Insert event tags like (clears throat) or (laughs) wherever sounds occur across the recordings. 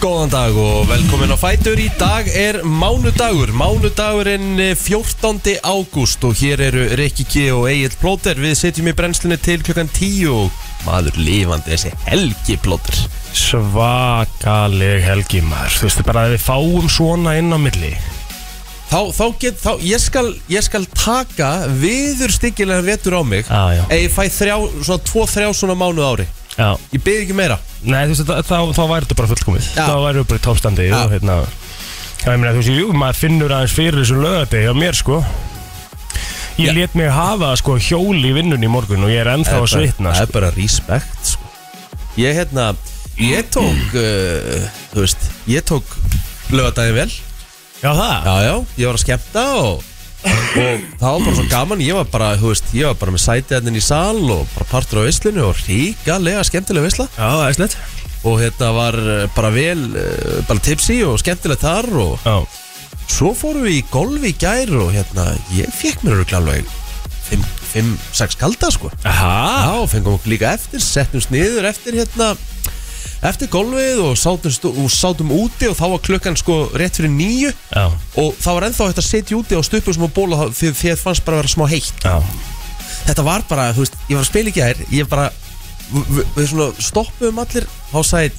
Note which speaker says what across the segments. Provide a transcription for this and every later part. Speaker 1: Góðan dag og velkomin á Fætur Í dag er mánudagur Mánudagurinn eh, 14. ágúst Og hér eru Rikki G og Egil Plóter Við sitjum í brennslunni til klukkan 10 og Maður lifandi þessi helgi Plóter
Speaker 2: svakaleg helgi maður þú veist bara að við fáum svona inn á milli
Speaker 1: Þá, þá get, þá, ég skal, ég skal taka Viður styggilega vetur á mig
Speaker 2: Já, já.
Speaker 1: Ef ég fæ þrjá, svona tvo þrjá svona mánuð á ári
Speaker 2: já.
Speaker 1: Ég byrð ekki meira
Speaker 2: Nei, þú veist, þá, þá, þá væri þetta bara fullkomið
Speaker 1: Já.
Speaker 2: þá væri þetta bara í toppstandi
Speaker 1: Já.
Speaker 2: og hérna Já, ég meina, þú veist, jú, maður finnur aðeins fyrir þessu lögati hjá mér, sko Ég
Speaker 1: Já.
Speaker 2: lét mig hafa, sko, hjóli í vinnunni í morgun og ég er ennþá
Speaker 1: Það
Speaker 2: að
Speaker 1: er bara-
Speaker 2: svitna,
Speaker 1: Það
Speaker 2: sko
Speaker 1: er bara respekt sko. Ég hérna Ég tók uh, Þú veist Ég tók Lögadaginn vel
Speaker 2: Já, það?
Speaker 1: Já já Ég var að skemmta og Og það var bara svo gaman Ég var bara Þú veist Ég var bara með sætið hérna inn í sal Og bara partur á veislinu Og ríkalega skemmtilega veisla
Speaker 2: Já, það er slett
Speaker 1: Og hérna var eh, bara vel eh, Bara tipsi og skemmtilega þar Og
Speaker 2: Já,
Speaker 1: svo fórum við í golfi í gær Og hérna Ég fekk mér örugglega alveg 5-6 kalda sko
Speaker 2: Aha.
Speaker 1: Já, fengum okkur líka eftir, settumst niður eftir hérna Eftir golfið og sátum, stu- og sátum úti og þá var klukkan sko rétt fyrir nýju
Speaker 2: já,
Speaker 1: Og þá var ennþá þetta setja úti á stupum sem að bóla því því að fannst bara að vera smá heitt
Speaker 2: já,
Speaker 1: Þetta var bara, þú veist, ég var að spila ekki að þér Ég bara, vi- vi- við svona stoppuðum allir Þá sagði,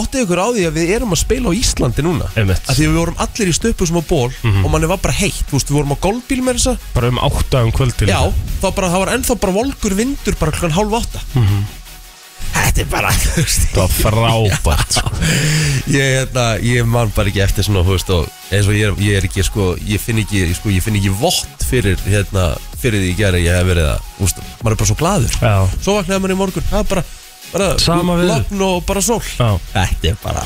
Speaker 1: áttið ykkur á því að við erum að spila á Íslandi núna
Speaker 2: einmitt
Speaker 1: Af því að við vorum allir í stupum sem að ból Og manni var bara heitt, þú veist, við vorum á golfbíl með þessa
Speaker 2: Bara um átta um kvöldil
Speaker 1: Já, þá bara, það var ennþá bara volkur vindur bara klokkan hálf átta Þetta er bara, (laughs) þú veist
Speaker 2: Það var frábært, sko
Speaker 1: Ég, hérna, ég man bara ekki eftir svona, þú veist og eins og ég er, ég er ekki, sko ég finn ekki, sko, ég finn ekki vott fyrir hérna, fyrir því ég gera ég hef verið að þú veist, maður er bara svo gladur
Speaker 2: (laughs) Já,
Speaker 1: Svo vaknaði maður í morgun, það er bara bara
Speaker 2: Sama veður.
Speaker 1: logn og bara sól
Speaker 2: já,
Speaker 1: Þetta er bara,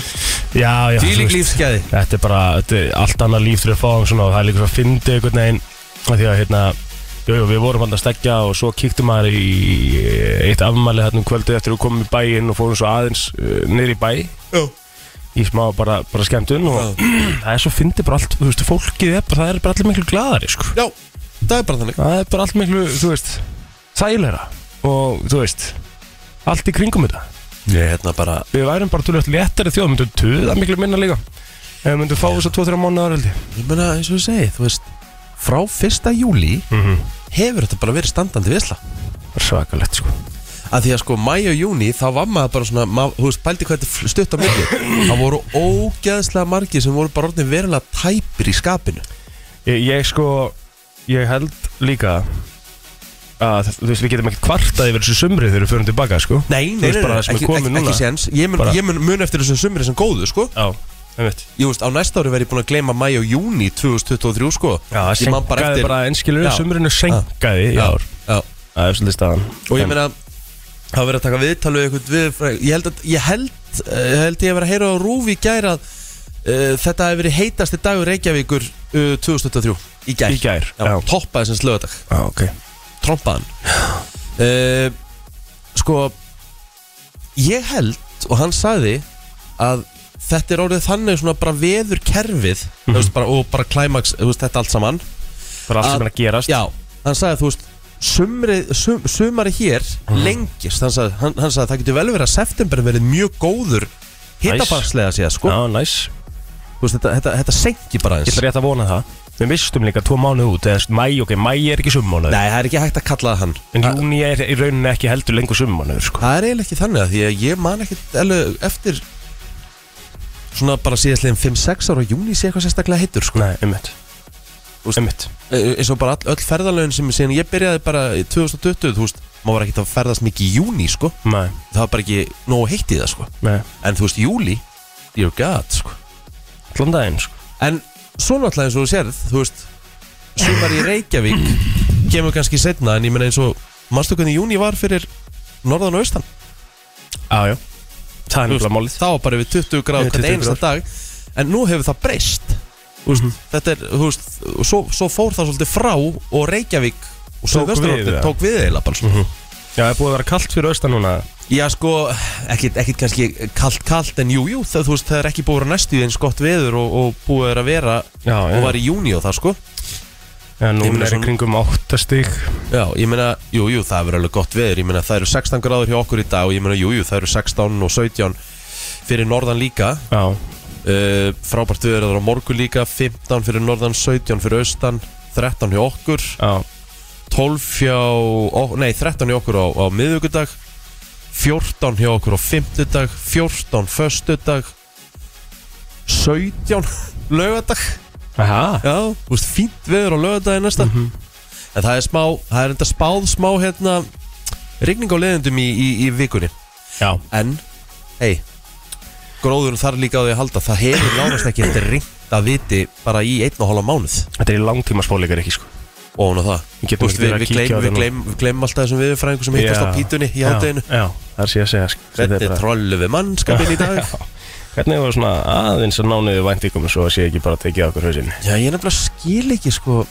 Speaker 2: já, já þú
Speaker 1: fíling
Speaker 2: veist.
Speaker 1: lífsgæði
Speaker 2: þetta er bara þetta er allt annað líf þegar við fáum svona og það er líka svo að fyndi einhvern veginn af því að hérna Jú, jú, við vorum hann að stekja og svo kíktum maður í eitt afmæli hérna um kvöldið eftir að við komum í bæinn og fórum svo aðeins uh, niður í bæ
Speaker 1: Já,
Speaker 2: í smá bara, bara skemmtun og (clears throat) það er svo fyndi bara allt, þú veist, fólkið er bara, það er bara allir miklu gladari, sko.
Speaker 1: já, það er bara þannig
Speaker 2: Það er bara allt miklu, þú veist, sælæra og, þú veist, allt í kringum þetta.
Speaker 1: Ég er hérna bara,
Speaker 2: Við værum bara tölvöld léttari þjóð, myndum tuða miklu minna líka. Ef við myndum fá þess að 2-3 mánuðar, held ég.
Speaker 1: ég meina eins og ég segi, þú veist frá fyrsta júli hefur þetta bara verið standandi visla
Speaker 2: Svakalegt, sko.
Speaker 1: að því að sko mæ og júni þá var maður bara svona, mað, þú veist, pældi hvað þetta er stutt á milli það voru ógeðslega margir sem voru bara orðin verulega tæpir í skapinu
Speaker 2: Ég, ég sko, ég held líka að þú veist, við getum ekkert kvartað yfir þessu sumri þegar við förum tilbaka, sko.
Speaker 1: Nei,
Speaker 2: Þú veist bara það sem er
Speaker 1: ekki,
Speaker 2: komið
Speaker 1: ekki,
Speaker 2: núna.
Speaker 1: ekki séns Ég mun,
Speaker 2: Bara-
Speaker 1: ég mun, mun eftir þessum sumri sem góðu, sko
Speaker 2: Já, einmitt.
Speaker 1: Ég veist, á næsta ári verð ég búin að gleyma mæ og júni 2023, sko
Speaker 2: Já, það
Speaker 1: Ég man bara
Speaker 2: senkaði
Speaker 1: eftir
Speaker 2: bara, einskilur,
Speaker 1: Já.
Speaker 2: sumrinu senkaði í
Speaker 1: Já,
Speaker 2: ár.
Speaker 1: já.
Speaker 2: Það er svolítið staðan.
Speaker 1: Og ég meina, það verið að taka viðtal við eitthvað við, Ég held að, ég held, eh, held ég að vera að heyra á rúfi í gær að uh, þetta hefur verið heitasti dagur Reykjavíkur uh, 2023 Í gær
Speaker 2: Í gær,
Speaker 1: Já,
Speaker 2: já.
Speaker 1: toppaði sem slöðadag
Speaker 2: Já, ok.
Speaker 1: trompaðan uh, Sko Ég held og hann sagði að þetta er orðið þannig svona bara veður kerfið mm veist, bara, og bara klæmaks, þú veist, þetta allt saman
Speaker 2: Það er allt sem
Speaker 1: Að-
Speaker 2: er að gerast.
Speaker 1: Já, hann sagði þú veist sumri, sum, sumari hér lengist, hann sagði, hann, hann sagði það getur vel verið að september verið mjög góður hittafarslega séð, sko
Speaker 2: Já, næs.
Speaker 1: Þú veist, þetta, þetta, þetta sengi bara
Speaker 2: Ég
Speaker 1: eins
Speaker 2: ætla rétt að vona það. Við mistum líka tvo mánuð út, eða mæ, ok, mæ er ekki summánuður.
Speaker 1: Nei, það er ekki hægt að kalla það hann
Speaker 2: En júni er í rauninni ekki heldur lengur summánuður, sko.
Speaker 1: Það er eiginlega ekki þannig að því að ég man ekkert alveg eftir svona bara síðastlegin 5-6 ára júni sé eitthvað sérstaklega heitur sko.
Speaker 2: Nei, einmitt.
Speaker 1: veist-
Speaker 2: Einmitt.
Speaker 1: E- eins og bara all, öll ferðalögin sem síðan ég byrjaði bara í 2020 þú veist, maður var ekkert að ferðast mikið í júni sko.
Speaker 2: Nei,
Speaker 1: það var bara ekki nógu heitt í það sko.
Speaker 2: nei.
Speaker 1: en þú veist, júli, dear god sko.
Speaker 2: Allan daginn, sko.
Speaker 1: en svo náttúrulega eins og þú sérð þú veist, sumar í Reykjavík kemur kannski setna en ég menna eins og manstu hvernig júni var fyrir norðan og austan
Speaker 2: Já, já. Það er nefnilega málið.
Speaker 1: þá bara yfir 20 gráð
Speaker 2: Yfir
Speaker 1: hvern
Speaker 2: 20
Speaker 1: einasta dag en nú hefur það breyst úst,
Speaker 2: Mhm.
Speaker 1: þetta er, þú veist, og svo, svo fór það svolítið frá og Reykjavík og
Speaker 2: Tók við, Mhm.
Speaker 1: Söðvesturhóttir
Speaker 2: ja.
Speaker 1: tók við eiginlega bara svona.
Speaker 2: Já, það er búið að vera kallt fyrir austan núna
Speaker 1: Já sko, ekkit, ekkit kannski kalt kalt en jú, jú, það, þú veist, það er ekki búið að vera næstu í eins gott veður og, og búið er að vera
Speaker 2: Já, já,
Speaker 1: og var í júni og það sko
Speaker 2: já
Speaker 1: Ég meina
Speaker 2: núna er í
Speaker 1: svona-
Speaker 2: kringum 8 stík
Speaker 1: Já, ég meina, jú, jú, það er alveg gott veður Ég meina, það eru 16 gráður hjá okkur í dag Og ég meina, jú, jú, það eru 16 og 17 fyrir norðan líka
Speaker 2: Já,
Speaker 1: uh, Frábært við erum á morgu líka 15 fyrir norðan, 17 fyrir austan 13 hjá okkur
Speaker 2: já,
Speaker 1: 12 hjá, ó, nei 13 hjá okkur á, á miðugudag 14 hjá okkur á fymtudag 14 föstudag (laughs) 17 lögadag
Speaker 2: aha,
Speaker 1: Já, þú veist, fínt veður á lögadagi næsta
Speaker 2: Mhm.
Speaker 1: En það er smá, það er enda spáð smá hérna Rigning á leðendum í, í, í vikunni
Speaker 2: já
Speaker 1: En, hei Gróðurinn þar líka á því að halda Það hefur nánast ekki eftir ringt að viti Bara í einn og hálfa mánuð
Speaker 2: Þetta er langtíma spóleikar ekki sko
Speaker 1: Og hún á það
Speaker 2: Við
Speaker 1: Þú
Speaker 2: getum
Speaker 1: veist,
Speaker 2: ekki verið
Speaker 1: Við,
Speaker 2: að
Speaker 1: við,
Speaker 2: kíkja
Speaker 1: gleym,
Speaker 2: á
Speaker 1: við,
Speaker 2: þetta
Speaker 1: gleym, við gleymum alltaf þessum viðurfræðingum sem hittast á
Speaker 2: Já,
Speaker 1: pítunni í
Speaker 2: já,
Speaker 1: hádeginu
Speaker 2: Já, það er síðan að segja sko Þetta er
Speaker 1: Hvernig
Speaker 2: bara-
Speaker 1: trollu við mannskapin í
Speaker 2: (laughs)
Speaker 1: dag
Speaker 2: Hvernig var svona aðeins að nániðu væntingum svo að sé ekki bara að tekið okkur hausinn
Speaker 1: Já, ég nefnilega skil ekki sko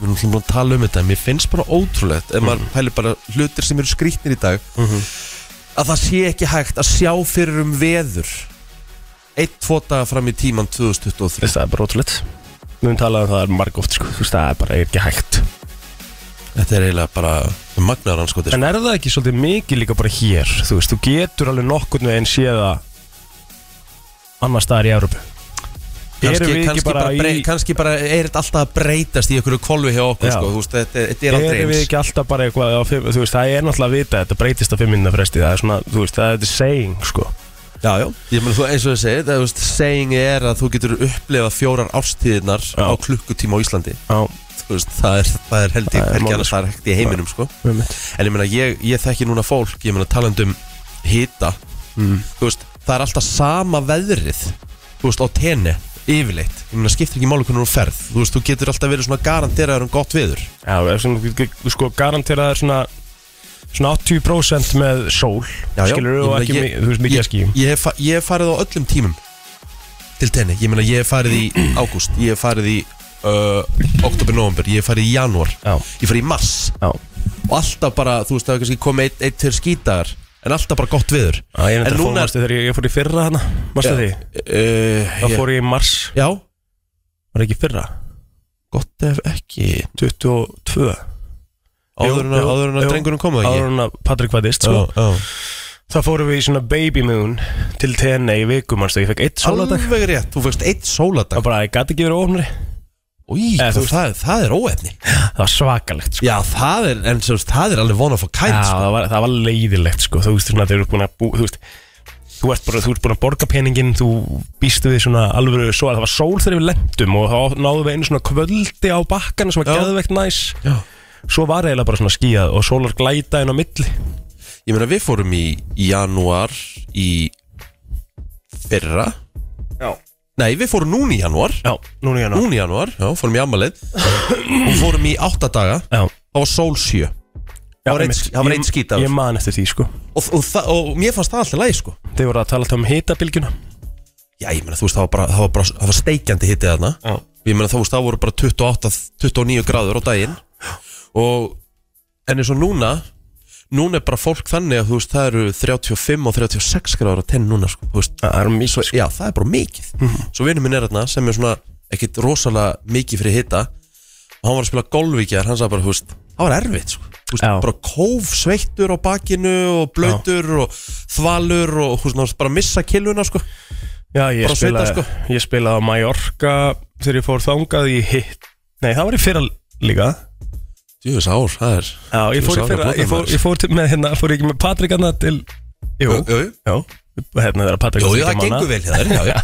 Speaker 1: Við erum svona búin að tala um þetta en Mér finnst bara ótrúlegt Ef
Speaker 2: Mhm.
Speaker 1: maður pælir bara hlutir sem eru skrýtnir í dag Að það sé ekki hægt að sjá fyrir um veður Eitt, tvo daga fram í tíman 2023
Speaker 2: Þetta er bara ótrúleitt Við höfum talað um það margóft sko Þú veist, það er bara ekki hægt
Speaker 1: Þetta er eiginlega bara magnaðan sko
Speaker 2: En er það ekki svolítið mikið líka bara hér Þú veist, þú getur alveg nokkurn veginn séð að annar staðar í Európu
Speaker 1: sko, kannski,
Speaker 2: erum við ekki
Speaker 1: kannski, bara
Speaker 2: bara í-
Speaker 1: brey, kannski bara er þetta alltaf að breytast í einhverju kolvi hjá okkur
Speaker 2: Já.
Speaker 1: sko, þú veist, þetta, þetta er aldrei
Speaker 2: Erum við
Speaker 1: eins
Speaker 2: ekki alltaf bara eitthvað á fimm, Þú veist, það er náttúrulega að vita Þetta breytist að fimm minna fresti Það er svona, þú veist, það er þetta saying sko
Speaker 1: Já, já, ég meina þú eins og ég segi það, þú veist, Saying er að þú getur upplifað fjórar ástíðirnar
Speaker 2: Já.
Speaker 1: á klukkutíma á Íslandi
Speaker 2: Já,
Speaker 1: Þú veist, það, er, það er held ég
Speaker 2: Það er
Speaker 1: hvergi
Speaker 2: málið,
Speaker 1: annars það er held í heiminum sko.
Speaker 2: með mitt
Speaker 1: En ég meina, ég, ég þekki núna fólk Ég meina, talandum hita
Speaker 2: mm.
Speaker 1: Þú veist, það er alltaf sama veðrið Þú veist, á tenni, yfirleitt Ég meina, skiptir ekki máli hvernig hún ferð Þú veist, þú getur alltaf verið svona garanteraður um gott veður
Speaker 2: Já, það er svona, þú- þú- sko, garantera er svona Svona 80% með sól
Speaker 1: Já, já.
Speaker 2: Skilur
Speaker 1: Ég
Speaker 2: þú
Speaker 1: meina,
Speaker 2: ekki,
Speaker 1: ég-
Speaker 2: mi- þú veist, mikið að skýjum
Speaker 1: Ég hef, fa- ég hef farið á öllum tímum Til tenni, ég meina, ég hef farið í (clears throat) ágúst Ég hef farið í uh, oktober, november Ég hef farið í janúar
Speaker 2: Já,
Speaker 1: Ég hef farið í mars
Speaker 2: já
Speaker 1: Og alltaf bara, þú veist, það er kannski komið eitt, eitt til skítagar En alltaf bara gott veður
Speaker 2: Já, ég er
Speaker 1: En
Speaker 2: þetta
Speaker 1: núna-
Speaker 2: fóðmastu þegar ég, ég fór í fyrra hana Mastu því?
Speaker 1: Uh,
Speaker 2: Það
Speaker 1: ég,
Speaker 2: fór ég í mars
Speaker 1: já,
Speaker 2: Var ekki í fyrra?
Speaker 1: gott ef ekki
Speaker 2: 22
Speaker 1: Áður en
Speaker 2: Jú,
Speaker 1: að,
Speaker 2: jú,
Speaker 1: áður en að
Speaker 2: jú.
Speaker 1: drengurinn koma ekki
Speaker 2: Áður hún að Patrik fæðist sko.
Speaker 1: Já, já.
Speaker 2: Það fórum við í svona baby moon Til TNA í vikum manstu Ég fekk eitt sóladag
Speaker 1: Alveg rétt, þú fegst eitt
Speaker 2: Það
Speaker 1: sóladag
Speaker 2: bara, ég gæti ekki verið ofnri
Speaker 1: Í,
Speaker 2: Eh, þú
Speaker 1: það,
Speaker 2: veist-
Speaker 1: það, er óefni
Speaker 2: Það var svakalegt sko.
Speaker 1: Já, það er, en sem, sagt, það er alveg vona að fá
Speaker 2: Já,
Speaker 1: kænt sko.
Speaker 2: það, var, það var leiðilegt sko. Þú veist, svona, þeir eru búin að bú, Þú veist Þú ert, bara, þú ert búin að borga peningin, þú býstu við svona alvöru svo það var sól þegar við lendum og þá náðum við einu svona kvöldi á bakkana sem var
Speaker 1: Já.
Speaker 2: geðveikt næs.
Speaker 1: Já.
Speaker 2: Svo var eiginlega bara svona skíðað og sólar glæta inn á milli.
Speaker 1: Ég meina, við fórum í janúar í fyrra
Speaker 2: Já.
Speaker 1: Nei, við fórum núna í janúar
Speaker 2: Já, núna ég
Speaker 1: Núna í janúar, já, fórum í ammalið Og fórum í átta daga
Speaker 2: Já,
Speaker 1: Það var sól sjö
Speaker 2: Já,
Speaker 1: Það var eitt-
Speaker 2: einmitt.
Speaker 1: það var
Speaker 2: Ég-
Speaker 1: eitt skítaður.
Speaker 2: Ég man eftir því sko
Speaker 1: og, og, það- og mér fannst það alltaf lægi, sko
Speaker 2: Þeir voru að tala alltaf um hitabilgjuna
Speaker 1: Já, ég meina, þú veist, það var bara, það var bara, það var steikjandi hittið þarna
Speaker 2: Já
Speaker 1: ég meina þá veist það voru bara 28, 29 gráður á daginn og en eins og núna núna er bara fólk þannig að þú veist það eru 35 og 36 gráður á tenn núna sko, þú veist,
Speaker 2: Það er mjög
Speaker 1: svo, já það er bara mikið svo vinur minn er þarna sem er svona ekkit rosalega mikið fyrir hitta og hann var að spila golfvíkjar, hann sagði bara þú veist, það var erfitt sko Þú veist,
Speaker 2: Já.
Speaker 1: bara kóf sveittur á bakinu og blöytur og þvalur og þú veist, nánast bara missa killuna sko
Speaker 2: Já, ég
Speaker 1: Bara
Speaker 2: spilaði
Speaker 1: svita, sko.
Speaker 2: Ég spilaði á Mallorca þegar ég fór þangað í hitt Nei, það var í fyrra líka
Speaker 1: Jú, það ár, það er
Speaker 2: Já, ég fór
Speaker 1: Þú
Speaker 2: í
Speaker 1: sá
Speaker 2: fyrra
Speaker 1: það
Speaker 2: Ég fór,
Speaker 1: blóðið
Speaker 2: ég fór til, með hérna, fór ég ekki með Patrik hana til Jú,
Speaker 1: Jú, jú.
Speaker 2: já Hérna þegar Patrik
Speaker 1: Jú,
Speaker 2: var
Speaker 1: jú, það
Speaker 2: þriggja mánaða.
Speaker 1: gengur vel hjá þér, já,
Speaker 2: (laughs)
Speaker 1: já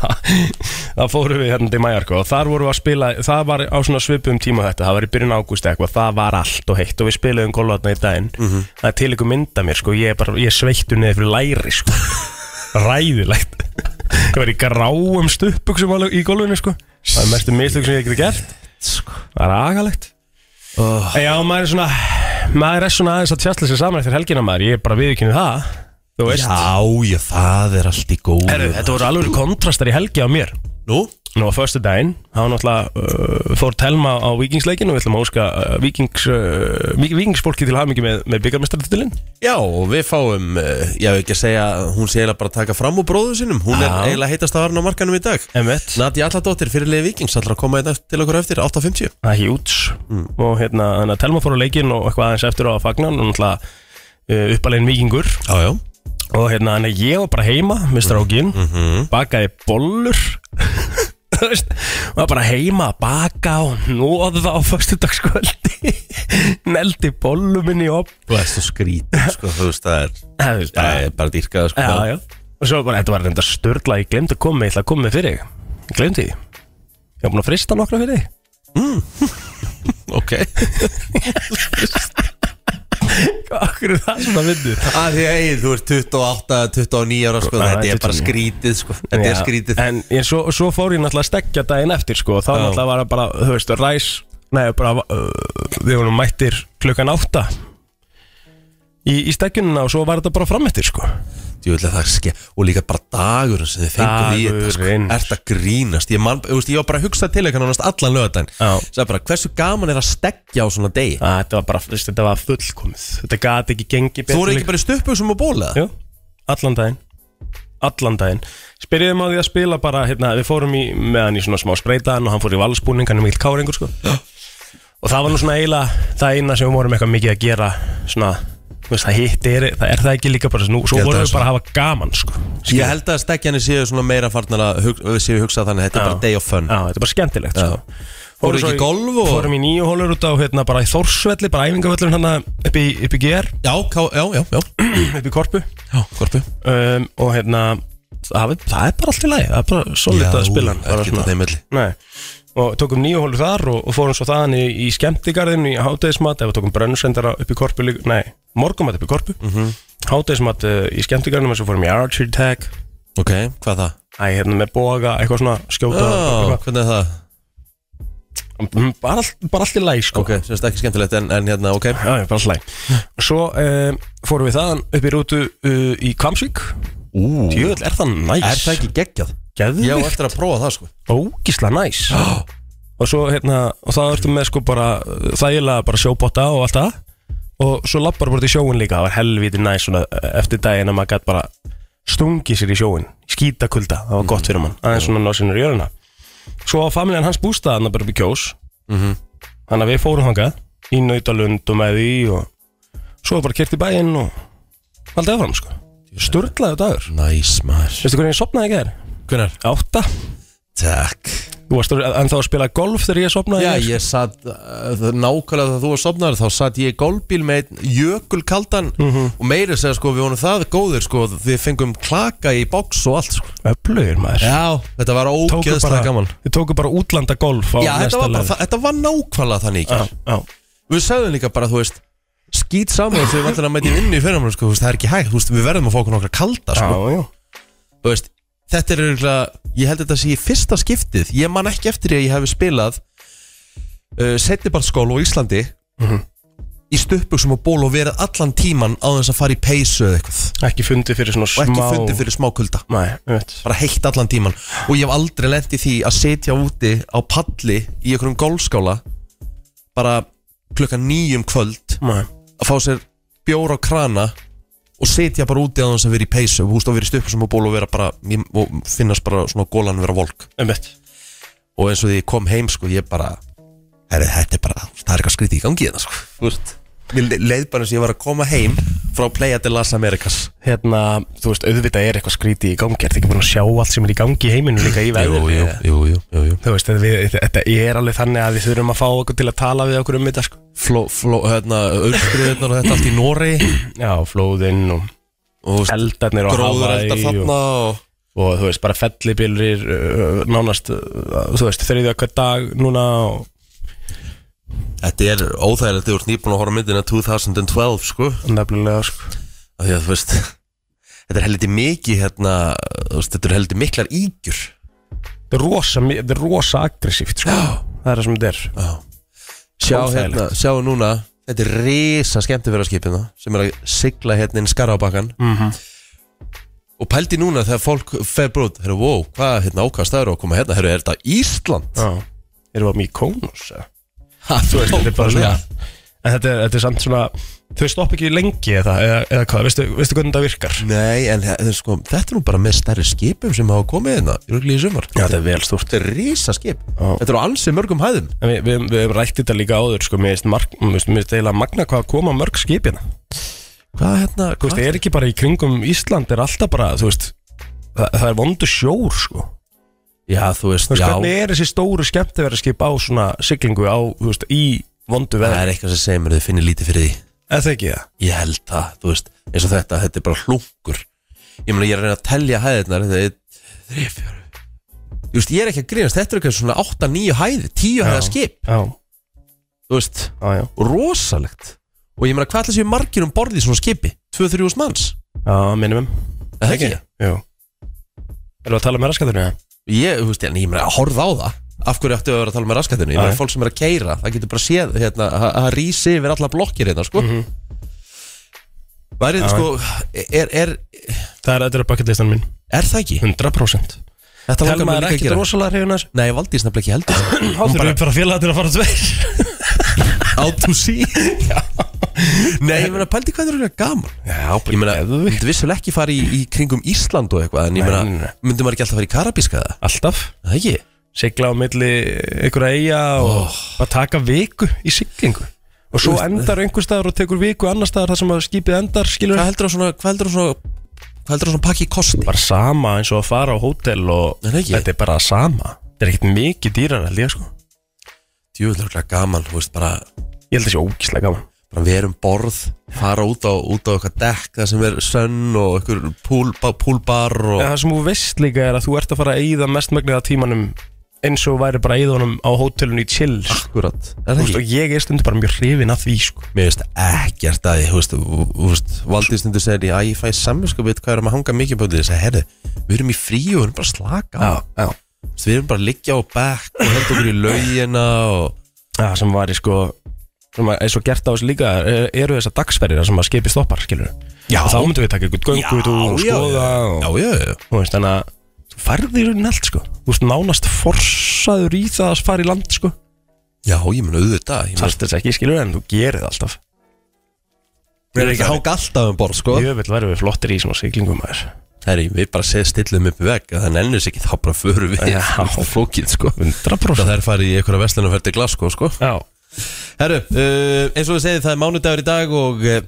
Speaker 2: Það fórum við hérna til Mallorca og þar vorum við að spila það var á svona svipum tíma þetta það var í byrjun ágúst eitthvað, það var allt og heitt og við spilaðum golfatna í daginn
Speaker 1: Mhm.
Speaker 2: það er til ykkur mynda mér sko, ég er bara ég er sveittur neður fyrir læri
Speaker 1: (laughs)
Speaker 2: sko ræðilegt ég var í gráum stuppuksum alveg í golfinu sko það er mestu mistök sem ég hef geti gert
Speaker 1: sko.
Speaker 2: það er agalegt
Speaker 1: oh.
Speaker 2: En já, maður er svona maður er svona aðeins að tjastla sér saman eftir helgina maður ég er bara viðkynni það þú veist
Speaker 1: Já, já, það er allt í góðu
Speaker 2: Herru, þetta voru alveg kontrastar í helgi á mér
Speaker 1: Nú?
Speaker 2: Nú á förstu daginn, þá náttúrulega uh, fór Telma á vikingsleikin og við ætlum að óska uh, vikings, uh, Vík- vikingsfólki til hamingi með, með byggarmestartitilinn.
Speaker 1: Já, og við fáum, eh, ég hef ekki að segja Hún sé eiginlega bara að taka fram úr bróðu sinum Hún er
Speaker 2: Já.
Speaker 1: eiginlega heitast að varna á markanum í dag
Speaker 2: M1.
Speaker 1: Nadja Alladóttir, fyrirlið Víkings ætlar að koma einn til okkur eftir 8.50
Speaker 2: Það er hjúts. Og hérna, þannig að Telma fór á leikin og eitthvað aðeins eftir á að fagna, hún náttúrulega uh, uppalegin vikingur
Speaker 1: Já, já
Speaker 2: Og hérna, þannig að ég var bara heima með strákin Bakaði bollur (laughs) Þú veist, var bara heima að baka og nóða á föstudagskvöldi (laughs) Neldi bollum minni í opn
Speaker 1: Þú ert svo skrít sko, Þú veist það er,
Speaker 2: Það er bara,
Speaker 1: það er bara dýrkað sko.
Speaker 2: já, já Og svo bara, þetta var reynda störla, ég glemdi að koma með, ég ætla að koma með fyrir þig. Ég glemdi því Ég var búin að frista nokkra fyrir þig
Speaker 1: (laughs) Ok
Speaker 2: Akkur er það svona vindu
Speaker 1: að Því að hey, þú ert 28, 29 ára sko,
Speaker 2: Já,
Speaker 1: Þetta er
Speaker 2: 29.
Speaker 1: bara skrítið sko. Þetta er
Speaker 2: Já,
Speaker 1: skrítið
Speaker 2: En ég, svo, svo fór ég náttúrulega að stekja daginn eftir sko, og Þá
Speaker 1: Já.
Speaker 2: náttúrulega var það bara, þú veist, ræs Nei, bara, uh, við vorum mættir klukkan átta Í, í stekkjunina og svo var þetta bara frammettir sko.
Speaker 1: Djúvilega það er ske Og líka bara dagurinn sem þið fengum í þetta sko.
Speaker 2: Dagurinn.
Speaker 1: Ert að grínast Ég, man, þú veist, ég var bara að hugsa til eitthvað nánast allan lögadaginn
Speaker 2: Já.
Speaker 1: Sæði bara hversu gaman er að stekja á svona degi
Speaker 2: Að, Þetta var bara, þú veist, þetta var fullkomið Þetta gat ekki gengi
Speaker 1: Þú voru ekki bara í stuppu sem að bóla
Speaker 2: Jú, allan daginn Allan daginn Spyrjum á því að spila bara hérna, Við fórum í, með hann í svona smá spreitaðan Og hann fór í valsbúning, hann er mikill káringur sko. Og það var nú svona eiginlega Það eina sem við vorum eitthvað mikið að gera Svona, þú veist, það hitt er Það er það ekki líka bara svona, Svo
Speaker 1: Ég held
Speaker 2: vorum
Speaker 1: að
Speaker 2: við
Speaker 1: það
Speaker 2: bara að hafa gaman sko. Skilur.
Speaker 1: Ég held að stekjanir séu svona meira farnar að hug, séu hugsað þannig að Þetta er
Speaker 2: Já.
Speaker 1: bara day of fun
Speaker 2: Já, þetta er bara skemmtilegt sko.
Speaker 1: Fóruð
Speaker 2: svo
Speaker 1: ekki í golf og-
Speaker 2: Fórum í nýju hólur út á hérna, bara í Þórsvelli, bara æfingavöllum hann upp, í- upp í GR,
Speaker 1: Já, ká- já, já, já,
Speaker 2: (clears throat) upp í Korpu
Speaker 1: já Korpu
Speaker 2: um, og hérna það, er- það er bara allt í lagi, það er bara
Speaker 1: Já,
Speaker 2: solid að spila hann, bara
Speaker 1: ekkert á þeim milli.
Speaker 2: Nei. og tókum nýju hólu þar og, og fórum svo þaðan í, í skemmtigarðinu í hátegismat eða tókum brönnsendara upp í korpu líka- nei, morgumat upp í korpu mm
Speaker 1: Mhm.
Speaker 2: -hmm. hátegismat uh, í skemmtigarðinu og svo fórum í archery tag
Speaker 1: Ok, hvað það?
Speaker 2: æ, hérna með boga, eitthvað svona skjóta
Speaker 1: Já, hvernig er það?
Speaker 2: eitthvað. bara, allt- bara allt í lagi sko
Speaker 1: Ok, semst ekki skemmtilegt en, en hérna, ok
Speaker 2: Já, já, bara slæg Svo um, fórum við þaðan upp í rútu uh, í Kvamsvík
Speaker 1: Ú,
Speaker 2: Jöfell, er það næs?
Speaker 1: er það ekki geggjað?
Speaker 2: Geðvikt
Speaker 1: Ég á eftir að prófa það sko
Speaker 2: ógísla næs og svo hérna og það ertu með sko bara uh, þægilega bara sjóbotta og allt það og svo lappar bara til sjóin líka það var helviti næs svona uh, eftir daginn að maður gætt bara stungið sér í sjóin skítakulda, það var gott fyrir mann aðeins svona ná sinni í jöruna svo á familjan hans bústaðan bara upp í kjós þannig að við fórum hangað í nautalund og með því og svo bara kert í bæinn og haldið áfram sko sturlaðu dagur
Speaker 1: Næs maður
Speaker 2: veistu hvernig ég sopnaði ekki þér?
Speaker 1: Hvernar?
Speaker 2: átta
Speaker 1: Takk
Speaker 2: Þú varst ennþá að spila golf þegar ég sopnaði
Speaker 1: Já, ég satt, uh, það- nákvæmlega þegar þú var sopnar Þá satt ég í golfbíl með einn jökulkaldan Og meiri segja sko, við vonum það góðir sko Við fengum klaka í box og allt sko
Speaker 2: Öflugir maður
Speaker 1: Já, þetta var
Speaker 2: Tóku
Speaker 1: ógeðslega
Speaker 2: bara,
Speaker 1: gaman
Speaker 2: Við tóku bara útlanda golf á
Speaker 1: Já, þetta
Speaker 2: næsta
Speaker 1: var, bara,
Speaker 2: level.
Speaker 1: það, þetta var nákvæmlega þannig í gær.
Speaker 2: Já,
Speaker 1: Við sagðum líka bara, þú veist Skýt saman þegar við ætlum að mæti vinnu í fyrramann sko, þú veist, Það er ekki hægt, þú veist, við verðum að fá okkur nokkra kalda sko.
Speaker 2: já, já
Speaker 1: Þú veist, Þetta er auðvitað Ég held að þetta sé í fyrsta skiptið Ég man ekki eftir því að ég hef spilað uh, Settibartskóla á Íslandi
Speaker 2: Mhm.
Speaker 1: Í stöpbuksum og ból og verið allan tíman Á þess að fara í peysu eða eitthvað
Speaker 2: Ekki fundið fyrir svona
Speaker 1: Og
Speaker 2: smá
Speaker 1: ekki fundið fyrir smákulda
Speaker 2: Nei, veit
Speaker 1: bara heitt allan tíman og ég hef aldrei lent í því að setja úti á palli í einhverjum golfskála bara klukkan nýjum kvöld
Speaker 2: Nei
Speaker 1: að fá sér bjór á krana og setja bara úti á þess að vera í peysu húst og vera í stöppu sem að ból og vera bara og finnast bara svona gólan vera volk
Speaker 2: Veit
Speaker 1: og eins og því ég kom heim sko ég bara herri, þetta er bara, það er eitthvað skrítið í gangi þetta sko Þú veist, mér le- leið bara eins og ég var að koma heim frá Playa de las Americas
Speaker 2: Hérna, þú veist, auðvitað er eitthvað skrítið í gangi Ertu ekki búin að sjá allt sem er í gangi í heiminu líka í veðrinu?
Speaker 1: jú, jú, jú, jú.
Speaker 2: Þú veist, þetta við- þetta er alveg þannig að við þurfum að fá okkur til að tala við okkur um þetta sko.
Speaker 1: Fló, fló, hérna, auðskriðunar og þetta allt í Nóri
Speaker 2: Já, flóðinn og
Speaker 1: og þú veist,
Speaker 2: eldarnir og
Speaker 1: gróður eldar þarna og
Speaker 2: og þú veist, bara fellibillrir uh, nánast, uh, þú veist, þriðja hver dag núna og
Speaker 1: Þetta er óþægilegt, þú ert nýbúin að horfa á myndina 2012, sko
Speaker 2: nefnilega, sko.
Speaker 1: af því að þú veist (laughs) þetta er heldur mikið, hérna þú veist, þetta er heldur miklar ígjur
Speaker 2: Þetta er rosa, mi- þetta er rosa aggressíft, sko. Það er það sem þetta er.
Speaker 1: Sjá,
Speaker 2: Óþægilegt.
Speaker 1: hérna, sjá núna þetta er risa skemmtifæraskipina sem er að sigla hérna inn skarabakkan
Speaker 2: Mhm.
Speaker 1: og pældi núna þegar fólk fer brúð, herru, wow, hvað, hérna, ákast það eru að koma hérna, herru, er þetta
Speaker 2: (laughs)
Speaker 1: Ísland?
Speaker 2: Já. Erum við á Mykonos, eða?
Speaker 1: Ha, þú veist,
Speaker 2: Þetta er bara svona, en þetta er, þetta er samt svona, þau stopp ekki lengi eða, eða, eða hvað, veistu, veistu hvernig þetta virkar?
Speaker 1: Nei, en þe- sko, þetta er nú bara með stærri skipum sem hafa komið hérna í rugli í sumar
Speaker 2: Já, þetta er vel stort.
Speaker 1: Þetta er rísa skip
Speaker 2: Já.
Speaker 1: Þetta eru alls í mörgum hæðum
Speaker 2: En við, við, við hefum rætt þetta líka áður, sko, mér finnst mark- mér finnst mér finnst eiginlega magna hvað koma mörg skipina.
Speaker 1: Hvað hérna?
Speaker 2: Þú veist,
Speaker 1: hvað?
Speaker 2: er ekki bara í kringum Ísland er alltaf bara, þú veist það, það er vondu sjór, sko
Speaker 1: Já, þú veist,
Speaker 2: Þú veist,
Speaker 1: já
Speaker 2: hvernig er þessi stóru skemmtiverðarskip á svona siglingu á, þú veist, í vondu
Speaker 1: Það
Speaker 2: veðri?
Speaker 1: er eitthvað sem segir mér að þið finnir lítið fyrir því
Speaker 2: Eða það ekki það?
Speaker 1: Ég held það, þú veist, eins og þetta, þetta er bara hlungur Ég meina, ég er að reyna að telja hæðirnar Þetta er þrið, fjóru Þú veist, ég er ekki að grínast, þetta er eitthvað svona 8-9 hæðir, 10 hæða skip
Speaker 2: Já,
Speaker 1: Þú veist,
Speaker 2: já, já,
Speaker 1: rosalegt Og ég meina, hvað ætla séu margir um borðið í svona skipi? 2-3 hús manns,
Speaker 2: já, minimum
Speaker 1: Er það ekki?
Speaker 2: Jú Erum við að tala með raskatunni, eða?
Speaker 1: Ég, þú veist, en ég meina, horfð á það Af hverju ættu að vera að tala með raskatinu? Ég meina,
Speaker 2: Nei.
Speaker 1: fólk sem er að keira, það getur bara séð hérna, að að rísi yfir alla blokkir hérna, sko
Speaker 2: Mhm.
Speaker 1: Værið,
Speaker 2: Já.
Speaker 1: sko, er, er,
Speaker 2: Það er, þetta er bucketlistan mín,
Speaker 1: er það ekki?
Speaker 2: 100%
Speaker 1: Þetta langar mér
Speaker 2: Telma er
Speaker 1: líka að
Speaker 2: ekkert
Speaker 1: gera
Speaker 2: rosalega hrifin að þessu
Speaker 1: Nei, Valdís nefnilega ekki (coughs) heldur
Speaker 2: Hún bara er bara félag til að fara tveir
Speaker 1: Out to sea Nei, ég meina, pældi hvað það eru gaman
Speaker 2: Já,
Speaker 1: Ég meina, þú myndir vissulega ekki fara í, í kringum Ísland og eitthvað En ég
Speaker 2: Nei,
Speaker 1: meina,
Speaker 2: nei, nei.
Speaker 1: myndir maður ekki alltaf fara í Karabíska það?
Speaker 2: Alltaf
Speaker 1: Það ekki?
Speaker 2: Sigla á milli einhverja eiga og bara taka viku í siglingu Og svo
Speaker 1: Úst,
Speaker 2: endar einhver staðar og tekur viku annar staðar þar sem að skipið endar skilur
Speaker 1: Hvað heldur það svona, hvað heldur það svona Hvað heldur það svona pakki kosti?
Speaker 2: Bara sama eins og að fara á hótel og
Speaker 1: Nei, það ekki.
Speaker 2: þetta er bara sama Þetta er ekkert mikið dýrar held ég sko
Speaker 1: Djúðlega gaman, þú veist, bara,
Speaker 2: Ég held þessi ógíslega gaman
Speaker 1: bara við erum borð Fara út á, út á eitthvað dekk Það sem er sönn og eitthvað púlba, púlbar og
Speaker 2: En það sem þú veist líka er að þú ert að fara að eyða mestmagniða tímanum eins og væri bara að eyða honum á hótelun í chill sko.
Speaker 1: Akkurat, er Ah,
Speaker 2: Þú
Speaker 1: það
Speaker 2: veist,
Speaker 1: ekki?
Speaker 2: Og ég er stundur bara mjög hrifin að því sko.
Speaker 1: Mér veist ekkert að ég, þú veist, þú- þú veist, Valdís stundur segir ég, að ég fæ samvinskapið hvað erum að hanga mikið búin til þess að herðu, við erum í frí og við erum bara að slaka á,
Speaker 2: já
Speaker 1: Þú veist, við erum bara að liggja á bekk og held okkur í laugina og,
Speaker 2: Já, sem var í sko sem var eins og gert á þessu líka er- eru þessar dagsferðir þar sem að skipi stoppar, skilur
Speaker 1: Já.
Speaker 2: og þá myndum við taka ykkur göngutúr og skoða
Speaker 1: já,
Speaker 2: og,
Speaker 1: já, já, já,
Speaker 2: og veist, þannig að þú færði í rauninni allt, sko þú veist, nánast forsaður í það að fara í land, sko
Speaker 1: já, ég mun auðvitað, ég mun,
Speaker 2: þarft þess ekki, skilur, en þú gerir það alltaf
Speaker 1: við erum ekki að hanga alltaf um borð, sko,
Speaker 2: Jöfell verðum við flottir í svona siglingum aðeins
Speaker 1: herri, við bara se- stillum upp í vegg, að það nennus ekki, þá bara förum við,
Speaker 2: Já.
Speaker 1: flókið, sko,
Speaker 2: 100%
Speaker 1: það er farið í einhverja vestlunarferð til Glasgow, sko.
Speaker 2: Já,
Speaker 1: Herru, uh, eins og við segið það er mánudagur í dag og uh,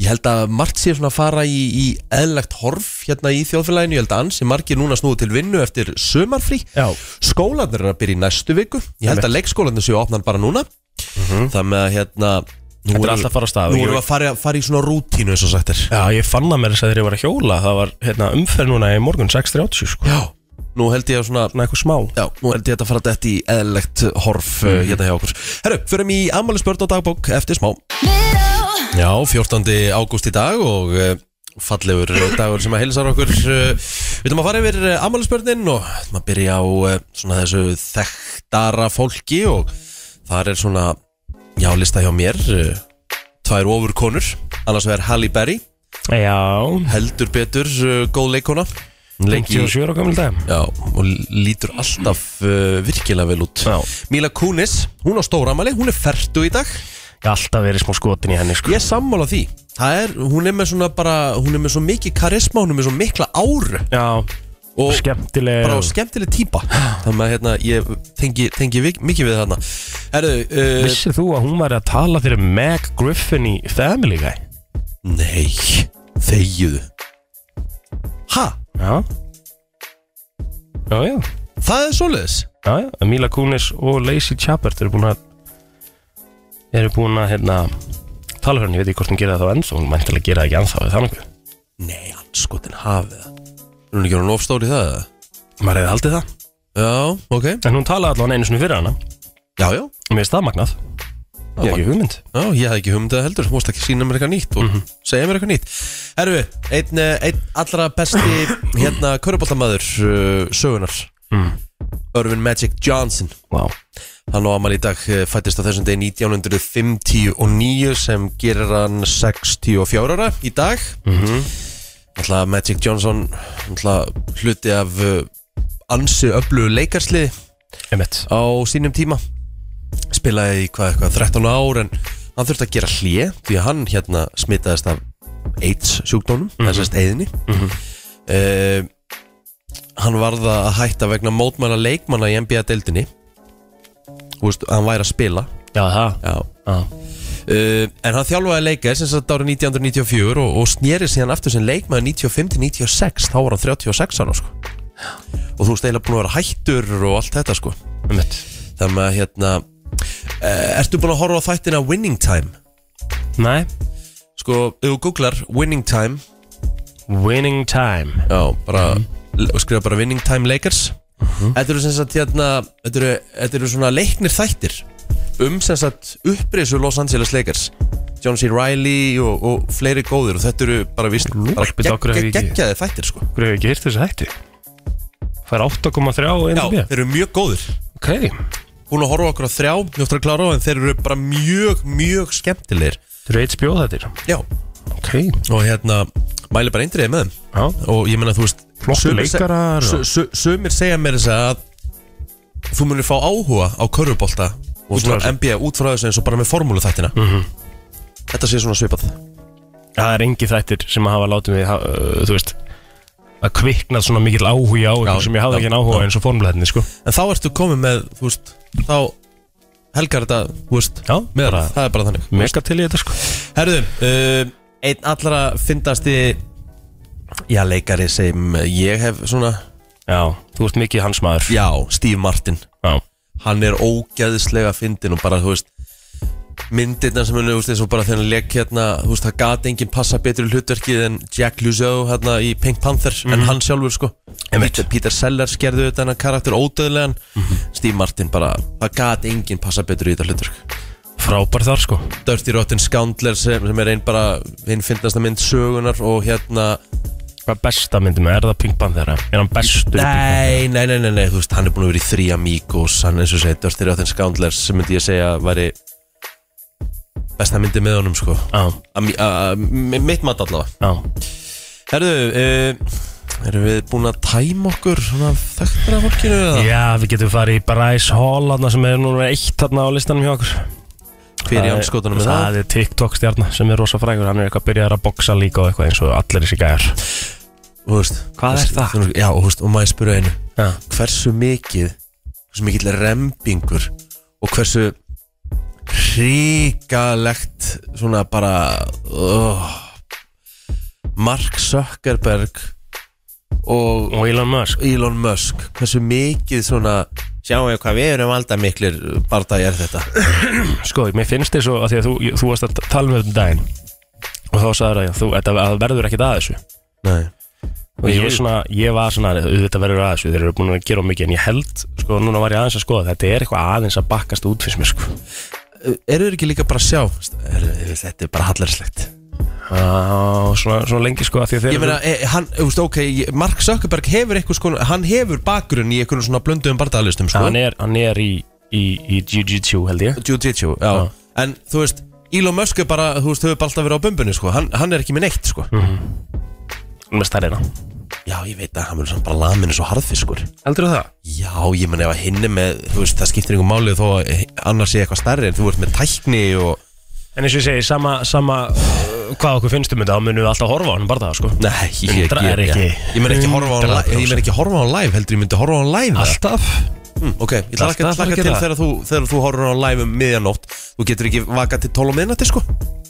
Speaker 1: ég held að margt sé svona að fara í, í eðlagt horf hérna í þjóðfélaginu, ég held að ansi margir núna snúið til vinnu eftir sömarfrí
Speaker 2: já,
Speaker 1: skólanir er að byrja í næstu viku ég held að leikskólanir séu opnan bara núna mm það með að hérna nú
Speaker 2: Mhm. Þetta er
Speaker 1: erum-
Speaker 2: allt að fara af stað.
Speaker 1: Nú erum við að fara, fara í svona rútínu eins og sagt er
Speaker 2: já, ég fann það mér þess að þegar ég var að hjóla það var hérna, umferð núna í morgun 6.30 sko.
Speaker 1: Já, nú held ég að svona
Speaker 2: svona eitthvað smá
Speaker 1: Já, nú held ég að þetta fara þetta í eðlegt horf mm. hérna hjá okkur Herru, förum í ammælisbörn og dagbók eftir smá Já, 14. ágúst í dag og uh, fallegur dagur sem að heilsar okkur uh, Við ætlum að fara yfir uh, ammælisbörnin og við ætlum að byrja á uh, svona þessu þekktara fólki og þar er svona, já, lista hjá mér uh, Tvær ofur konur, annars vegar Halle Berry,
Speaker 2: Já,
Speaker 1: heldur betur uh, góð leikona Lengi,
Speaker 2: 57 ára gammal dag
Speaker 1: já, og lítur alltaf uh, virkilega vel út
Speaker 2: Já.
Speaker 1: Mila Kunis, hún á stóramæli, hún er ferdu í dag
Speaker 2: Ég hef alltaf verið smá skotin í henni sko
Speaker 1: Ég er sammála því Það er, hún er með svona bara Hún er með svo mikið karisma, hún er með svo mikla áru
Speaker 2: Já,
Speaker 1: Og
Speaker 2: skemmtileg
Speaker 1: bara skemmtileg típa Þannig að hérna, ég tengi, tengi vik- mikið við þarna Herðu, uh,
Speaker 2: Vissir þú að hún væri að tala fyrir Meg Griffin í Family Guy?
Speaker 1: nei Þegiðu Ha,
Speaker 2: Já Já, já,
Speaker 1: það er svoleiðis
Speaker 2: já, já Mila Kunis og Lacey Chabert eru búin að eru búin að hérna tala fyrir henni, ég veit ekki hvort hún gera það þá ennþá hún mæntilega gera það ekki ennþá við þannig
Speaker 1: Nei, anskotin hafið það Er hún ekki hún ofstóri í það? eða?
Speaker 2: maður hefði haldið það
Speaker 1: Já, ok
Speaker 2: en hún talaði allavega einu sinni fyrir hana
Speaker 1: Já, já,
Speaker 2: mér finnst það magnað ég hef ekki hugmynd
Speaker 1: já ég hafði ekki humdað heldur Þú mást ekki sína mér eitthvað nýtt og segja mér eitthvað nýtt Herðu, einn, eh, einn allra besti hérna köruboltamaður uh, sögunar
Speaker 2: mm.
Speaker 1: Irvin Magic Johnson
Speaker 2: wow.
Speaker 1: Hann á amal í dag eh, fæddist á þessum degi 1959 sem gerir hann 64 ára í dag mm -hmm. Magic Johnson náttúrulega hluti af eh, ansi öflugu leikarsliði
Speaker 2: Einmitt.
Speaker 1: á sínum tíma spilaði í hvað eitthvað 13 ár en hann þurfti að gera hlje því að hann hérna smitaðist af AIDS sjúkdónum, mm -hmm. þessast eiðinni mm Eh, hann varða að hætta vegna mótmæla leikmanna í NBA-deildinni Þú veist, hann væri að spila
Speaker 2: já, það
Speaker 1: Já.
Speaker 2: já.
Speaker 1: Uh, en hann þjálfaði leikar sem sagt árið 1994 og, og snýri síðan aftur sem leikmaður 95-96 þá var hann 36 ára sko. og þú veist eiginlega búin að vera hættur og allt þetta sko.
Speaker 2: Einmitt.
Speaker 1: þannig að hérna uh, ertu búin að horfa á þættina Winning Time
Speaker 2: Nei,
Speaker 1: sko, ef þú googlar Winning Time
Speaker 2: winning time
Speaker 1: já, bara, mm. skrifa bara Winning Time Lakers þetta eru sem sagt hérna þetta eru, þetta eru svona leiknir þættir um sem sagt upprisu Los Angeles Lakers John C. Reilly og, og fleiri góðir og þetta eru bara vist bara
Speaker 2: Bíddu, af hverju hef ég ekki-
Speaker 1: geggjaði þættir sko
Speaker 2: Hverju hefur ekki hýrt þessu hætti? Fær 8,3
Speaker 1: já,
Speaker 2: einu bíða
Speaker 1: þeir eru mjög góðir
Speaker 2: Ok, þetta
Speaker 1: hún að horfa okkur á þrjá, njóttur að klára á en þeir eru bara mjög, mjög skemmtilegir
Speaker 2: eru eitt spjóð þetta
Speaker 1: já,
Speaker 2: Ok,
Speaker 1: og hérna mæli bara eindriðið með þeim
Speaker 2: já
Speaker 1: og ég meina þú veist
Speaker 2: Flottir
Speaker 1: sumir se-
Speaker 2: leikarar og-
Speaker 1: su- su- sumir segja mér þess að þú munir fá áhuga á körfubolta og
Speaker 2: Út frá
Speaker 1: svona
Speaker 2: þessu. Mhm.
Speaker 1: NBA út frá þessu eins og bara með formúlu þættina -hmm. þetta sé svona svipað
Speaker 2: Það er engi þættir sem að hafa látið mig ha- uh, Þú veist að kviknað svona mikill áhugi á einhver sem ég hafði
Speaker 1: já,
Speaker 2: ekki áhuga
Speaker 1: já.
Speaker 2: á eins og formuleðinni sko.
Speaker 1: en þá ertu komið með þú veist, þá helgar þetta þú veist,
Speaker 2: Já,
Speaker 1: með
Speaker 2: bara-
Speaker 1: það er bara þannig
Speaker 2: mega til í þetta sko.
Speaker 1: Herðu, um, einn allra fyndasti já, leikari sem ég hef svona,
Speaker 2: Já, þú ert mikið hans maður
Speaker 1: já, Steve Martin
Speaker 2: Já,
Speaker 1: hann er ógæðislega fyndin og bara, þú veist myndirna sem hann, þú veist, eins og bara þegar hann leik hérna, þú veist, það gat enginn passa betur í hlutverkið en Jack Luzo hérna í Pink Panther, en hann sjálfur sko
Speaker 2: Einmitt.
Speaker 1: Peter, Peter Sellers gerði þetta hennar karakter ódöðlegan, Steve Martin bara, það gat enginn passa betur í þetta hlutverk
Speaker 2: frábær þar sko
Speaker 1: Dirty Rotten Scoundler sem, sem er einn bara einn fyndnasta mynd sögunar og hérna
Speaker 2: Hvað er besta myndin með? Er það Pink Panther? eða? Er hann bestur? í Pink Panther?
Speaker 1: Nei, nei, nei, nei, nei, þú veist, hann er búin að vera í þrý amigos, hann eins og segja Dirty Rotten Scoundlers sem myndi ég segja væri besta myndi með honum, sko
Speaker 2: Já,
Speaker 1: Ami, a, a, mi- mitt mat allavega
Speaker 2: já
Speaker 1: Herðu, uh, erum við búin að tæma okkur svona þekktur af fólkinu eða?
Speaker 2: Já, við getum farið í Bryce Hall þarna sem er núna eitt þarna á listanum hjá okkur
Speaker 1: Hver í anskotunum
Speaker 2: með
Speaker 1: með það?
Speaker 2: Það er TikTok stjarnar sem er rosa frægur Hann er eitthvað að byrjaður að boxa líka og eitthvað eins og allir þessi gæjar
Speaker 1: Þú veist,
Speaker 2: Hvað er það?
Speaker 1: þú- Já, og þú veist, og maður spyrja einu
Speaker 2: Já,
Speaker 1: Hversu mikið, hversu mikill rembingur og hversu hrikalegt svona bara oh, Mark Zuckerberg og
Speaker 2: og Elon Musk
Speaker 1: Elon Musk hversu mikið svona sjáum við hvað við erum alltaf miklir barða er þetta
Speaker 2: Sko, mér finnst þér svo að því að þú, ég- þú varst að tala með um daginn og þá sagður að þú, þetta að það verður ekkert að þessu
Speaker 1: Nei.
Speaker 2: og ég var svona, ég var svona auðvitað verður að þessu, þeir eru búin að gera of mikið en ég held, sko, núna var ég aðeins að skoða þetta er eitthvað aðeins að bakkast út fyrst mér, sko
Speaker 1: eru þeir ekki líka bara að sjá er, er, þetta er bara hallarslegt
Speaker 2: Já, svona, svona lengi, sko, að því að þeir
Speaker 1: ég meina, e, hann, þú veist, ok, ég- Mark Zuckerberg hefur eitthvað sko, hann hefur bakgrunn í eitthvað svona blönduðum barðalistum sko.
Speaker 2: hann, er, hann er í, í, í Jiu-Jitsu, held ég
Speaker 1: Jiu-Jitsu, já. En þú veist, Elon Musk er bara, þú veist, þau hefur bara alltaf verið á bumbunni, sko. Hann, hann er ekki með neitt, sko.
Speaker 2: Mm. með stærðina
Speaker 1: Já, ég veit að hann verður samt bara lamin eins og harðfiskur.
Speaker 2: Heldur það?
Speaker 1: Já, ég menn ef að hinni með, þú veist, það skiptir einhver málið þó að annars sé eitthvað stærri en þú ert með tækni og...
Speaker 2: En eins og ég segi, sama, sama uh, hvað okkur finnst um þetta, þá munum við alltaf horfa á hann bara það, sko
Speaker 1: Nei, ég, ég,
Speaker 2: Hundra er
Speaker 1: ég,
Speaker 2: ekki-
Speaker 1: ég, ég menn ekki horfa á hann live,
Speaker 2: 100%.
Speaker 1: ég menn ekki horfa á hann live, heldur ég myndi horfa á hann live. eða?
Speaker 2: Alltaf?
Speaker 1: Mm, ok, ég
Speaker 2: Alltaf
Speaker 1: hlakka
Speaker 2: þarf að
Speaker 1: hlakka
Speaker 2: gera
Speaker 1: til
Speaker 2: það.
Speaker 1: þegar þú, þegar þú horfur á hann live um miðjanótt, þú getur ekki vaka til 12 á miðnætti, sko.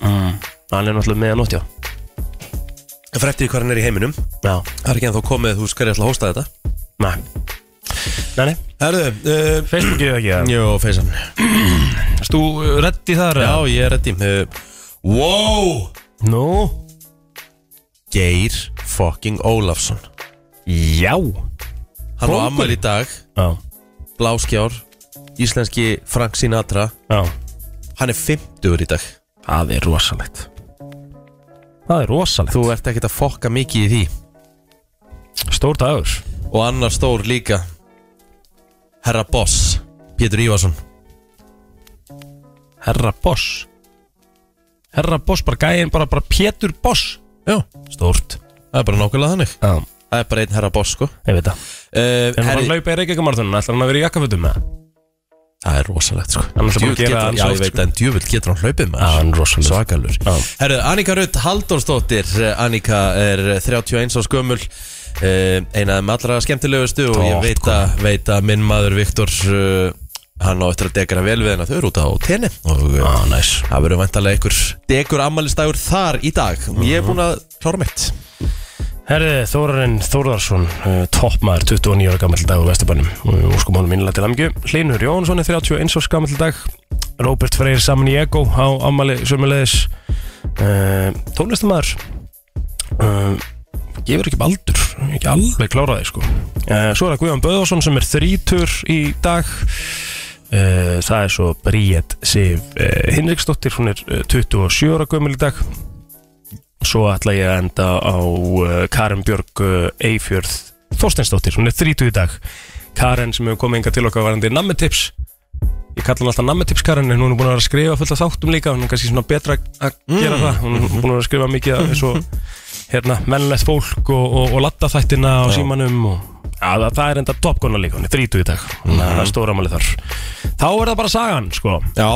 Speaker 2: Hann er náttúrulega meðanótt, já
Speaker 1: En fyrir eftir því hvað hann er í heiminum,
Speaker 2: Já,
Speaker 1: það er ekki ennþá komið, þú veist, hverja ætla að hósta þetta.
Speaker 2: nei Nei, nei,
Speaker 1: Herðu, uh,
Speaker 2: Facebookið ekki, já
Speaker 1: Jó, feysan
Speaker 2: Erst þú reddi þar?
Speaker 1: Já, ég er reddi uh, Wow
Speaker 2: Nú?
Speaker 1: Geir fucking Ólafsson
Speaker 2: Já
Speaker 1: Hann á
Speaker 2: Kóngur.
Speaker 1: ammæl í dag
Speaker 2: Já,
Speaker 1: Bláskjár Íslenski Frank Sinatra
Speaker 2: já
Speaker 1: Hann er 50 í dag
Speaker 2: Það er rosalegt Það er rosalegt
Speaker 1: Þú ert ekkert að fokka mikið í því
Speaker 2: Stór dagur
Speaker 1: Og annar stór líka Herra Boss Pétur Ívarsson
Speaker 2: Herra Boss Herra Boss, bara gæinn, bara, bara Pétur Boss
Speaker 1: Já
Speaker 2: Stórt
Speaker 1: Það er bara nákvæmlega þannig
Speaker 2: Já,
Speaker 1: Það er bara einn Herra Boss sko uh,
Speaker 2: ég veit það En hann var að
Speaker 1: herri,
Speaker 2: laupa í Reykjavíkamarðunum, ætlar hann að vera í jakkafötum með það?
Speaker 1: Það er rosalegt sko
Speaker 2: Hann ætlar bara að
Speaker 1: Djöfull
Speaker 2: gera
Speaker 1: getur-
Speaker 2: hann
Speaker 1: Já,
Speaker 2: sjálft,
Speaker 1: ég veit
Speaker 2: sko.
Speaker 1: en djúvill getur hann hlaupið maður
Speaker 2: hann er rosaleg
Speaker 1: Svakalur
Speaker 2: Já.
Speaker 1: Herru, Annika Rutt Halldórsdóttir eh, Annika er eh, 31 á skömmul eh, Einað með allra skemmtilegustu og ég
Speaker 2: Ó,
Speaker 1: veit að, veit að minn maður Viktor eh, Hann á eftir að dekara vel við hennar þau eru út á tenni Og
Speaker 2: Á,
Speaker 1: ah.
Speaker 2: næs
Speaker 1: það verður vantarlega einhver dekur ammælistagur þar í dag Ég er búinn að klára mitt
Speaker 2: Herði, Þórarinn Þórðarsson, uh, toppmaður 29 ára gammal dag á Vesturbænum og óskum honum innlega til amgju. Hlinur Jónsson er 31 ára gammal dag, Róbert Freyr saman í Ego á ammali sömulegis, uh, tónlistamaður, uh, gefur ekki upp aldur, ekki alveg klára þig sko. Uh, svo er það Guðjón Böðarsson sem er þrítur í dag, uh, það er svo Bríett Sif uh, Hinriksdóttir, hún er uh, 27 ára gammal dag svo ætla ég að enda á uh, Karen Björg uh, Eifjörð Þorsteinsdóttir, hún er 30 í dag Karen sem hefur komið enga til okkar varandi nammetips ég kalla hann alltaf nammetips Karen en hún er búin að vera að skrifa fullt af þáttum líka hún er kannski svona betra að gera það hún er búin að vera að skrifa mikið af- eins og hérna, mennlegt fólk og, og, og latta þættina á símanum og Já, það, það er enda topkona líka, hún er 30 í dag Þannig að það er stóra máli þar Þá er það bara sagan, sko
Speaker 1: Já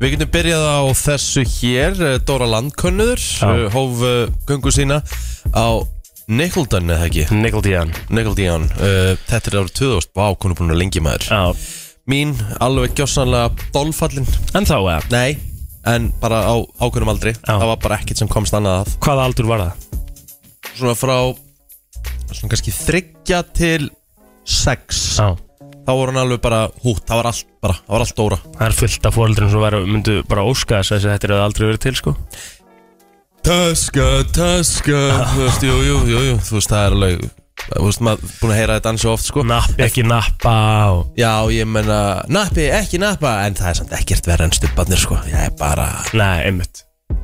Speaker 1: Við getum byrjað á þessu hér eh, Dóra Landkönnur eh, Hóf eh, göngu sína á Nickeldon eða ekki
Speaker 2: Nickel Díðan
Speaker 1: Nickeldon uh, Þetta er árið 2000 Vá, hún er búin að lengi maður Mín alveg gjósanlega dolfallin
Speaker 2: En þá, eða,
Speaker 1: Nei, en bara á ákveðnum aldri
Speaker 2: Já.
Speaker 1: Það var bara ekkert sem komst annað að
Speaker 2: hvaða aldur var það?
Speaker 1: Svona frá Svona kannski þryggja til Sex
Speaker 2: Já
Speaker 1: Þá voru hann alveg bara hút Það var allt bara Það var allt Dóra
Speaker 2: Það er fullt af fóreldurinn sem væru, myndu bara óska þess að þetta er aldrei verið til sko
Speaker 1: Töska, töska
Speaker 2: Ah.
Speaker 1: Þú veist, jú, jú, jú, jú Þú veist, það er alveg Þú veist, maður er búin að heyra þetta ansi oft, sko
Speaker 2: Nappi ekki nappa og...
Speaker 1: Já, ég menna Nappi, ekki nappa En það er samt ekkert verið en stubbarnir, sko Ég er bara
Speaker 2: Nei, einmitt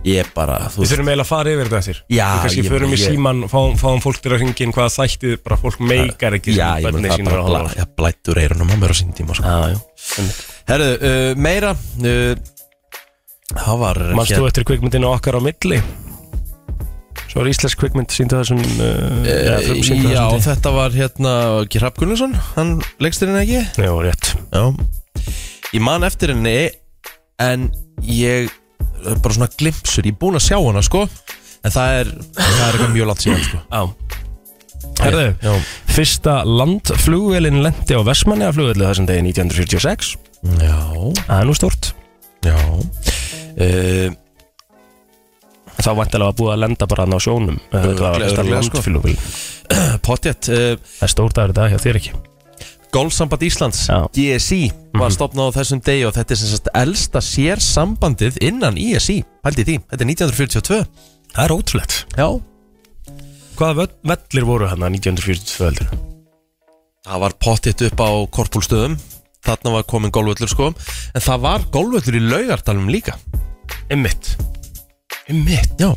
Speaker 1: Ég er bara, þú
Speaker 2: Við
Speaker 1: veist
Speaker 2: þurfum eiginlega að fara yfir þetta eftir
Speaker 1: Já,
Speaker 2: Við kannski
Speaker 1: ég-
Speaker 2: förum í
Speaker 1: ég-
Speaker 2: síman, fáum, fáum fólk til að hringja inn hvaða þættið bara fólk meikar ekki
Speaker 1: Já, ég menna það er bara bla, já, Blættur eirunum á mér á sín tíma, sko
Speaker 2: Já, já
Speaker 1: Herðu, uh, meira uh, Það var
Speaker 2: Manst þú eftir kvikmyndinu okkar á milli? Svo er íslensk kvikmynd síndu það sem uh, eða frumsýndu
Speaker 1: Já,
Speaker 2: það sem
Speaker 1: þetta var hérna Ekki Hrafn Gunnarsson, hann leggst þér ekki
Speaker 2: Já, rétt
Speaker 1: Já Ég man eftir henni En ég Bara svona glimpsur Ég er búinn að sjá hana sko En það er Það er eitthvað mjög langt síðan sko
Speaker 2: Já Herðu,
Speaker 1: Já
Speaker 2: fyrsta landflugvelin lendi á Vestmanni af flugveldu þessum degi 1946
Speaker 1: Já
Speaker 2: Það er nú stort
Speaker 1: Já uh,
Speaker 2: þá vantilega var búið að lenda bara hann á sjónum það var
Speaker 1: Örugglega,
Speaker 2: fyrsta
Speaker 1: örugglega, sko.
Speaker 2: landflugvél
Speaker 1: Potjett uh,
Speaker 2: það er stór dagur í dag hjá þér ekki
Speaker 1: Golfsamband Íslands
Speaker 2: Já.
Speaker 1: GSI Var stopnað á þessum degi Og þetta er sem sagt Elsta sér sambandið Innan ISI Hældi því Þetta er 1942
Speaker 2: það er ótrúlegt
Speaker 1: Já
Speaker 2: hvaða völl- vellir voru hann að 1942 heldur
Speaker 1: Það var potjett upp á korpúlstöðum Þarna var komin golvöllur sko En það var golvöllur í laugardalum líka
Speaker 2: ymmit
Speaker 1: Mitt, já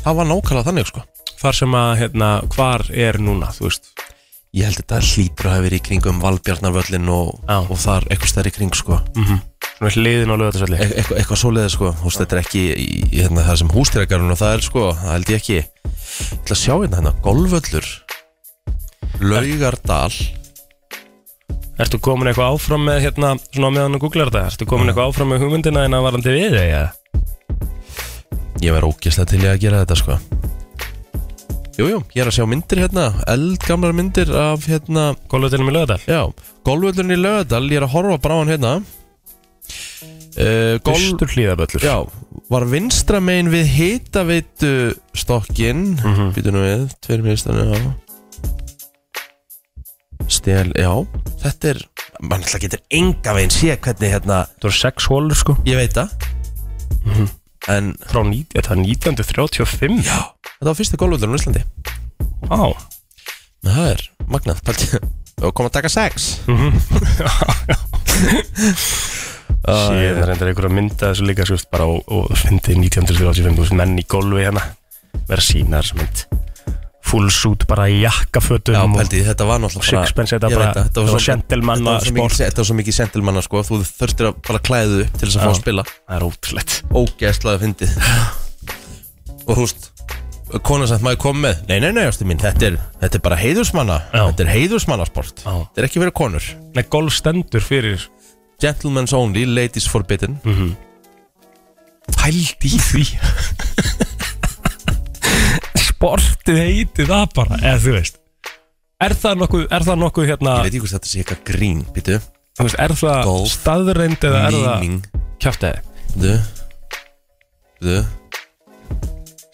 Speaker 1: Það var nákvæmlega þannig sko
Speaker 2: þar sem að hérna hvar er núna þú veist
Speaker 1: Ég held að þetta hlýtur að hafa verið í kringum Valbjarnarvöllin og,
Speaker 2: Já.
Speaker 1: og þar eitthvað stær í kring sko
Speaker 2: svona hliðin á lögatarsvelli
Speaker 1: e eitthvað, eitthvað svoleiði sko Þú veist, þetta er ekki í, í, hérna, það sem hústýragarun og það er sko Það held ég ekki Ég ætla að sjá hérna hérna Golvöllur Laugardal
Speaker 2: ertu komin eitthvað áfram með hérna svona á meðan að googla þetta ertu komin eitthvað áfram með hugmyndina en að varandi við eða
Speaker 1: Ég verð ógislega til ég að gera þetta sko Jú, jú, ég er að sjá myndir hérna Eldgamlar myndir af hérna
Speaker 2: golvöldinum í lögadal
Speaker 1: Já, golvöllurinn í Laugardal Ég er að horfa bara á hann hérna uh, Golv
Speaker 2: Gólstur hlýðaböllur
Speaker 1: Já, var vinstra megin við hitaveitu stokkin mm
Speaker 2: Mhm.
Speaker 1: -hmm. nú við, tveir minnstani já. Stel, já Þetta er, mann ætla getur enga veginn sé hvernig hérna,
Speaker 2: Það voru sex hólur sko
Speaker 1: ég veit það
Speaker 2: Mhm.
Speaker 1: En,
Speaker 2: Frá 90, þetta er 1935 Já
Speaker 1: þetta var fyrsti golvöldurinn á Íslandi
Speaker 2: Vá
Speaker 1: Það er, magnað, pælti Og kom að taka sex
Speaker 2: Sér, það er reyndar einhver að mynda þessu líka skust, bara og, og fyndi 1985 menn í golfi hérna vera sínar sem mynd full suit bara í jakkafötum
Speaker 1: Já,
Speaker 2: og
Speaker 1: pælti, þetta var náttúrulega bara-
Speaker 2: Mhm. sixpence þetta
Speaker 1: Ég veit
Speaker 2: bara,
Speaker 1: það, þetta var
Speaker 2: var
Speaker 1: svo- þetta
Speaker 2: gentlemanna
Speaker 1: var svo mikið-
Speaker 2: sport
Speaker 1: Þetta var svo mikið sentilmanna sko Þú þurftir að bara klæðu upp til þess að fá
Speaker 2: Já.
Speaker 1: að spila
Speaker 2: það er ótrúlegt
Speaker 1: ógeðslega fyndið og húst konan sem maður kom með, nei, nei, nei, ástu mín þetta er, þetta er bara heiðursmanna
Speaker 2: Já.
Speaker 1: þetta er heiðursmannasport,
Speaker 2: Já.
Speaker 1: þetta er ekki fyrir konur
Speaker 2: Nei, golf stendur fyrir
Speaker 1: gentlemen's only, ladies forbidden mm.
Speaker 2: Mhm. pælt í því (laughs) sportið heiti það bara eða þú veist er það nokkuð, er það nokkuð hérna
Speaker 1: ég veit ekki hvort þetta sé eitthvað grín, býtu
Speaker 2: Þú veist, er það
Speaker 1: Golf.
Speaker 2: staðreind eða er það
Speaker 1: Míning
Speaker 2: kjáftæði?
Speaker 1: Du Du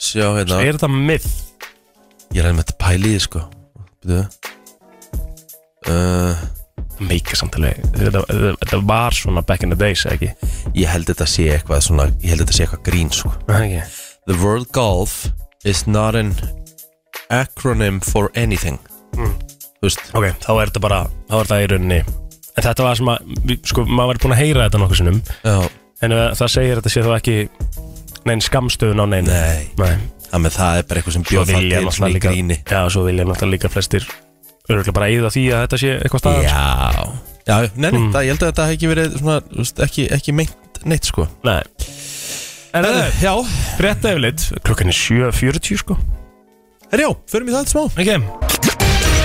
Speaker 1: Sjá hérna
Speaker 2: Er það myth?
Speaker 1: Ég er einmitt að pæla í því sko Du uh,
Speaker 2: Meika samtalið, þetta, þetta, þetta var svona back in the days, eða ekki?
Speaker 1: Ég held þetta sé eitthvað svona Ég held þetta sé eitthvað grín sko
Speaker 2: Er það ekki?
Speaker 1: The word golf is not an acronym for anything Hmm. Þú veist
Speaker 2: Ok, þá er þetta bara, þá er þetta í rauninni En þetta var sem að, við- sko, maður verið búin að heyra þetta nokkuð sinnum
Speaker 1: Já
Speaker 2: En uh, það segir að þetta sé þá ekki neinn skamstöðun á neinu
Speaker 1: Nei
Speaker 2: Nei,
Speaker 1: Það með það er bara eitthvað sem
Speaker 2: svo
Speaker 1: bjóð það
Speaker 2: vilja
Speaker 1: til svona
Speaker 2: náttúrulega
Speaker 1: í gríni
Speaker 2: líka Já, svo vilja náttúrulega líka flestir Örgulega bara eyða því að þetta sé eitthvað staðar
Speaker 1: Já Hmm. Já, nei, nei, það, ég held að þetta hef ekki verið svona, þú veist, ekki, ekki meint neitt sko
Speaker 2: Nei En það er
Speaker 1: Já,
Speaker 2: frétta yfirleitt Klukkan er 7.40 sko
Speaker 1: herjá, förum í það smá
Speaker 2: Ekki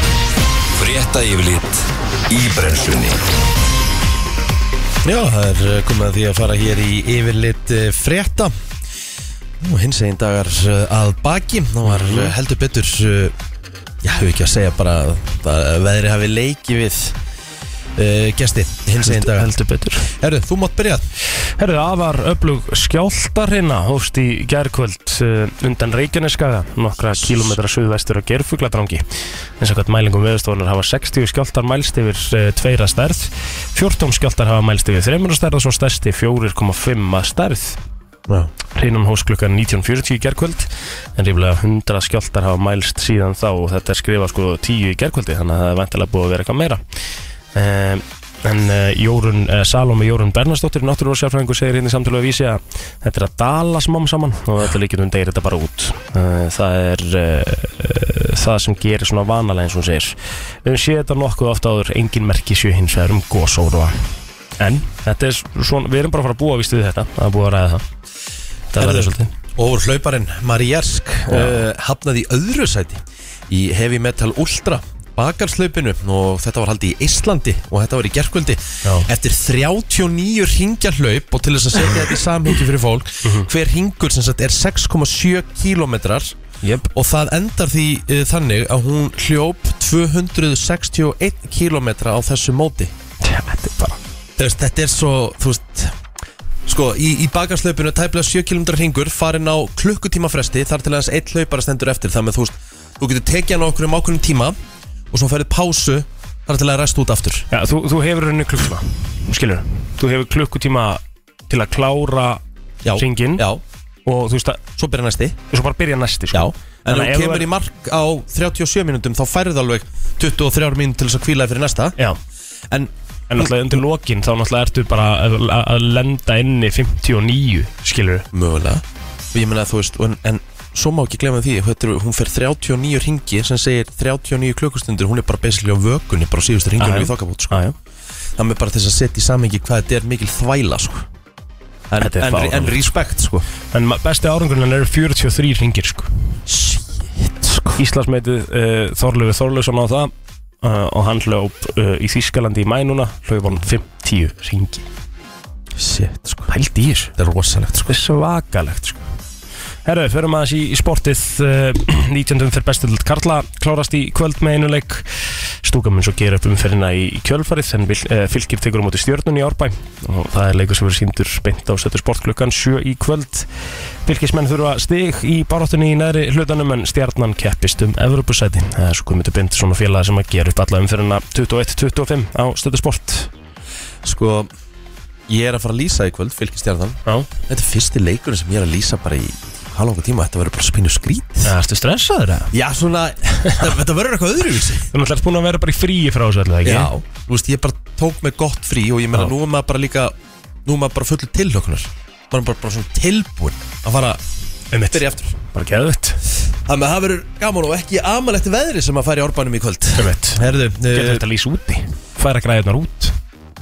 Speaker 3: Frétta yfirlit í brennslunni
Speaker 1: Já, það er uh, komið að því að fara hér í yfirlit uh, frétta og hins einn dagar uh, að baki þá var uh, heldur betur uh, já, hefur ekki að segja bara að það- veðri hafi leikið við uh, gesti hins einn dagar
Speaker 2: Heldur betur
Speaker 1: Herru, þú mátt byrja
Speaker 2: Herðu, afar öflug skjáltarina hófst í gærkvöld uh, undan Reykjaneskaga, nokkra kílometra suðvestur á Gerfugladrangi. Eins og hvað mælingum veðustofunar hafa 60 skjáltar mælst yfir uh, tveira stærð, 14 skjáltar hafa mælst yfir þreymur stærð og svo stærsti 4,5 að stærð.
Speaker 1: Já,
Speaker 2: Hrinum hófst klukkan 19.40 í gærkvöld, en ríflega 100 skjáltar hafa mælst síðan þá og þetta er skrifað sko 10 í gærkvöldi, þannig að það er vantilega búið að vera eitthvað meira. Um, en uh, Jórun, uh, Salome Jórun Bernasdóttir, náttúruvarsjálfræðingur, segir hérna í samtölu að vísi að þetta er að dala smám saman og þetta líkjum um deyri þetta bara út. Uh, það er uh, uh, það sem gerir svona vanalega eins og hún segir. Við höfum séð þetta nokkuð ofta áður, engin merki séu hins vegar um gósóruva. En þetta er svona, við erum bara að fara að búa víst við þetta, það er búið að ræða það. Það
Speaker 1: Herðu.
Speaker 2: verður svolítið.
Speaker 1: og hlauparinn Marjersk uh, hafnaði í öðru sæti í Heavy Metal Ultra bakarslaupinu og þetta var haldið í Íslandi og þetta var í gerkvöldi
Speaker 2: Já.
Speaker 1: eftir 39 ringja hlaup og til þess að setja þetta í samhengi fyrir fólk hver ringur sem sagt er 6,7 kilometrar
Speaker 2: Jöp.
Speaker 1: og það endar því uh, þannig að hún hljóp 261 kilometra á þessu móti
Speaker 2: Þetta er bara...
Speaker 1: Þú veist, þetta er svo, þú veist Sko, í, í bakarslaupinu tæplega 7 km ringur farin á klukkutíma fresti þar til aðeins einn hlaupara stendur eftir þannig að þú veist, þú getur tekið hann á okkur um ákveðnum tíma og svo ferðið pásu þar til að resta út aftur
Speaker 2: Já, þú, þú hefur henni klukkutíma, skilur Þú hefur klukkutíma til að klára
Speaker 1: Já,
Speaker 2: Hringinn?
Speaker 1: Já,
Speaker 2: og þú veist að,
Speaker 1: svo byrja næsti
Speaker 2: og svo bara byrja næsti
Speaker 1: Já,
Speaker 2: sko.
Speaker 1: en
Speaker 2: Þannig
Speaker 1: ef þú
Speaker 2: að ef
Speaker 1: kemur
Speaker 2: þú-
Speaker 1: í mark á 37 minútum þá færið alveg 23 mínútur til þess að kvíla þig fyrir næsta
Speaker 2: Já,
Speaker 1: En,
Speaker 2: en náttúrulega undir lokin þá náttúrulega ertu bara að, að- að lenda inn í 59, skilur
Speaker 1: mögulega og ég meina þú veist, en, en svo má ekki glemja því þetta eru- hún fer 39 ringi sem segir 39 klukkustundur, hún er bara basically á vökunni, bara á síðustu ringunni
Speaker 2: Aha.
Speaker 1: í þokkabót sko.
Speaker 2: ah,
Speaker 1: það með bara til þess að setja í samengi hvað þetta er mikil þvæla sko. en,
Speaker 2: Þetta er
Speaker 1: en,
Speaker 2: fáránlegt.
Speaker 1: en respect sko.
Speaker 2: En ma- besti árangurinn eru 43 ringir sko.
Speaker 1: shit sko.
Speaker 2: Íslandsmeitið uh, Þorlöfi Þorlöfsson á það uh, og hann hljóp uh, í Þískalandi í mænuna hljóp hann 50 ringi
Speaker 1: shit sko.
Speaker 2: Pældi í þessu
Speaker 1: þetta er rosalegt sko.
Speaker 2: Þetta er svakalegt sko Herru, förum aðeins í, í sportið (clears throat) uh, 19. fyrir bestild Karla klárast í kvöld með einu leik Stúka mun svo gera upp umferðina í, í kjölfarið en uh, fylgir tekur á móti stjörnun í árbæ og það er leikur sem verður síndur beint á stötu sportklukkan 7 í kvöld Fylgismenn þurfa stig í baráttunni í neðri hlutanum en stjarnan keppist um Evropasæti það er svo komið til beint svona félag sem að gera upp alla umferðina 21-25 á stötu sport
Speaker 1: sko ég er að fara að lýsa í kvöld, fylgistjarnan
Speaker 2: Já,
Speaker 1: þetta er fyrsti leikurinn sem ég er að lýsa bara í halvanga tíma, þetta verður bara spínu skrít
Speaker 2: ertu stressaður það?
Speaker 1: já svona, þetta (laughs) þetta verður eitthvað öðruvísi
Speaker 2: Þú náttúrulega ert búin að vera bara í fríi frá þessu allavega, ekki?
Speaker 1: Já, þú veist, ég bara tók mig gott frí og ég meina
Speaker 2: Já.
Speaker 1: nú er maður bara líka nú er maður bara fullur tilhökunar maður er bara, bara svona tilbúin að fara
Speaker 2: Einmitt.
Speaker 1: byrja aftur
Speaker 2: Bara geðvett
Speaker 1: Þannig að það verður gaman og ekki amalegt veðri sem að fara í orbanum í kvöld
Speaker 2: Einmitt
Speaker 1: Herðu,
Speaker 2: Getur
Speaker 1: uh,
Speaker 2: þetta lýs úti Færa græðunar út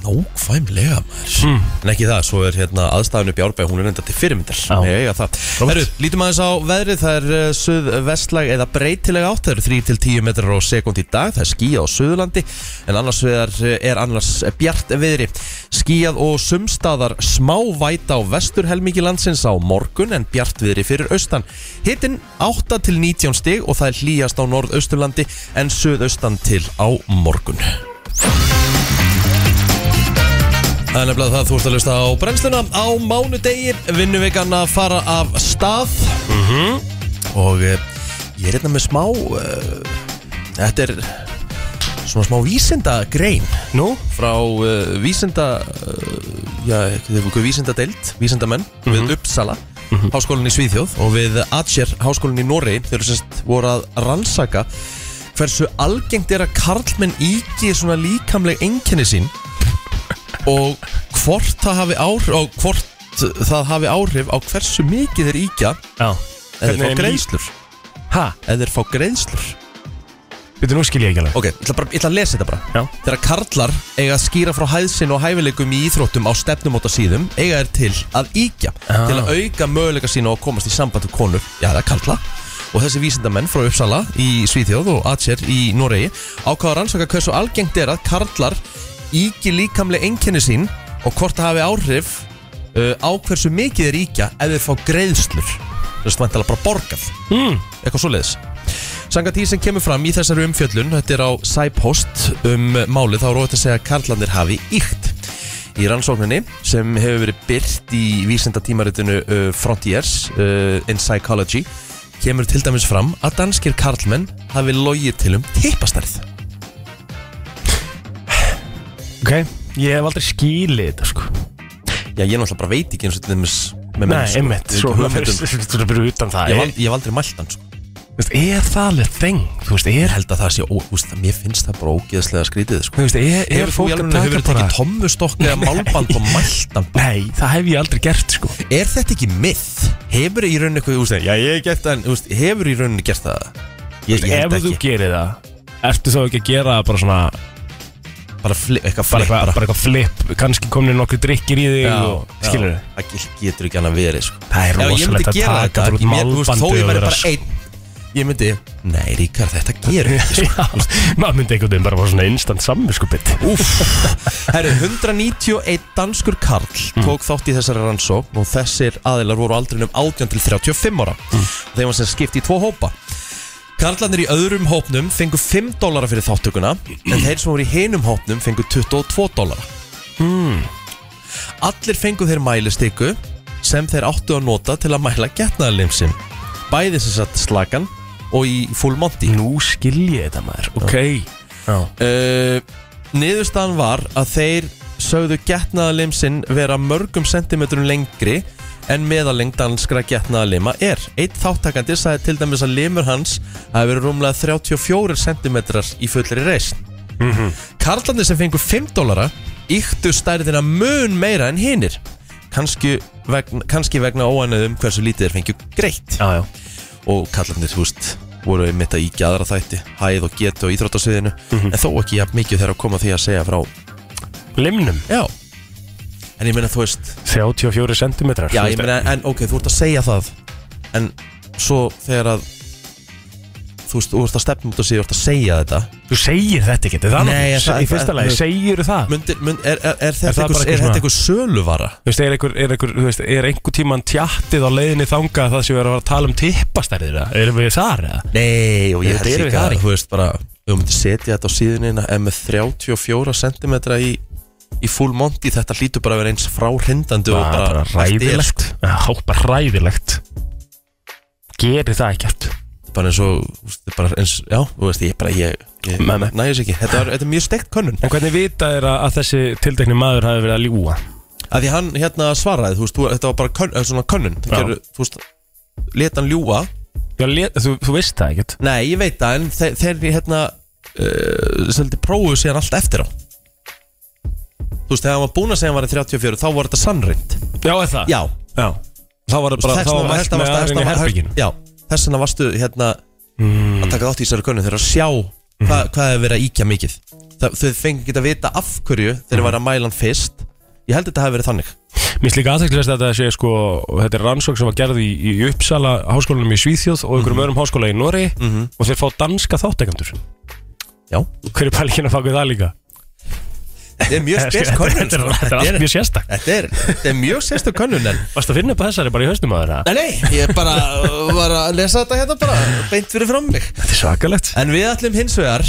Speaker 1: nákvæmlega maður
Speaker 2: Hmm.
Speaker 1: En ekki það, svo er hérna aðstæðinu upp í árbæð Hún er enda til fyrirmyndar
Speaker 2: Já.
Speaker 1: Ég eiga það
Speaker 2: Róbert.
Speaker 1: Herru, lítum aðeins á veðrið Það er uh, suðvestlag eða breytilega átt Það eru 3-10 metrar á sekund í dag Það er skíjað á suðurlandi En annars veðar eh, er annars bjart veðri Skíjað og sumstaðar smá væta á vesturhelmingi landsins á morgun En bjart veðri fyrir austan Hittin 8-19 stig og það er hlýjast á norðausturlandi En suðaustan til á morgun Það er nefnilega það þú ert að hlusta á brennsluna Á mánudegi vinnum við að fara af stað -hmm. Og eh, ég er hérna með smá uh, Þetta er svona smá vísindagrein
Speaker 2: Nú?
Speaker 1: Frá uh, vísinda uh, Já, þið hefur ykkur vísindadeild Vísindamenn
Speaker 2: Mhm.
Speaker 1: við Uppsala mm Háskólan í Svíþjóð og við Atsér Háskólan í Noregi Þeir eru sérst voru að rannsaka Hversu algengt er að karlmenn íki svona líkamleg einkenni sín og hvort það hafi áhrif og hvort það hafi áhrif á hversu mikið þeir íkja
Speaker 2: Já
Speaker 1: eða þeir
Speaker 2: Hvernig
Speaker 1: fá
Speaker 2: er
Speaker 1: greiðslur
Speaker 2: Hæ?
Speaker 1: eða þeir fá greiðslur
Speaker 2: Býttu, nú skil ég ekki alveg
Speaker 1: ok, ég ætla, bara, ég ætla að lesa þetta bara
Speaker 2: Já.
Speaker 1: þegar karlar eiga að skýra frá hæðsinn og hæfileikum í íþróttum á stefnumóta síðum eiga þeir til að íkja
Speaker 2: Já.
Speaker 1: til að auka möguleika sína og komast í samband við konur, já það er karla og þessi vísindamenn frá Uppsala í Svíþjóð og Atsér í Noregi ákvaða rannsaka hversu algengt er að karlar íki líkamlega einkenni sín og hvort það hafi áhrif uh, á hversu mikið þeir íkja ef þeir fá greiðslur þessi mæntala bara borgað
Speaker 2: mm.
Speaker 1: eitthvað svoleiðis Sanga því sem kemur fram í þessari umfjöllun þetta er á Sæpost um málið þá er óvægt að segja að karlandir hafi íkt í rannsókninni sem hefur verið byrt í vísindatímaritinu uh, Frontiers uh, in Psychology kemur til dæmis fram að danskir karlmenn hafi logið til um tippastarð
Speaker 2: Ok Ég hef aldrei skilið þetta sko
Speaker 1: Já, ég náttúrulega bara veit ekki eins og til dæmis með menn,
Speaker 2: Nei,
Speaker 1: sko. Ég
Speaker 2: einmitt
Speaker 1: hef
Speaker 2: Svo
Speaker 1: ekki
Speaker 2: það
Speaker 1: hugmynd um-
Speaker 2: er bara utan það
Speaker 1: Ég
Speaker 2: Ég
Speaker 1: hef ald- ég hef aldrei mælt hann sko.
Speaker 2: veist, er það alveg þeng? Þú veist,
Speaker 1: Ég
Speaker 2: er,
Speaker 1: held að það sé, ó, úst, mér finnst það bara ógeðslega skrítið sko.
Speaker 2: þú veist, er, er
Speaker 1: Hefur þú í
Speaker 2: fólk að
Speaker 1: alveg hefur
Speaker 2: taka
Speaker 1: tekið
Speaker 2: bara
Speaker 1: tommustokk eða málband og mælt hann
Speaker 2: Nei, það hef ég aldrei gert sko
Speaker 1: Er þetta ekki myth? Hefur í rauninni eitthvað, úst, já ég hef gert það, en úst, hefur í rauninni gert það? Ég, ég
Speaker 2: Ef
Speaker 1: held
Speaker 2: þú
Speaker 1: ekki,
Speaker 2: gerir það Ertu þá ekki að gera það bara svona
Speaker 1: bara flip, eitthvað flip
Speaker 2: Bara eitthvað
Speaker 1: bara,
Speaker 2: bara eitthvað flip Kanski komnir nokkri drikkir í þig og, Skilur
Speaker 1: já, Það gil- getur ekki annað verið, sko
Speaker 2: Það er
Speaker 1: Ef ég myndi
Speaker 2: rosalegt að
Speaker 1: gera þetta,
Speaker 2: taka bara út
Speaker 1: ég- mér- þú veist, þó
Speaker 2: málbandi
Speaker 1: ég
Speaker 2: og
Speaker 1: verði
Speaker 2: vera
Speaker 1: bara einn Ég myndi, nei Ríkar, þetta (laughs) gerur við ekki,
Speaker 2: Já, maður myndi einhvern veginn bara fá svona instant samvinskupið
Speaker 1: sko Úff, (laughs) herru, 191 danskur karl tók þátt í þessari rannsókn og þessir aðilar voru á aldrinum 18 til 35 ára Þeim var sem skipt í tvo hópa Karlarnir í öðrum hópnum fengu 5 dólara fyrir þátttökuna en þeir sem voru í hinum hópnum fengu 22 dólara mm. Allir fengu þeir mælistiku sem þeir áttu að nota til að mæla getnaðarlimsin bæði sem satt slagan og í full monty
Speaker 2: Nú skil ég þetta maður Ok Já.
Speaker 1: uh, Niðurstaðan var að þeir sögðu getnaðalimsinn vera mörgum sentimetrum lengri en meðalengd danskra getnaðalima er. Eitt þáttakandi sagði til dæmis að limur hans hafi verið rúmlega 34 sentimetrar í fullri reisn. Karlarnir sem fengu 5 dólara yktu stærðina mun meira en hinnir. Kanski vegna, kannski vegna óanöðum hversu lítið þeir fengju greitt
Speaker 2: Já, já
Speaker 1: og kallarnir, þú veist, voru einmitt að íkja aðra þætti, hæð og getu og íþróttasviðinu en þó ekki jafn mikið þegar að koma að því að segja frá
Speaker 2: Limnum
Speaker 1: Já En ég meina, þú veist,
Speaker 2: 34 cm
Speaker 1: já, ég meina, en ok, þú ert að segja það en svo þegar að þú veist, þú ert að stefna út og segja, þú ert að segja þetta
Speaker 2: Þú segir þetta ekki, þetta er það
Speaker 1: Nei,
Speaker 2: nokkuð.
Speaker 1: en það-
Speaker 2: Í fyrsta
Speaker 1: það-
Speaker 2: lagi, segir það
Speaker 1: Mundir, mund, er, er, er
Speaker 2: Er
Speaker 1: þetta
Speaker 2: það
Speaker 1: einhver,
Speaker 2: bara eitthvað
Speaker 1: er þetta
Speaker 2: svona-
Speaker 1: einhver söluvara?
Speaker 2: Þú veist, er einhver, er einhver, þú veist, er einhver tíman tjattið á leiðinni þanga að það sem við erum að tala um tippastærðir eða? Erum við þar eða?
Speaker 1: Nei, og ég
Speaker 2: Þetta
Speaker 1: held
Speaker 2: erum við
Speaker 1: líka
Speaker 2: þar
Speaker 1: að,
Speaker 2: í.
Speaker 1: þú veist, bara ef þú myndir setja þetta á síðunina en með 34 cm í, í full monti, þetta hlýtur bara að vera eins fráhrindandi og
Speaker 2: Bara,
Speaker 1: bara,
Speaker 2: bara
Speaker 1: allt er, sko.
Speaker 2: ræðilegt Já, bara ræðilegt Gerir það ekki allt
Speaker 1: bara eins og þú veist, bara eins, já, þú veist, ég bara ég, ég
Speaker 2: Nei, nei.
Speaker 1: nægjus ekki, þetta er, þetta er mjög steikt könnun
Speaker 2: En hvernig vita er að, að þessi tildekni maður hafi verið að ljúa?
Speaker 1: að því hann hérna svaraði, þú veist, þú- þetta var bara könn, eða svona könnun, það
Speaker 2: Já.
Speaker 1: gerur, þú veist leta hann ljúa,
Speaker 2: Já, let, þú, þú veist það ekkert
Speaker 1: nei, ég veit það en þe þeir hérna uh, seldi prófuðu síðan allt eftir á þú veist, þegar hann var búin að segja hann var í 34, þá var þetta sannrind
Speaker 2: Já, er það?
Speaker 1: já,
Speaker 2: Já. Þá var það bara, þá var allt með aðeins í Hmm. herbygginu
Speaker 1: já, þess vegna varstu hérna að taka þátt í þessari könnu þegar að sjá
Speaker 2: Hmm.
Speaker 1: hva, hvað er verið að íkja mikið Þa, þau fengi ekki að vita af hverju
Speaker 2: Hmm.
Speaker 1: þegar mm. var að mæla hann fyrst ég held að þetta hafi verið þannig
Speaker 2: Mér slíka aðtækkilegast að þetta sé sko Þetta er rannsók sem var gerð í, í Uppsala háskólanum í Svíþjóð og einhverjum öðrum háskóla í Nóri og þeir fá danska þáttekandur
Speaker 1: já,
Speaker 2: Hver er pælingin að faka það líka?
Speaker 1: þetta er mjög spes
Speaker 2: (laughs) Þetta-
Speaker 1: könnun
Speaker 2: Þetta er
Speaker 1: sko.
Speaker 2: þetta er allt mjög sérstak
Speaker 1: þetta er, þetta er mjög sérstu könnun en
Speaker 2: Varst að finna upp að þessari bara í haustum að þeirra?
Speaker 1: Nei, nei, ég bara var að lesa þetta hérna bara beint fyrir fram mig
Speaker 2: Þetta er svakalegt
Speaker 1: En við ætlum hins vegar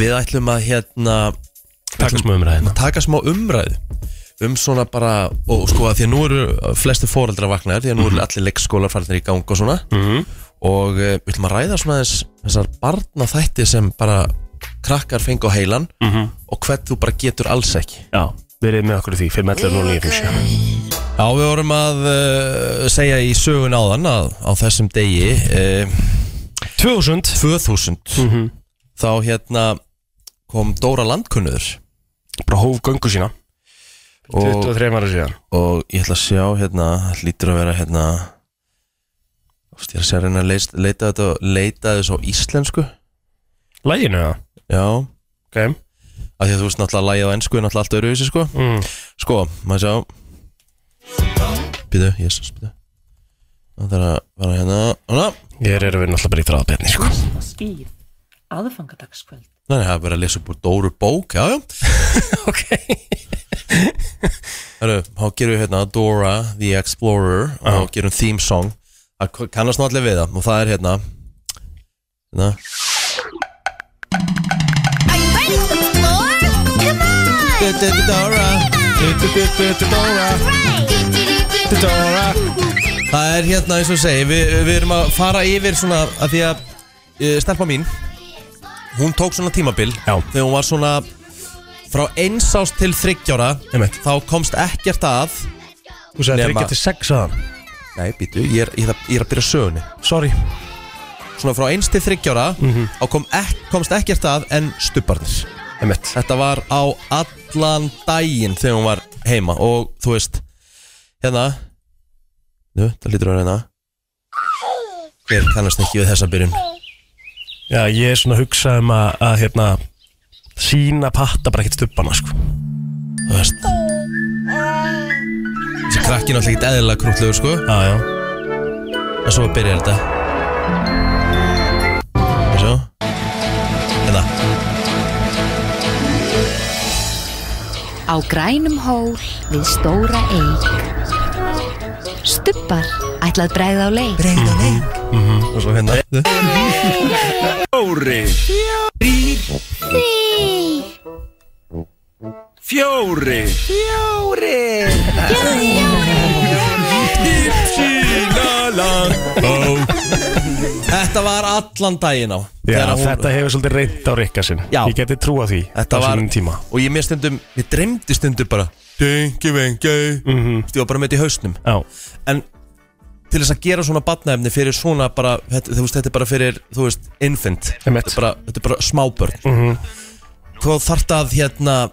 Speaker 1: Við ætlum að hérna
Speaker 2: Takk sem umræðina
Speaker 1: að taka smá umræðu um svona bara, og sko að því að nú eru flesti foreldrar vaknaðir, því að nú eru allir leikskólar farinir í gang og svona og eh, við ætlum að ræða svona þess, þessar barna þætti sem bara krakkar fengu á heilan og hvern þú bara getur alls ekki
Speaker 2: Já, verið með okkur í því, fyrir mellur 0957
Speaker 1: Já, við vorum að uh, segja í sögun áðan að á þessum degi uh,
Speaker 2: 2000
Speaker 1: 2000
Speaker 2: Mhm.
Speaker 1: þá hérna kom Dóra Landkunnur
Speaker 2: Bara hóf göngu sína
Speaker 1: og
Speaker 2: 23 ára síðan
Speaker 1: og ég ætla að sjá hérna, það lítur að vera hérna Úst, ég er að segja að reyna að leita, leita þetta leita þessu á íslensku
Speaker 2: Læginu það
Speaker 1: já,
Speaker 2: Ok
Speaker 1: af því að þú veist náttúrulega að lægið á ennsku er náttúrulega allt öruvísi sko
Speaker 2: mm.
Speaker 1: sko, maður sjá býtu, jésus, býtu það er að vera hérna hana.
Speaker 2: Ég er að vera náttúrulega bara í þráðbetni sko.
Speaker 4: Ást og skýr aðfangadagskvöld
Speaker 1: Nei, það er bara að lesa upp úr Dóru bók, (laughs) já, já
Speaker 2: Ok
Speaker 1: Heru, þá gerum við hérna Dora the Explorer og þá gerum theme song það kannast nú allir við það og það er hérna hérna
Speaker 5: Are you ready to explore? Come on!
Speaker 1: Dora Dora
Speaker 5: Right!
Speaker 2: Dora
Speaker 1: Það er hérna eins og ég segi Við, við erum að fara yfir svona að Því að e, stelpa mín Hún tók svona tímabil
Speaker 2: Já.
Speaker 1: Þegar hún var svona Frá eins ás til þryggjára
Speaker 2: Einmitt.
Speaker 1: Þá komst ekkert að
Speaker 2: Þú sagði
Speaker 1: Nema-
Speaker 2: 3 til 6 aðan
Speaker 1: Nei, býtu, ég er, ég er, að- ég er að byrja sögunni
Speaker 2: Sorry
Speaker 1: Svona frá eins til þryggjára mm -hmm. Þá kom ek, komst ekkert að en stubbarnir
Speaker 2: Emmett
Speaker 1: Þetta var á allan daginn þegar hún var heima og þú veist hérna Nú, það lítur að reyna Hver kannast ekki við þessa byrjun
Speaker 2: Já, ég er svona að hugsa um að, að hérna Sína patta bara ekkert stubbana sko.
Speaker 1: Þú veist Þessi krakki er náttúrulega ekkert eðlilega krútlegur sko
Speaker 2: Já, já
Speaker 1: En svo byrjar þetta Og svo Hérna
Speaker 6: Á grænum hól við stóra eig Stubbar ætlað bregð á leik
Speaker 1: Og svo hérna
Speaker 3: Fjóri Fjóri
Speaker 1: Sílalang Þetta var allan daginn á
Speaker 2: Já,
Speaker 1: Þegar hún-
Speaker 2: þetta hefur svolítið reynd á rikka sinn
Speaker 1: Já.
Speaker 2: Ég geti trúa því
Speaker 1: Þetta
Speaker 2: á
Speaker 1: var
Speaker 2: sínum tíma
Speaker 1: Og ég mér stundum Ég dreymdi stundum bara Dengi vengi mm -hmm.
Speaker 2: Mhm.
Speaker 1: Ég var bara með þetta í hausnum
Speaker 2: Já,
Speaker 1: En til þess að gera svona batnaefni Fyrir svona bara þetta, Þú veist, þetta er bara fyrir Þú veist, infant
Speaker 2: Einmitt. Mhm.
Speaker 1: Þetta er bara, þetta er bara smábörn mm -hmm. Þú þart að hérna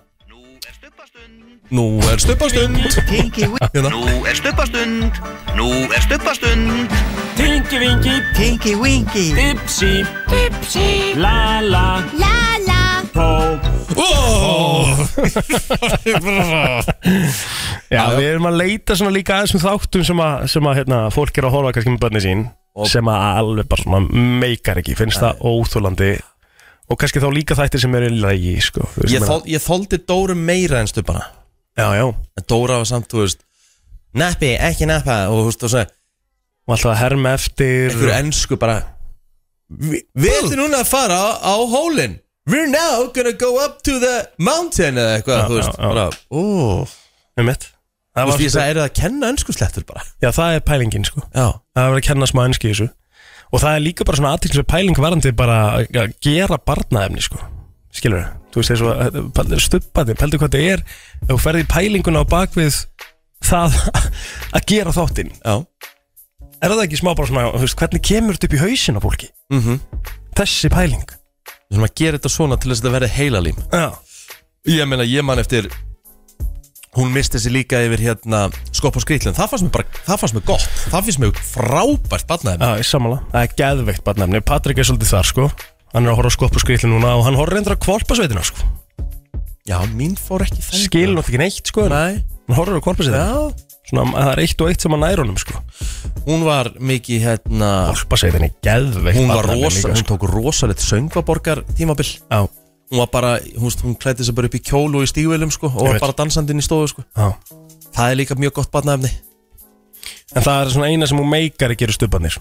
Speaker 1: Nú er stuppastund hérna.
Speaker 7: Nú er stubbastund, nú er stubbastund
Speaker 8: Tinky Winky
Speaker 5: La la!
Speaker 1: oh!
Speaker 2: já, við erum að leita svona líka aðeins með þáttum sem að, sem að hérna, fólk er að horfa kannski með börni sín sem að alveg bara svona meikar ekki finnst það óþúlandi og kannski þá líka þættir sem eru í lagi sko, þú veist
Speaker 1: ég,
Speaker 2: meina.
Speaker 1: þol, ég þoldi Dóru meira en stuppana
Speaker 2: Já, já,
Speaker 1: En Dóra var samt, þú veist Nappi, ekki nappa Og þú veist, og svo
Speaker 2: og alltaf að herma eftir
Speaker 1: einhverju ennsku bara "Vi- Við ætlum núna að fara á, á hólinn We're now gonna go up to the mountain eða eitthvað,
Speaker 2: Já,
Speaker 1: þú veist,
Speaker 2: já, já.
Speaker 1: bara Ó,
Speaker 2: Einmitt.
Speaker 1: þú veist,
Speaker 2: Það var
Speaker 1: ég
Speaker 2: svolítið-
Speaker 1: sagði, er það að kenna ennskuslettur bara
Speaker 2: Já, það er pælingin sko
Speaker 1: Já,
Speaker 2: Það er verið að kenna smá enski í þessu Og það er líka bara svona aðtilsveg pæling varandi bara að gera barnaefni sko Skilur þau? Þú veist þessu stubbandi, pældu hvað þetta er ef þú ferði pælinguna á bakvið það (laughs) að gera þáttinn
Speaker 1: já,
Speaker 2: Er það ekki smá bara svona, þú veist, hvernig kemur þetta upp í hausin á fólki?
Speaker 1: mhm
Speaker 2: Þessi pæling
Speaker 1: Við erum að gera þetta svona til þess að þetta verði heilalím
Speaker 2: Já,
Speaker 1: Ég meina, ég man eftir Hún misti sér líka yfir hérna Skopp og skrýtlinn, það fannst mér bara, það fannst mér gott Það finnst mér frábært barnaðið
Speaker 2: já, ég sammála Það er geðveikt barnaefni, Patrik er svolítið þar sko Hann er að horfa á skoppu skrýtli núna og hann horfa reyndar að kvolpa sveitina sko
Speaker 1: Já, mín fór ekki það
Speaker 2: Skilur náttúrulega ekki neitt sko en
Speaker 1: Nei,
Speaker 2: Hann horfir á kvolpa sveitina
Speaker 1: já
Speaker 2: Svona, það er eitt og eitt sem að næra honum sko
Speaker 1: Hún var mikið hérna
Speaker 2: Alpasveitin er geðveikt
Speaker 1: hún var
Speaker 2: barnaefni
Speaker 1: rosa,
Speaker 2: líka,
Speaker 1: hún
Speaker 2: sko.
Speaker 1: tók rosalegt söngvaborgar tímabil
Speaker 2: Já,
Speaker 1: hún var bara, hún, veist, hún klætti sig bara upp í kjól og í stígvelum sko, og
Speaker 2: Ég
Speaker 1: var
Speaker 2: veit.
Speaker 1: bara dansandi inn í stofu sko.
Speaker 2: já
Speaker 1: það er líka mjög gott batnaefni
Speaker 2: En það er svona eina sem hún meikar að gera stubbanir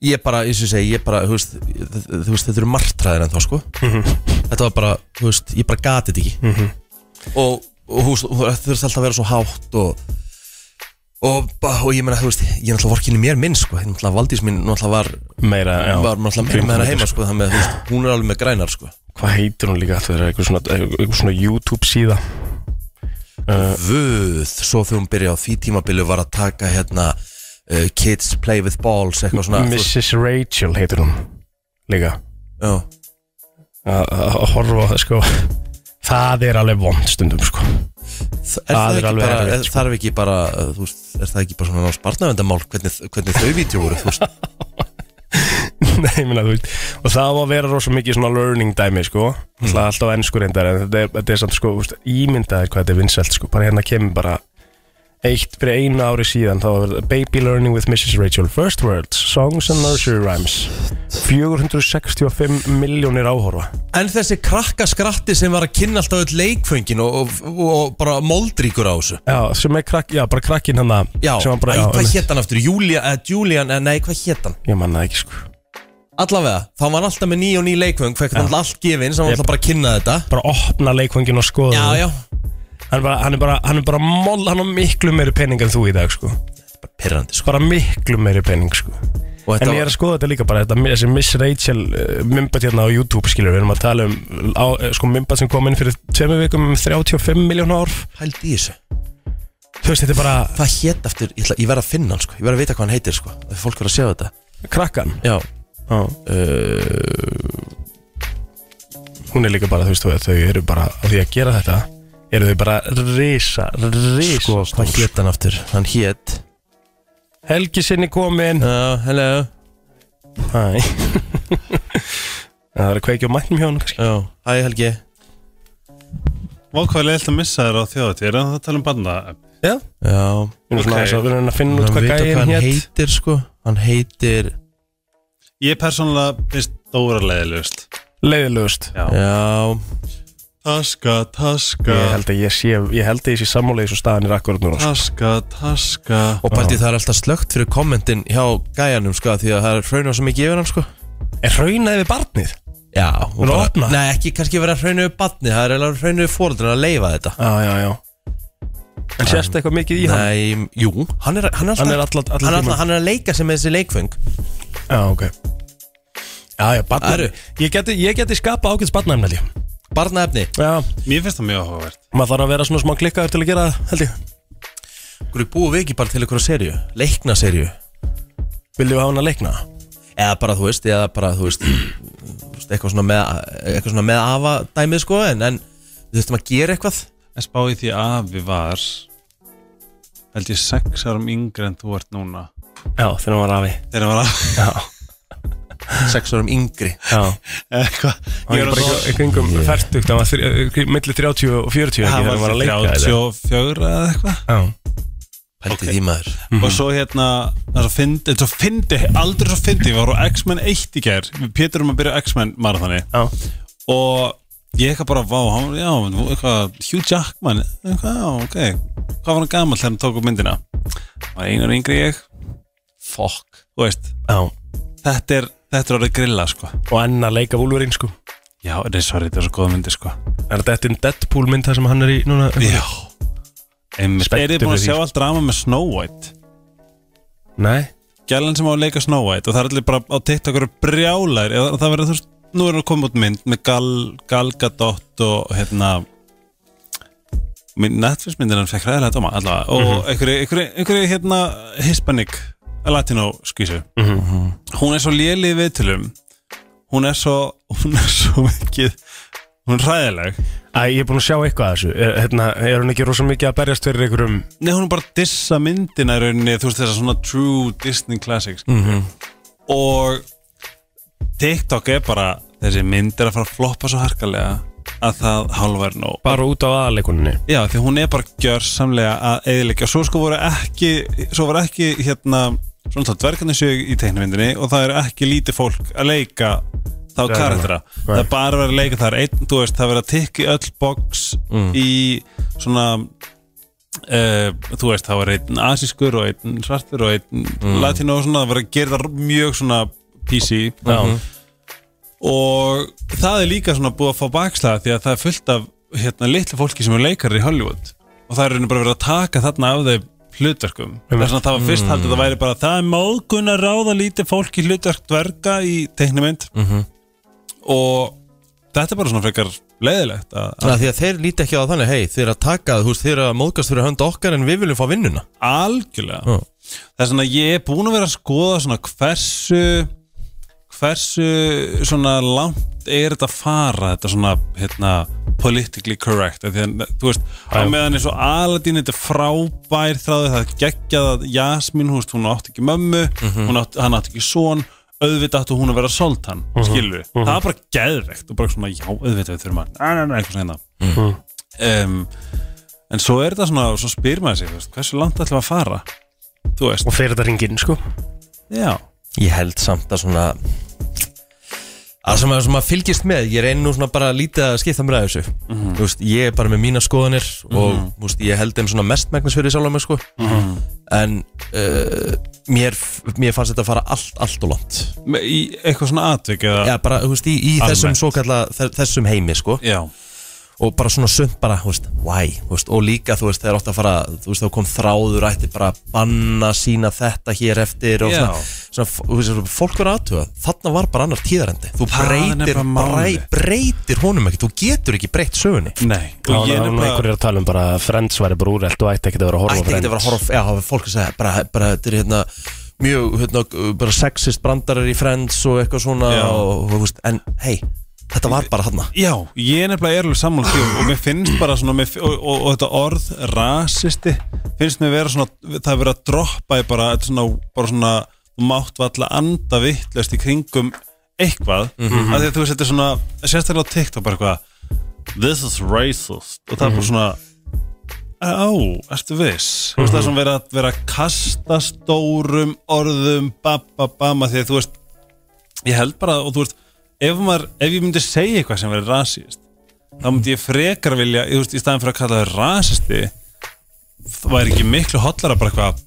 Speaker 1: ég bara, eins og ég segi, ég bara þú veist, þ- þ- þú veist þetta eru martræðir en þá sko Þetta var bara, þú veist, ég bara gati þetta ekki Og, og þú veist, þú- þetta þurfti alltaf að vera svo hátt Og, og, ba- og ég meina, þú veist, ég er náttúrulega vorkinni mér minn, sko Þannig að Valdís minn náttúrulega var,
Speaker 2: Meira, já
Speaker 1: var náttúrulega meira með hennar heima, sko Þannig að, þú veist, hún er alveg með grænar, sko
Speaker 2: Hvað heitir hún líka aftur? Það er eitthvað svona, eitthvað svona YouTube síða
Speaker 1: Vöð, svo þegar hún byrjaði á því tímabili var að taka, hérna uh, Kids play with balls, eitthvað svona þú veist,
Speaker 2: Mrs. Rachel heitir hún Líka
Speaker 1: Já,
Speaker 2: Að- Að að horfa á það sko Það er alveg vond stundum sko
Speaker 1: Þa-
Speaker 2: Það
Speaker 1: Er sko. það,
Speaker 2: er
Speaker 1: ekki
Speaker 2: alveg
Speaker 1: bara,
Speaker 2: erfitt,
Speaker 1: er, þarf ekki bara, uh, þú veist, er það ekki bara svona spartnavendamál, hvernig, hvernig þau vídeo voru, þú veist
Speaker 2: (laughs) Nei, ég minna, þú veist Og það á að vera rosa mikið svona learning dæmi sko
Speaker 1: Mhm.
Speaker 2: Það er alltaf ennsku reyndar En þetta er, þetta er samt sko, þú veist, ímyndaðir hvað þetta er vinsælt sko Bara hérna kemur bara Eitt fyrir einu ári síðan Þá var Baby Learning with Mrs. Rachel First Words, Songs and Nursery Rhymes 465 miljónir áhorfa
Speaker 1: (laughs) En þessi krakkaskratti sem var að kynna alltaf öll leikföngin og, og, og bara moldríkur á þessu
Speaker 2: Já, sem er krakk, já, bara krakkin hann að
Speaker 1: Já,
Speaker 2: sem var bara,
Speaker 1: Æ, hvað
Speaker 2: einmitt.
Speaker 1: hétt hann aftur? Julia, eh, Julian, eh, nei, hvað hétt hann?
Speaker 2: Ég manna ekki, sko
Speaker 1: Allavega, þá var hann alltaf með ný og ný leikföng fekk hann allt gefinn sem var
Speaker 2: Jep.
Speaker 1: alltaf bara að kynna þetta
Speaker 2: Bara opna leikvangin og skoða
Speaker 1: Já,
Speaker 2: það.
Speaker 1: já,
Speaker 2: Hann, er bara, hann er bara, hann er bara mól, hann er miklu meiri pening en þú í dag, sko
Speaker 1: pirrandi sko
Speaker 2: Bara miklu meiri pening, sko
Speaker 1: Og
Speaker 2: En
Speaker 1: þetta
Speaker 2: ég er
Speaker 1: var,
Speaker 2: að skoða þetta líka bara, þetta, þessi Miss Rachel uh, mymbat hérna á YouTube, skilur Við erum að tala um, á, eh, sko, mymbat sem kom inn fyrir tveimur vikum um 35 miljón ár
Speaker 1: hældi í þessu
Speaker 2: Þú veist, þetta er bara
Speaker 1: Hvað hétt aftur? Ég, ætla- ég verð að finna hann sko Ég verð að vita hvað hann heitir sko Þegar fólk verð að sjá þetta Eh,
Speaker 2: krakkan
Speaker 1: Já,
Speaker 2: Já. Hún er líka bara, þú veist, þú- þau eru bara á því að gera þetta eru þau bara risa, risa
Speaker 1: sko, hvað hétt hann aftur? Hann hétt
Speaker 2: Helgi sinni komin
Speaker 1: Já, hello
Speaker 2: (laughs) Hæ Það er að kveikja á mætnum hjá hann kannski
Speaker 1: Já, hæ Helgi
Speaker 9: Vákvæðilega eftir að missa þér á þjóðatíð Er það að tala um barna
Speaker 2: Já
Speaker 1: Já,
Speaker 2: Við erum svona
Speaker 9: Ok.
Speaker 2: aðeins að við erum að finna út
Speaker 1: hann
Speaker 2: hvað
Speaker 1: veit hvað
Speaker 2: gæinn
Speaker 1: hann
Speaker 2: hétt
Speaker 1: heitir sko Hann heitir,
Speaker 9: Ég persónulega finnst Dóra leiðilegust
Speaker 2: Leiðilegust
Speaker 1: já
Speaker 9: Taska, taska
Speaker 2: Ég held að ég sé, ég held að ég sé sammálega í svo staðan í rakkurat núna sko.
Speaker 9: Taska, taska
Speaker 1: Og bælti það er alltaf slögt fyrir kommentin hjá gæjanum sko Því að það er hraunum sem ekki yfir hann sko
Speaker 2: Er raunaði við barnið?
Speaker 1: Já og
Speaker 2: Verður að
Speaker 1: bara-
Speaker 2: opna?
Speaker 1: Nei ekki kannski vera hraunum við batni Það er eiginlega hraunum við fóröldin að leifa þetta
Speaker 2: Já, já, já En sérst eitthvað mikið í hann?
Speaker 1: Nei, jú, hann er, hann er alltaf
Speaker 2: Hann er
Speaker 1: hann,
Speaker 2: allan- allan
Speaker 1: er
Speaker 2: tímann.
Speaker 1: alltaf, hann er að leika sem þessi leikfeng
Speaker 2: Já, ok Já, já,
Speaker 1: Æru.
Speaker 2: barnið Ég geti, ég geti skapa ágætt barnaðum, held ég
Speaker 1: Barnaefni,
Speaker 2: Já,
Speaker 9: Mér finnst það mjög áhugavert
Speaker 2: maður þarf að vera svona smá klikkaður til að gera það, held ég
Speaker 1: hverju búið við ekki bara til einhverja serju Leikna serju
Speaker 2: Viljum við hafa hann að leikna?
Speaker 1: Eða bara þú veist, eða bara þú veist, þú veist Eitthvað svona með, eitthvað svona með afa dæmið sko En, en við þurftum að gera eitthvað
Speaker 9: En spáði því að afi var Held ég sex árum yngri en þú ert núna
Speaker 2: Já, þegar hann var afi
Speaker 9: Þegar hann var að
Speaker 1: Sex árum yngri
Speaker 2: Já
Speaker 9: (laughs) Eða hvað?
Speaker 2: Ég
Speaker 9: Ég
Speaker 2: var
Speaker 9: var að
Speaker 2: bara
Speaker 9: svo
Speaker 2: í kringum færtugt, hann var þri- eh, milli 30 og 40 ekki
Speaker 9: Hann
Speaker 2: þegar hann var að leika
Speaker 9: var
Speaker 2: eða?
Speaker 9: 34 eða eitthvað
Speaker 2: Já,
Speaker 1: Pælti því maður
Speaker 2: Mhm.
Speaker 9: og svo hérna það er svo fyndi, svo fyndi, aldrei svo fyndi ég var á X-Men 1 í gær Pétur er um að byrja á X-Men marathoni
Speaker 2: já,
Speaker 9: og ég eitthvað bara vá, hann, já, nú eitthvað Hugh Jackman, eitthvað, já, ok hvað var hann gamall þegar hann tók upp myndina Hann var einar yngri en ég
Speaker 1: Fuck
Speaker 9: þú veist,
Speaker 2: já
Speaker 9: þetta er, þetta er orðið grilla sko,
Speaker 2: Og enn að leika Wolverine sko
Speaker 9: já, nei, sorry, þetta er svo góða myndi sko,
Speaker 2: Er þetta eftir Deadpool mynd það sem hann er í núna?
Speaker 9: já einmitt,
Speaker 2: Spenntur
Speaker 9: er þið búin að
Speaker 2: fyrir
Speaker 9: sjá
Speaker 2: því,
Speaker 9: allt drama með Snow White
Speaker 2: Nei
Speaker 9: gælan sem á að leika Snow White og það er allir bara á TikTok eru brjálæðir og það verður þú veist, nú er að koma út mynd með Gal, Gal Gadot og hérna mynd, Netflix myndin hann fekk ræðilega dóma allavega og mm einhverju, einhverju, einhverju hérna Hispanic, Latino skvísu hún er svo léli við tilum hún er svo hún er svo mikið hún er ræðileg
Speaker 2: Æ, ég er búin að sjá eitthvað af þessu er, hérna, er hún ekki rosa mikið að berjast fyrir einhverjum
Speaker 9: Nei, hún er bara að dissa myndina í rauninni, þú veist þessar svona true Disney classics mm -hmm. og TikTok er bara þessi mynd er að fara að floppa svo harkalega að það hálfa er nóg
Speaker 2: Bara út á aðaleikuninni
Speaker 9: Já, því hún er bara gjörsamlega að eðilegja svo sko voru ekki, svo voru ekki hérna, svona þá dvergarnir séu í teiknumyndinni og það er ekki lítið fólk að leika þá
Speaker 2: Dvergana.
Speaker 9: karaktera
Speaker 2: Nei.
Speaker 9: það er bara verið að leika þar einn, þú veist, það er verið að tikka í öll box
Speaker 2: Mm.
Speaker 9: í svona uh, þú veist, það var einn asískur og einn svartur
Speaker 2: Mm.
Speaker 9: Mhm. og einn latino og svona, það var að gera það mjög svona PC
Speaker 2: Já.
Speaker 9: og það er líka svona búið að fá bakslaða því að það er fullt af hérna, litlu fólki sem er leikar í Hollywood og það er raunin bara verið að taka þarna af þeim hlutverkum það er svona það var fyrst haldið að það væri bara það er móðgun að ráða lítið fólk í hlutverk dverga í teiknumynd og þetta er bara svona frekar leiðilegt að, að
Speaker 1: Þannig að því að þeir líti ekki á það þannig, hei, þeir eru að taka, þú veist, þeir eru að móðgast fyrir hönd okkar en við viljum fá vinnuna.
Speaker 9: Algjörlega
Speaker 1: Já.
Speaker 9: Það er svona, ég er búin að vera að skoða svona hversu hversu svona langt er þetta að fara þetta svona, hérna, politically correct Af því að, þú veist, á meðan eins og Aladin, þetta er frábær þráði það geggjað að Jasmín, þú veist, hún átti ekki mömmu hún átti, hann átti ekki son auðvitað áttu hún að vera soltan, mm skilur það er bara geðvegt og bara svona, já, auðvitað við þurfum að, næ, næ, næ, eitthvað svona hérna um, en svo er þetta svona, svo spyr maður sig, þú veist, hversu langt ætlum við að fara þú veist,
Speaker 2: og fer þetta ringin sko
Speaker 9: já
Speaker 1: Ég held samt að svona að sem að, sem að fylgist með ég reyni nú svona bara lítið að skipta mér að þessu þú veist, ég er bara með mína skoðanir og þú veist, ég held þeim svona mestmægnis fyrir sjálf mig sko en uh, mér, mér fannst þetta að fara allt, allt og langt
Speaker 9: Me- í eitthvað svona atvik eða
Speaker 1: Já, bara, þú veist, í, í þessum svo kalla þessum heimi, sko
Speaker 9: já,
Speaker 1: og bara svona sönd bara, þú veist, why þú veist, og líka, þú veist, þegar átt að fara þú veist, þá kom þráður, ætti bara að banna sína þetta hér eftir og
Speaker 9: Já.
Speaker 1: svona, svona, f- þú veist, svona, fólk verður aðtuga þarna var bara annar tíðarendi þú
Speaker 9: Það er
Speaker 1: breytir,
Speaker 9: nefnilega
Speaker 1: brei,
Speaker 9: málið.
Speaker 1: breytir honum ekki þú getur ekki breytt sögunni
Speaker 9: nei
Speaker 2: og
Speaker 9: ég
Speaker 2: ég
Speaker 9: er
Speaker 2: nefnilega
Speaker 9: nefnilega
Speaker 2: einhverjir að tala um bara að Friends væri bara úrelt og ætti ekkert að vera að horfa á
Speaker 1: ætti ekki að vera að
Speaker 2: Friends.
Speaker 1: horfa, á- já, það var fólk að segja bara, bara, þetta er hérna mjög, hérna, bara sexist brandarar í Friends og eitthvað svona
Speaker 9: Já.
Speaker 1: og, þú veist, en, hei, þetta var bara þarna
Speaker 9: já, ég er nefnilega erlega sammála því og- og mér finnst bara svona mér, fi- og, og, og þetta orð rasisti finnst mér vera svona, það er verið að droppa í bara, þetta er svona, bara svona þú mátt valla anda vittlust í kringum eitthvað, mm -hmm. að því að þú veist þetta er svona, sérstaklega á TikTok bara eitthvað this is racist og það er bara svona á, ertu viss þú veist það er svona verið að vera að kasta stórum orðum bababama því að þú veist ég held bara og þú veist ef, maður, ef ég myndi segja eitthvað sem verið rasist þá myndi ég frekar vilja þú veist, í staðin fyrir að kalla það rasisti það væri ekki miklu hotlara bara eitthvað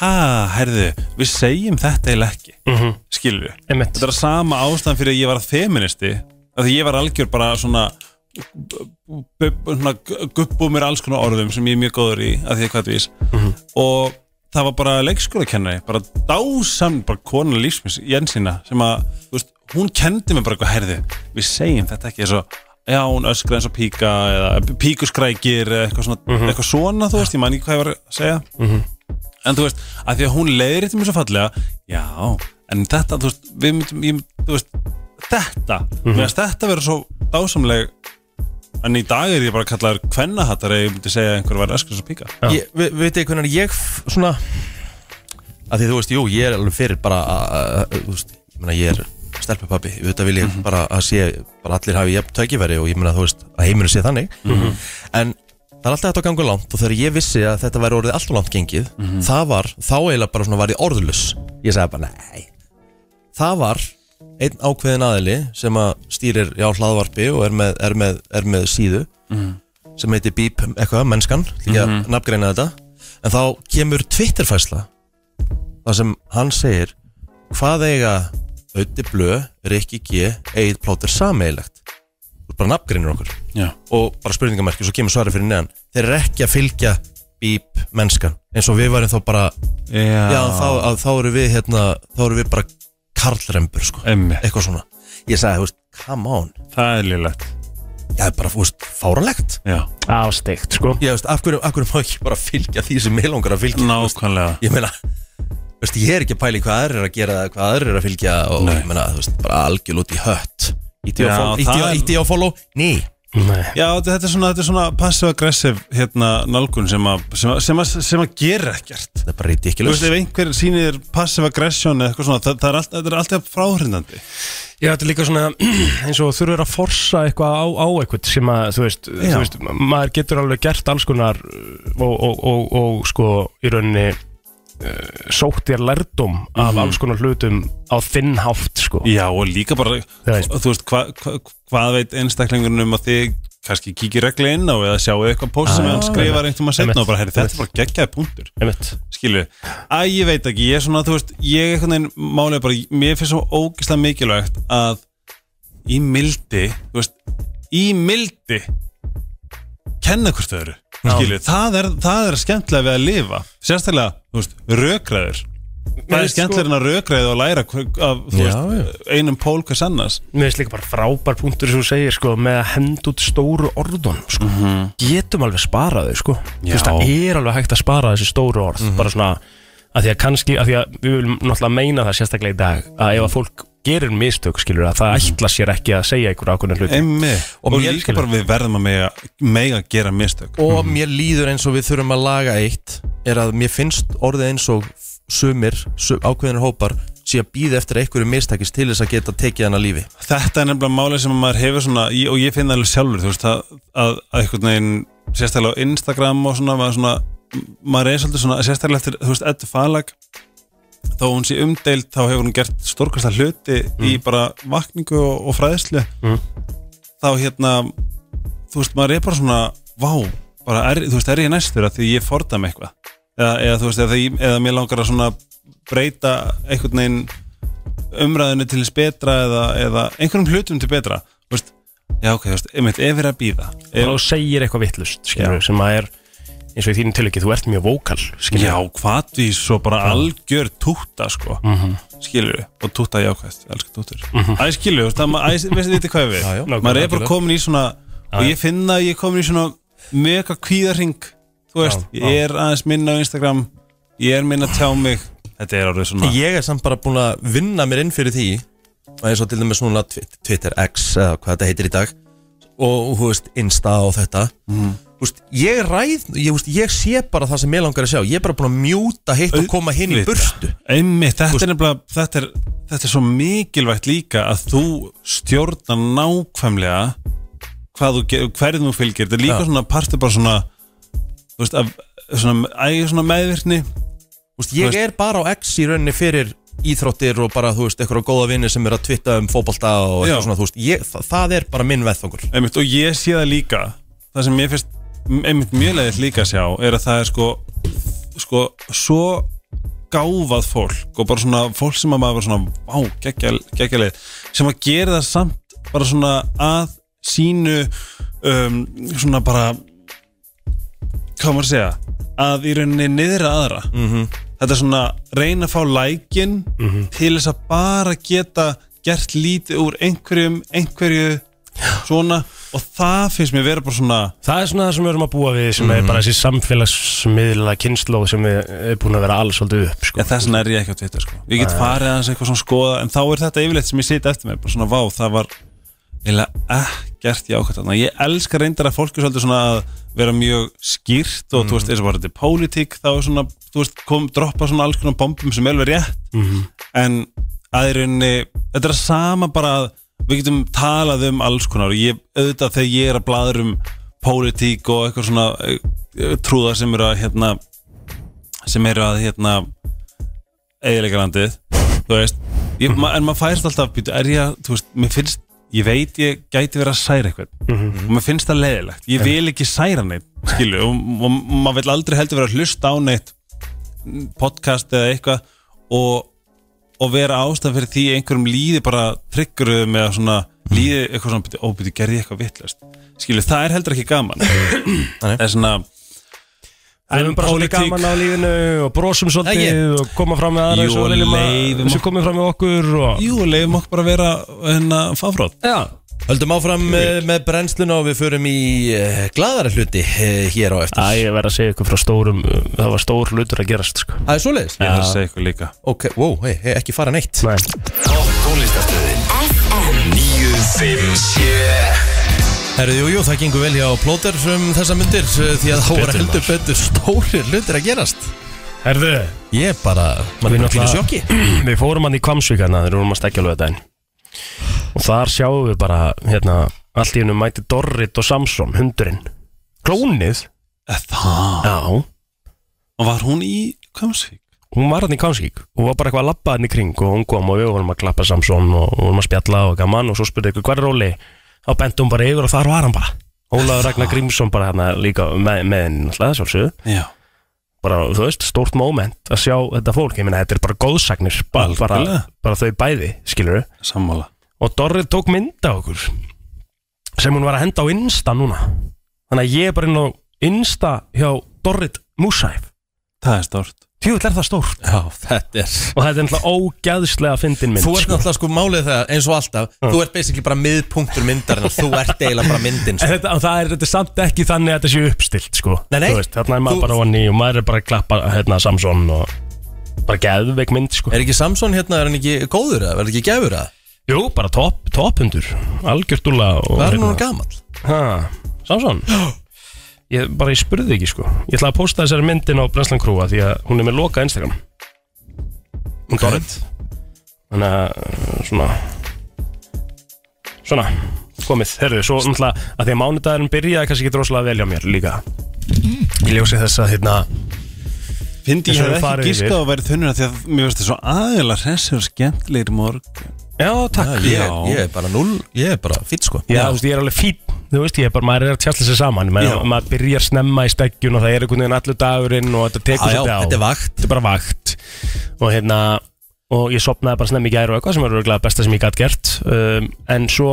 Speaker 9: ha, herðu, við segjum þetta eiginlega ekki mm -hmm. skilur við
Speaker 2: Einmitt.
Speaker 9: þetta er að sama ástæðan fyrir að ég var feministi af því ég var algjör bara svona bu- bu- svona guppu mér alls konar orðum sem ég er mjög góður í að því ég er hvað vís og það var bara leikskólakennari bara dásam, bara kona lífsmins Jensina sem að, þú veist, hún kendi mér bara eitthvað herði, við segjum þetta ekki eins og, já, hún öskra eins og píka eða píkuskrækir eða eitthvað svona, eitthvað svona, þú veist, ég man ekki hvað ég var að segja en þú veist, að því að hún leiðir þetta mér svo fallega, já en þetta, þú veist, við myndum ég, mynd- þú veist, þetta, mm -hmm. þetta verður svo dásamleg En í dag er ég bara kallaður kvennahattar ef ég myndi segja að einhver var öskurs og píka
Speaker 1: ég, við, við veitum hvernig ég f- svona að því þú veist, jú, ég er alveg fyrir bara að, að, að þú veist, ég meina ég er stelpupappi, við þetta vil ég bara að sé bara allir hafi jafn tækifæri og ég meina þú veist að heimurinn sé þannig en það er alltaf þetta að ganga langt og þegar ég vissi að þetta væri orðið allt og langt gengið það var, þá eiginlega bara svona var ég orðlus ég sagði bara, nei það var einn ákveðin aðili sem að stýrir, já, hlaðvarpi og er með, er með, er með síðu sem heitir Bíp eitthvað, mennskan því að nafngreina þetta en þá kemur Twitterfæsla þar sem hann segir hvað eiga Ötti Blö, Rikki G Egil Plóter sameigilegt þú bara nafngreinir okkur
Speaker 9: Já.
Speaker 1: og bara spurningamerki, svo kemur svarið fyrir neðan þeir eru ekki að fylgja Bíp mennskan eins og við varum þá bara
Speaker 9: Já,
Speaker 1: já, þá, að, þá eru við hérna, þá eru við bara karlrembur sko,
Speaker 9: Einmitt.
Speaker 1: eitthvað svona ég sagði, þú veist, come on
Speaker 9: Það er lillegt
Speaker 1: ég er bara, þú veist, fáralegt
Speaker 9: Já,
Speaker 2: ásteikt sko
Speaker 1: ég veist, af hverju, af hverju má ekki bara fylgja því sem mig langar að fylgja
Speaker 9: nákvæmlega
Speaker 1: ég meina, veist, ég er ekki að pæli hvað aðrir eru að gera eða hvað aðrir eru að fylgja og
Speaker 9: Nei.
Speaker 1: ég meina, þú veist, bara algjörl út í hött ítti
Speaker 9: Já, það-
Speaker 1: á follow, ný
Speaker 2: Nei.
Speaker 9: Já, þetta er svona, þetta er svona passive-aggressive hérna, nálgun sem að sem, að- sem, að- sem að gera ekkert
Speaker 1: það er bara
Speaker 9: Þú veist,
Speaker 1: ridiculous
Speaker 9: ef einhver sýnir passive-aggression eða eitthvað svona, það, það er allt, þetta er alltaf fráhrindandi
Speaker 2: Já, þetta er líka svona (clears throat) eins og þurfur að forsa eitthvað á, á eitthvað sem að, þú veist, þú veist, maður getur alveg gert alls konar uh, og, og, og, og sko, í rauninni uh, sótt þér lærdum af alls konar hlutum á þinn hátt, sko.
Speaker 9: Já, og líka bara,
Speaker 2: Það er-
Speaker 9: þú veist, hva, hva, hvað veit einstaklingurinn um að þið kannski kíkir regli inn á eða sjáu eitthvað post sem hann skrifar einhverjum að setna og bara, herri, þetta er bara geggjaði punktur
Speaker 2: Einmitt.
Speaker 9: skilu, að ég veit ekki ég er svona, þú veist, ég einhvern veginn málega bara, mér finnst svo ógislega mikilvægt að í mildi þú veist, í mildi kenna hvort þau eru skilju, það er, það er skemmtilega við að lifa sérstaklega, þú veist, rökræður það er
Speaker 2: finnst sko-
Speaker 9: skemmtilega en að rökræða og læra hver- af, þú
Speaker 1: Já,
Speaker 9: veist, einum pól hvers annars
Speaker 2: Mér finnst líka bara frábær punktur sem þú segir sko, með að henda út stóru orðunum sko.
Speaker 9: Mhm.
Speaker 2: getum alveg sparaði sko. Þú veist, það er alveg hægt að spara þessi stóru orð
Speaker 9: Mhm.
Speaker 2: bara svona að því að kannski að því að við viljum náttúrulega meina það sérstaklega í dag að ef að fólk gerir mistök skilur að það
Speaker 9: Mhm.
Speaker 2: ætla sér ekki að segja ykkur ákveðna hluti
Speaker 9: Einmi.
Speaker 1: Og
Speaker 9: og,
Speaker 1: mér-
Speaker 9: líka bara við verðum að mega, mega gera mistök
Speaker 1: og mér líður eins og við þurfum að laga eitt er að mér finnst orðið eins og sumir, sum, ákveðinir hópar sé að býða eftir að einhverju mistakist til þess að geta tekið hann að lífi
Speaker 9: þetta er nefnilega máli sem maður hefur svona, í- og ég finn það alveg sjálfur þú veist, að, að, að einhvern veginn sérstaklega á Instagram og svona, maður, svona maður er svolítið svona, sérstaklega eftir þú veist, Eddu Falag þó hún sé umdeild, þá hefur hún gert stórkasta hluti í bara vakningu og, og fræðslu þá hérna þú veist, maður er bara svona vá, bara er, þú veist, er ég næstur að því ég fordam eitthvað eða, eða þú veist, eða, ég- eða mér langar að svona breyta einhvern veginn umræðinu til þess betra eða, eða einhverjum hlutum til betra þú veist, já ok, þú veist, einmitt ef er að býða
Speaker 2: og þú segir eitthvað vittlust skilur, sem að er eins og í þínu tilöki þú ert mjög vókal skilur.
Speaker 9: já, hvað því svo bara algjör túta sko, mm
Speaker 1: Mhm.
Speaker 9: skilur við og túta jákvæðst, elskar tútur æ, skilur við, þú veist, það ma- æ, veist þið hvað við
Speaker 1: Já, já.
Speaker 9: maður er bara
Speaker 1: Nákvæmlega.
Speaker 9: komin í svona og ég finna að ég er komin í svona mega kvíðarring, þú veist
Speaker 1: Já,
Speaker 9: ég er aðeins minna á Instagram ég er minna að tjá mig, þetta er orðið svona
Speaker 1: ég er samt bara búin að vinna mér inn fyrir því að eins og til dæmis núna Twi- Twitter X eða hvað þetta heitir í dag og hú veist Insta og þetta
Speaker 9: Mhm.
Speaker 1: þú veist, ég ræð ég, þú veist, ég sé bara það sem ég langar að sjá ég er bara búin að mjúta hitt og koma hinn í
Speaker 9: Auðvitað.
Speaker 1: burstu
Speaker 9: Einmitt, þetta er nefnilega þetta er, þetta er svo mikilvægt líka að þú stjórna nákvæmlega hvað þú gerir, hverju þú fylgir þetta er líka
Speaker 1: Já.
Speaker 9: svona partur bara svona þú veist, af, svona, æg svona meðvirkni
Speaker 1: Þú veist, ég
Speaker 9: Þú veist-
Speaker 1: er bara á X í rauninni fyrir íþróttir og bara, þú veist, einhverja góða vinni sem er að twitta um fótbolta og
Speaker 9: Já.
Speaker 1: eitthvað svona, þú veist, ég, það, það er bara minn veðfangur.
Speaker 9: einmitt, og ég sé það líka það sem ég finnst einmitt mjög leiðið líka að sjá er að það er sko sko svo gáfað fólk og bara svona fólk sem að maður bara svona vá, geggjaleið sem að gera það samt bara svona að sínu um, svona bara hvað maður að segja að í rauninni niðra aðra -hmm. þetta er svona reyna að fá lækin til þess að bara geta gert lítið úr einhverjum einhverju svona og það finnst mér vera bara svona
Speaker 2: það er svona það sem við erum að búa við sem
Speaker 9: Mhm.
Speaker 2: er bara þessi samfélagsmiðla kynnslóð sem við erum búin að vera alls svolítið upp sko.
Speaker 9: Já, þess vegna er ég ekki á Twitter sko. Ég get farið aðeins eitthvað svona skoða En þá er þetta yfirleitt sem ég seti eftir mér Bara svona vá, það var eiginlega ekkert jákvæmt þarna. Ég elska reyndar að fólk er svolítið svona að vera mjög skýrt Og þú veist, eins og bara þetta er pólitík Þá er svona, þú veist, kom, droppa svona alls konar bombum sem er alveg rétt En aðeirinni, þetta er að sama bara að Við getum talað um alls konar Og ég, auðvitað þegar ég er að blaður um pólitík og eitthvað svona eh, eh, trúðar sem eru að hérna, sem eru að hérna, eiginlega landið þú veist, ég, ma en maður færst alltaf býtu, er ég að, þú veist, mér finnst ég veit ég gæti verið að særa eitthvað og mér finnst það leiðilegt, ég vil ekki særa neitt skilu, og, og maður vil aldrei heldur vera að hlusta á neitt podcast eða eitthvað og, og vera ástæð fyrir því einhverjum líði bara triggeruðum eða svona líði eitthvað svona, "Bíddu, ó, býtu, gerði ég eitthvað vittlust skilu, það er heldur ekki gaman það er svona
Speaker 2: Það er bara svolítið
Speaker 9: Pólitík.
Speaker 2: gaman á lífinu og brosum svolítið
Speaker 1: Nei, ég-
Speaker 2: og koma fram með aðra
Speaker 9: Jú,
Speaker 2: eins og við viljum að
Speaker 9: leifum
Speaker 2: þessu komið fram með okkur og...
Speaker 9: jú, leiðum okkur bara að vera hérna, fáfrátt
Speaker 2: Já,
Speaker 1: Höldum áfram eh, með brennsluna og við förum í uh, glæðara hluti uh, hér á
Speaker 2: Æ,
Speaker 1: eftir.
Speaker 2: ég verð að segja ykkur frá stórum uh, það var stór hlutur að gerast sko.
Speaker 1: Það er svoleiðis?
Speaker 9: ég er að segja ykkur líka
Speaker 1: Ok, wow, hey, hey, ekki fara neitt.
Speaker 2: Nei,
Speaker 3: Topp tónlistastöðin FM 957
Speaker 1: Herðu, jú, jú, það gengur vel hjá plóter um þessa myndir eh, því að þá
Speaker 2: Betur
Speaker 1: er heldur
Speaker 2: maður.
Speaker 1: betur stórir hlutir að gerast.
Speaker 2: herðu
Speaker 1: Ég er bara, mann er bara pínu sjokki.
Speaker 2: Við fórum hann í hérna, Kvamsvíkana þegar við vorum að stekja alveg þetta og þar sjáum við bara hérna, allt í hennu mæti Dorrit og Samson hundurinn, klónið
Speaker 9: Eða Það
Speaker 2: Já,
Speaker 9: Og var hún í Kvamsvík?
Speaker 2: hún var hann í Kvamsvík og var bara eitthvað að labba hann í kring og hún kom og við vorum að klappa Samson og og vorum að spjalla og gaman og svo spurði ykkur hvað er Róli þá benti hún bara yfir og þar var hann bara Ólaður Ragnar Grímsson bara hérna líka með, með henni náttúrulega sjálfsögðu
Speaker 9: Já
Speaker 2: bara, þú veist, stórt moment að sjá þetta fólk, ég meina, þetta er bara góðsagnir bara, bara,
Speaker 9: Algjörlega.
Speaker 2: bara þau bæði, skilur
Speaker 9: Sammála
Speaker 2: og Dorri tók mynda okkur sem hún var að henda á Insta núna þannig að ég er bara inn á Insta hjá Dorrit Musæf
Speaker 9: Það er stórt
Speaker 2: tjóðvill er það stórt
Speaker 1: Já, þetta er
Speaker 2: og þetta er náttúrulega ógæðslega fyndin mynd
Speaker 1: Þú ert
Speaker 2: sko.
Speaker 1: náttúrulega sko málið það eins og alltaf Þú ert basically bara miðpunktur myndarinn Þú ert eiginlega bara myndin
Speaker 2: En (laughs)
Speaker 1: sko.
Speaker 2: Þetta, og það er, þetta er samt ekki þannig að þetta sé uppstilt sko.
Speaker 1: Nei, nei.
Speaker 2: Þú veist, Þarna er maður
Speaker 1: Þú-
Speaker 2: bara onni og maður er bara að klappa hérna, Samson og bara geðveik mynd sko.
Speaker 1: Er ekki Samson hérna, er hann ekki góður að, verður ekki gefur að
Speaker 2: Jú, bara topp top hundur Algjört hérna- úla
Speaker 1: Hvað er hann núna gamall?
Speaker 2: (gasps) Samson Ég bara ég spurði ekki sko Ég ætla að posta þessari myndin á Brenslan Krúa Því að hún er með loka Instagram Hún Dorrit Þannig að uh, svona Svona komið, herðu, svo náttúrulega að því að mánudagurinn byrjaði kannski ekki droslega vel hjá mér líka Ég ljósi þess að hérna
Speaker 9: Fyndi
Speaker 2: Þessu
Speaker 9: ég hef
Speaker 2: hefur farið
Speaker 9: ekki
Speaker 2: yfir.
Speaker 9: gískað að vera þunnur af Því að mér finnst það svo aðeinslega hressir og skemmtilegir í morgun
Speaker 2: Já, takk
Speaker 1: Ég, ég er bara null, ég er bara fýtt sko
Speaker 2: Já, þú veist, ég er alveg fín Þú veist, ég er bara, maður er að tjastla sér saman maður, maður byrjar snemma í steggjun og það er einhvern veginn allur dagurinn og þetta tekur
Speaker 1: Já, já,
Speaker 2: svolítið á
Speaker 1: þetta er vakt
Speaker 2: Þetta er bara vakt Og hérna, og ég sopnaði bara snemma í gæri og eitthvað sem var örgulega besta sem ég gætt gert um, En svo,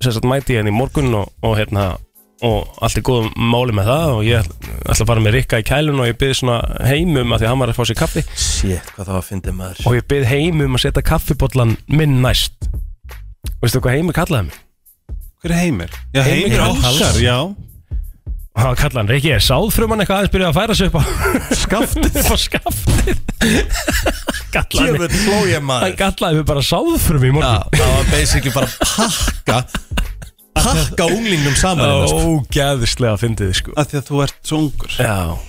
Speaker 2: sem sagt, mæti ég henni í morgun og, og hérna og allt er góðum máli með það og ég ætla að fara með Rikka í kælun og ég byrði svona heimum að því að hann var að fá sér kaffi
Speaker 1: Shit, hvað það var að fyndi maður
Speaker 2: og ég byrði heimum að setja kaffibollan minn næst Veistu hvað heimur kallaði mig?
Speaker 9: Hver er heimir? Já,
Speaker 2: Heimir
Speaker 9: heimir
Speaker 2: Hallsson.
Speaker 9: hálsar, já
Speaker 2: og það kallaði hann Rikki, er sáðfruman eitthvað aðeins byrjuð að færa sig upp á (laughs) skaftið upp á skaftið kallaði mig
Speaker 1: Tjöfull fló ég
Speaker 2: hann
Speaker 1: maður
Speaker 2: kallaði mig bara sáðfrum í
Speaker 1: Já,
Speaker 2: morgun
Speaker 1: það var basically bara að pakka Pakka unglingnum saman hérna, sko.
Speaker 2: ógæðislega fyndið þið, sko
Speaker 9: Af því að þú ert svo ungur
Speaker 2: já,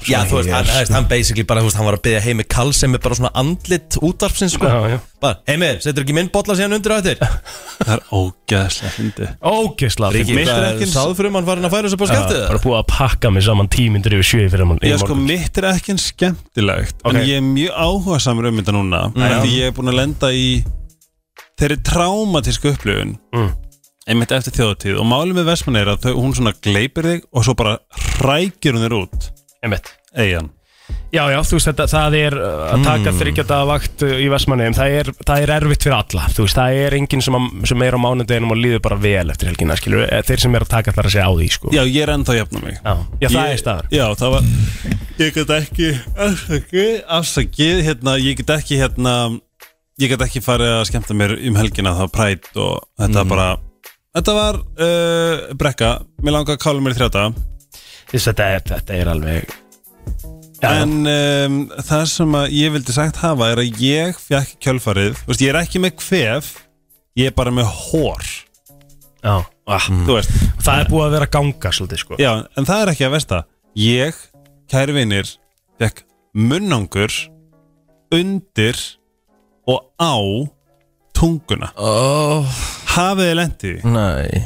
Speaker 1: Já, þú veist, hann, þú veist, hann basically bara, þú veist, hann var að byggja heimi kall sem er bara svona andlit útvarpsins, sko
Speaker 2: Já, já.
Speaker 1: Bara, heimir, setur ekki minn bolla síðan undir á þetta
Speaker 9: Það er ógæðslega fyndi
Speaker 2: ógæðislega
Speaker 1: Riki,
Speaker 2: fyndið
Speaker 9: mitt er
Speaker 1: það er
Speaker 9: ekki-
Speaker 1: sáðfrumann um farin að færa þessu bara
Speaker 2: Já,
Speaker 1: skaftið
Speaker 2: bara búið að pakka mig saman tímindur yfir sjö fyrir hann í
Speaker 9: Já, sko,
Speaker 2: morgun
Speaker 9: mitt er ekki en skemmtilegt
Speaker 2: Ok.
Speaker 9: En ég er mjög áhuga samur um þetta núna mm. Því ég er búin að lenda í Þeirri traumatísku upplifun
Speaker 2: Mm.
Speaker 9: Einmitt eftir þjóðatíð Og málið með Vestmann er að þau, hún svona gleipir þig Og svo bara hrækir hún þér út
Speaker 2: Einmitt.
Speaker 9: Eyjan
Speaker 2: já, já, þú veist, þetta, það er uh, að taka mm. þryggjadaða vakt uh, í Vestmanniðum það, er- það er erfitt fyrir alla, þú veist, það er enginn sem, að- sem er á mánudeginum og líður bara vel eftir helgina, skilur, þeir sem er að taka allar að segja á því, sko
Speaker 9: Já, ég er ennþá að jafna mig
Speaker 2: Já, já það
Speaker 9: ég,
Speaker 2: er staðan
Speaker 9: Já, það var Ég get ekki afsakið Afsakið, hérna, ég get ekki hérna Ég get ekki farið að skemmta mér um helgina Það var prætt og þetta
Speaker 2: Mhm.
Speaker 9: bara Þetta var uh, brekka Mér langar að kála mér í þrjáta
Speaker 2: Þess, þetta, er, þetta er alveg já,
Speaker 9: En um, það sem að ég vildi sagt hafa Er að ég fjakk kjölfarið Þú veist, ég er ekki með kvef Ég er bara með hór
Speaker 2: já.
Speaker 9: ah,
Speaker 2: Mhm.
Speaker 9: Þú veist,
Speaker 2: Það er búið að vera að ganga svolítið sko
Speaker 9: Já, en það er ekki að versta Ég, kæri vinir Fekk munnangur Undir Og á tunguna
Speaker 1: Oh,
Speaker 9: Hafið þið lendi
Speaker 1: nei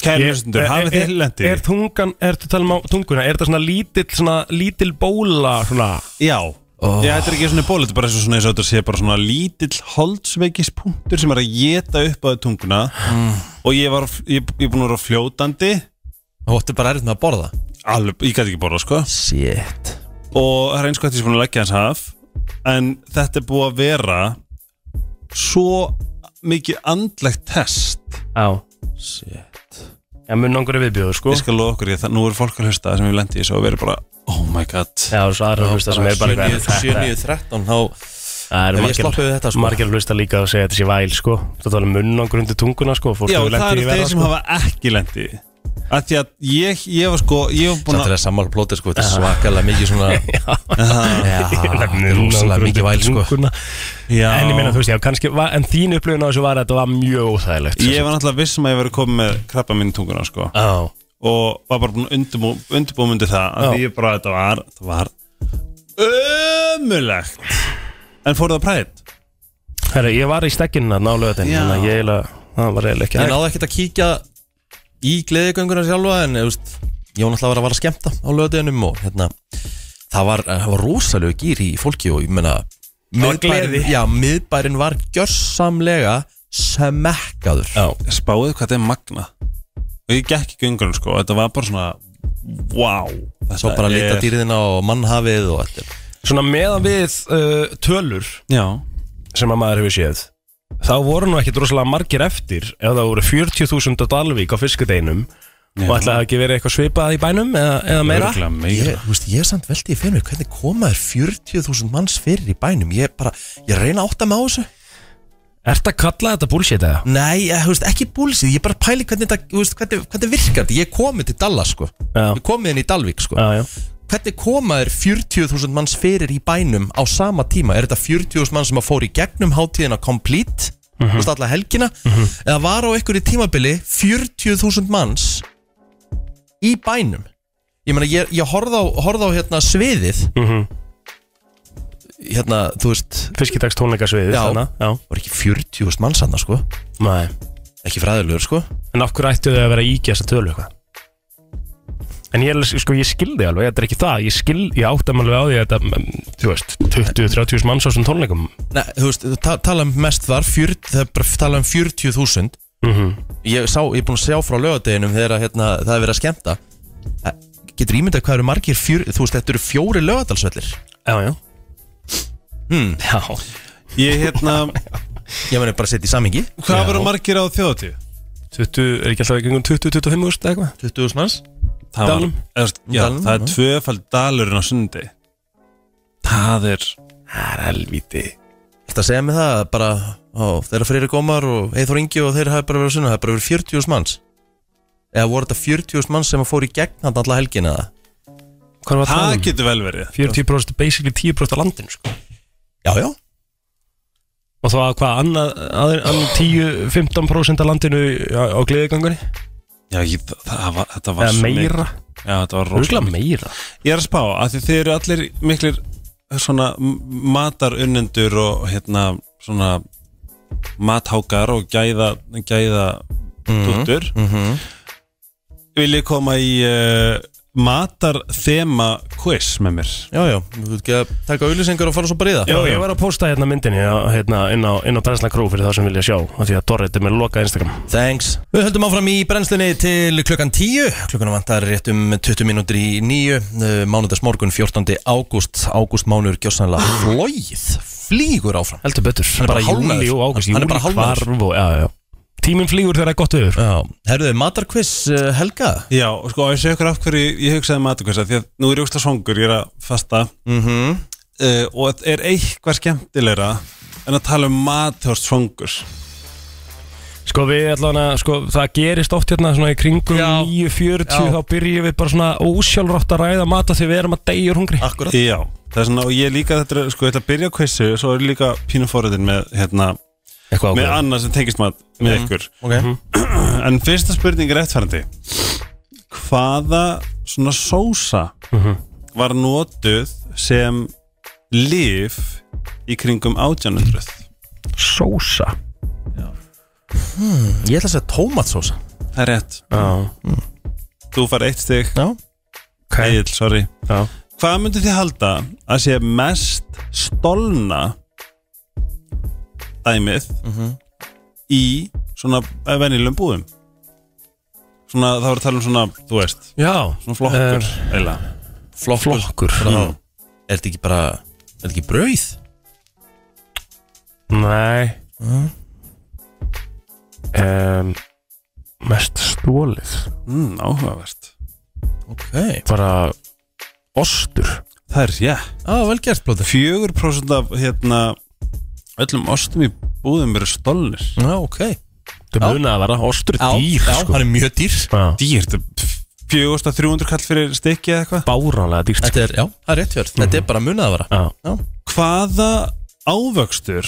Speaker 9: Kæri hlustundur, hafið þið lendi
Speaker 2: e- Er tungan, ertu að tala um á tunguna Er þetta svona lítill, svona lítill bóla svona,
Speaker 9: Já
Speaker 2: Oh.
Speaker 9: Já, þetta er ekki svona ból, þetta er bara eins og svona eins og þetta sé bara svona lítill holdsveikispunktur sem er að geta upp að tunguna
Speaker 2: Mm.
Speaker 9: og ég var, ég, ég er búin að vera fljótandi
Speaker 1: Þú ætti bara erfitt með að borða
Speaker 9: alveg, ég gæti ekki borða, sko
Speaker 1: Shit
Speaker 9: og það er eins og þetta sem búin að leggja hans haf en þetta er búið að vera svo mikið andlegt test
Speaker 2: Já Já, mun nángur er viðbjóður sko
Speaker 9: ég skal loða okkur í það, nú eru fólk að hlusta sem ég lendi í þessu og verið bara, oh my god
Speaker 2: Já, og svo aðra hlusta sem er bara eitthvað,
Speaker 1: 7-9-13, þá
Speaker 2: Það
Speaker 1: Ef
Speaker 2: eru
Speaker 1: ég
Speaker 2: margir,
Speaker 1: sloppið við þetta, sko.
Speaker 2: margir hlusta líka og segja þetta sé væl sko Það tala um munnangur undir tunguna sko Fólk
Speaker 9: já,
Speaker 2: hefur lent
Speaker 9: það
Speaker 2: í
Speaker 9: eru
Speaker 2: verra,
Speaker 9: þeir sem
Speaker 2: sko.
Speaker 9: hafa ekki lendi að því að ég, ég var sko ég var búin
Speaker 1: Þetta
Speaker 9: að,
Speaker 1: er sammála plóti, sko, þetta er svakalega mikið
Speaker 2: (laughs)
Speaker 1: svona
Speaker 2: (laughs) Ég
Speaker 1: Já,
Speaker 2: lent munnangur
Speaker 1: Ah, rosalega
Speaker 2: undir
Speaker 1: mikið væl, sko
Speaker 2: tunguna.
Speaker 9: já,
Speaker 2: En ég meina, þú veist, já, kannski var- En þín upplifun á þessu var að þetta var mjög óþægilegt
Speaker 9: ég var náttúrulega vissum að ég verið komið með krabba minn í tunguna sko
Speaker 2: Já,
Speaker 9: og var bara búin að undirbú- undirbúa myndi það að
Speaker 2: Já.
Speaker 9: því ég bara, þetta var, þetta var ömulegt en fór það prætt
Speaker 2: Herra, ég var í stekkinu að nálega þetta
Speaker 9: Já.
Speaker 2: Þannig að ég eiginlega, það var eiginlega ekki
Speaker 1: Ég
Speaker 2: hægt
Speaker 1: náði ekkert að kíkja í gleðigönguna sjálfa en þú veist, Jón alltaf var að vara að skemmta á löðdeginum og hérna það var, eh, það var rosalegu gýr í fólki og ég meina
Speaker 2: var gleði.
Speaker 1: já, miðbærin var gjörsamlega smekkaður
Speaker 2: Já.
Speaker 9: spáðu hvað þetta er magna og ég gekk í göngunum sko þetta var bara svona wow þetta
Speaker 1: svo bara að lita
Speaker 9: er-
Speaker 1: dýrðina og mannhafið og þetta
Speaker 2: Svona meðan við uh, tölur
Speaker 9: já,
Speaker 2: sem að maður hefur séð þá voru nú ekkit rosalega margir eftir ef það voru 40.000 á Dalvík á fiskudeinum og ætlaði það ekki verið eitthvað svipað í bænum eða, eða meira
Speaker 9: Örugglega
Speaker 1: Ég,
Speaker 9: meira
Speaker 1: þú veist, ég er samt veldið í fyrir mér, hvernig koma þér 40.000 manns fyrir í bænum? Ég er bara, ég er að reyna að átta mig á þessu.
Speaker 2: Ertu að kalla þetta bullshit eða?
Speaker 1: Nei, eh, þú veist, ekki búlsið, ég er bara að pæli hvernig þetta, þú veist, hvernig, hvernig virkar þetta. Ég komið til Dallas, sko.
Speaker 2: Já.
Speaker 1: Ég komið inn í Dalvik, sko.
Speaker 2: Já, já
Speaker 1: Hvernig koma þér 40.000 manns fyrir í bænum á sama tíma? Er þetta 40.000 manns sem að fór í gegnum hátíðina complete,
Speaker 2: Mhm.
Speaker 1: þú veist, alla helgina? Eða var á einhverju tímabili 40.000 manns í bænum? Ég meina, ég, ég horfði á, horfði á hérna sviðið,
Speaker 2: mm -hmm.
Speaker 1: hérna, þú veist,
Speaker 2: Fiskidags tónleikasviðið
Speaker 1: Já.
Speaker 2: þarna, já.
Speaker 1: var ekki 40.000 manns hann, sko.
Speaker 2: Nei.
Speaker 1: Ekki fræðilegur, sko.
Speaker 2: En af hverju ættu þau að vera að íkja þessa tölu eitthvað? En ég, er alveg- sko, ég skildi alveg, þetta er ekki það Ég, skil, ég áttam alveg á því að þetta mm, Þú veist, 20-30 manns á þessum tónleikum
Speaker 1: Nei, þú veist, þú ta tala um mest þar, 40, það er bara að tala um 40.000
Speaker 2: mm
Speaker 1: Mhm. ég, sá- ég er búin að sjá frá lögadeginum þegar að, hérna, það er verið að skemmta Eh, Getur ímyndað hvað eru margir, fjör, þú veist, þetta eru fjóri lögadalsvellir
Speaker 2: Já, já
Speaker 1: Hmm.
Speaker 2: Já,
Speaker 9: Ég hérna, (laughs)
Speaker 1: Ég meni bara að setja í samingi
Speaker 9: hvað voru margir á þjóðatíð?
Speaker 2: 20, er ekki alltaf ekki 20-25 úrst eitthvað?
Speaker 1: 20.000 manns
Speaker 9: Það var,
Speaker 2: Dalnum.
Speaker 9: eða, þú veist, já,
Speaker 1: Dalnum,
Speaker 9: það er
Speaker 1: já.
Speaker 9: tvöfald dalurinn á sundi Það er
Speaker 2: Það er helviti
Speaker 1: Þetta segja mig það, bara, ó, þeirra Freyri Gómar og Eithor Ingi og þeir hafa bara verið að sunna, það er bara verið 40.000 manns Eða voru þetta 40.000 manns sem að fóru í gegn hann alla helgina eða?
Speaker 2: Hvað var
Speaker 9: Það
Speaker 2: það? Um?
Speaker 9: getur vel verið
Speaker 2: 40% basically 10% af landinu sko.
Speaker 1: Já, já,
Speaker 2: Og það var hvað, annað, aðeir- annað 10-15% af landinu á, á gleðigangunni?
Speaker 9: Já, ég, það- það var, þetta var
Speaker 2: Eða
Speaker 9: svo mikið.
Speaker 2: meira?
Speaker 9: Já, þetta var
Speaker 2: Rúglega
Speaker 9: rosalega
Speaker 2: meira
Speaker 9: Ég er að spá að þið eru allir miklir svona matarunnendur og hérna svona mathákar og gæða, gæða dúttur Viljið koma í uh, matarþema quiz með mér
Speaker 1: já, já Þú veit ekki að taka auðlýsingar og fara svo bara í það
Speaker 2: Já, ég var að posta hérna myndinni á- hérna, inn á, inn á Dansla Crew fyrir það sem vilja sjá af Því að Dorrit er með lokað Instagram
Speaker 1: Thanks. Við höldum áfram í brennslunni til klukkan 10. Klukkan vantar rétt um 20 mínútur í 9. Mánudagsmorgun 14. ágúst. Ágúst mánuður gjósanlega flóið. Flýgur áfram.
Speaker 2: Heldur betur
Speaker 1: er
Speaker 2: Bara
Speaker 1: bara hálfnaður.
Speaker 2: júli og águst
Speaker 1: Hann er
Speaker 2: Júli
Speaker 1: bara hálfnaður.
Speaker 2: hvarf og, já, já. Tíminn flýgur þegar það er gott viður
Speaker 1: Já. Herðu, matarquiz uh, Helga.
Speaker 9: Já, og sko, ég segi ykkur af hverju ég hugsaði matarquiz að því að nú er ég ósla svongur, ég er að fasta
Speaker 1: Mm -hmm.
Speaker 9: uh, og er eitthvað skemmtilegra en að tala um mat hjá svongur
Speaker 2: Sko við allan að, sko það gerist oft hérna svona í kringum
Speaker 1: Já.
Speaker 2: 9.40
Speaker 1: Já.
Speaker 2: þá byrjum við bara svona ósjálfrátt að ræða mata því við erum að deyja úr hungri
Speaker 1: Akkurat.
Speaker 9: Já, það er svona og ég líka þetta, er- sko, ég ætla að byrja á quizzu svo er líka pínu forriðin með hérna
Speaker 2: Eitthvað
Speaker 9: með annað sem tengist mat með ykkur
Speaker 1: Ok.
Speaker 9: en fyrsta spurning er eftirfærandi hvaða svona sósa var notuð sem líf í kringum 1800
Speaker 2: Sósa
Speaker 1: Ég ætla að segja tómatsósa.
Speaker 9: það er rétt,
Speaker 2: Já,
Speaker 9: þú far eitt stig
Speaker 1: Já.
Speaker 9: Egil, sorry
Speaker 2: Já.
Speaker 9: hvað myndu þið halda að sé mest stolna dæmið
Speaker 2: Mhm.
Speaker 9: í svona eh, venjulegum búðum svona, það voru að tala um svona þú veist,
Speaker 2: Já.
Speaker 9: svona flokkur
Speaker 2: Eh,
Speaker 9: eiginlega
Speaker 1: Flokkur.
Speaker 2: Flokkur
Speaker 1: Bara, Er þetta ekki bara, er þetta ekki brauð?
Speaker 2: Mm, Nei um, Mest stólið
Speaker 9: Mm, áhugavert
Speaker 1: Ok.
Speaker 2: Bara ostur
Speaker 9: Það er, já,
Speaker 1: Á, vel gert, Blóður.
Speaker 9: 4% af hérna öllum ostum í búðum eru stolnir
Speaker 1: Já, ok. Já.
Speaker 2: Það munið að vera ostur er
Speaker 1: Já,
Speaker 2: dýr
Speaker 1: já,
Speaker 2: sko.
Speaker 1: hann er mjög dýr.
Speaker 2: Já.
Speaker 9: Dýr, þetta er 4.300 kall fyrir stykki eða eitthvað
Speaker 2: Báránlega dýrt sko.
Speaker 1: Þetta er, já, það er rétt hjörð. Þetta er bara munað að vera.
Speaker 2: Já.
Speaker 9: Hvaða ávöxtur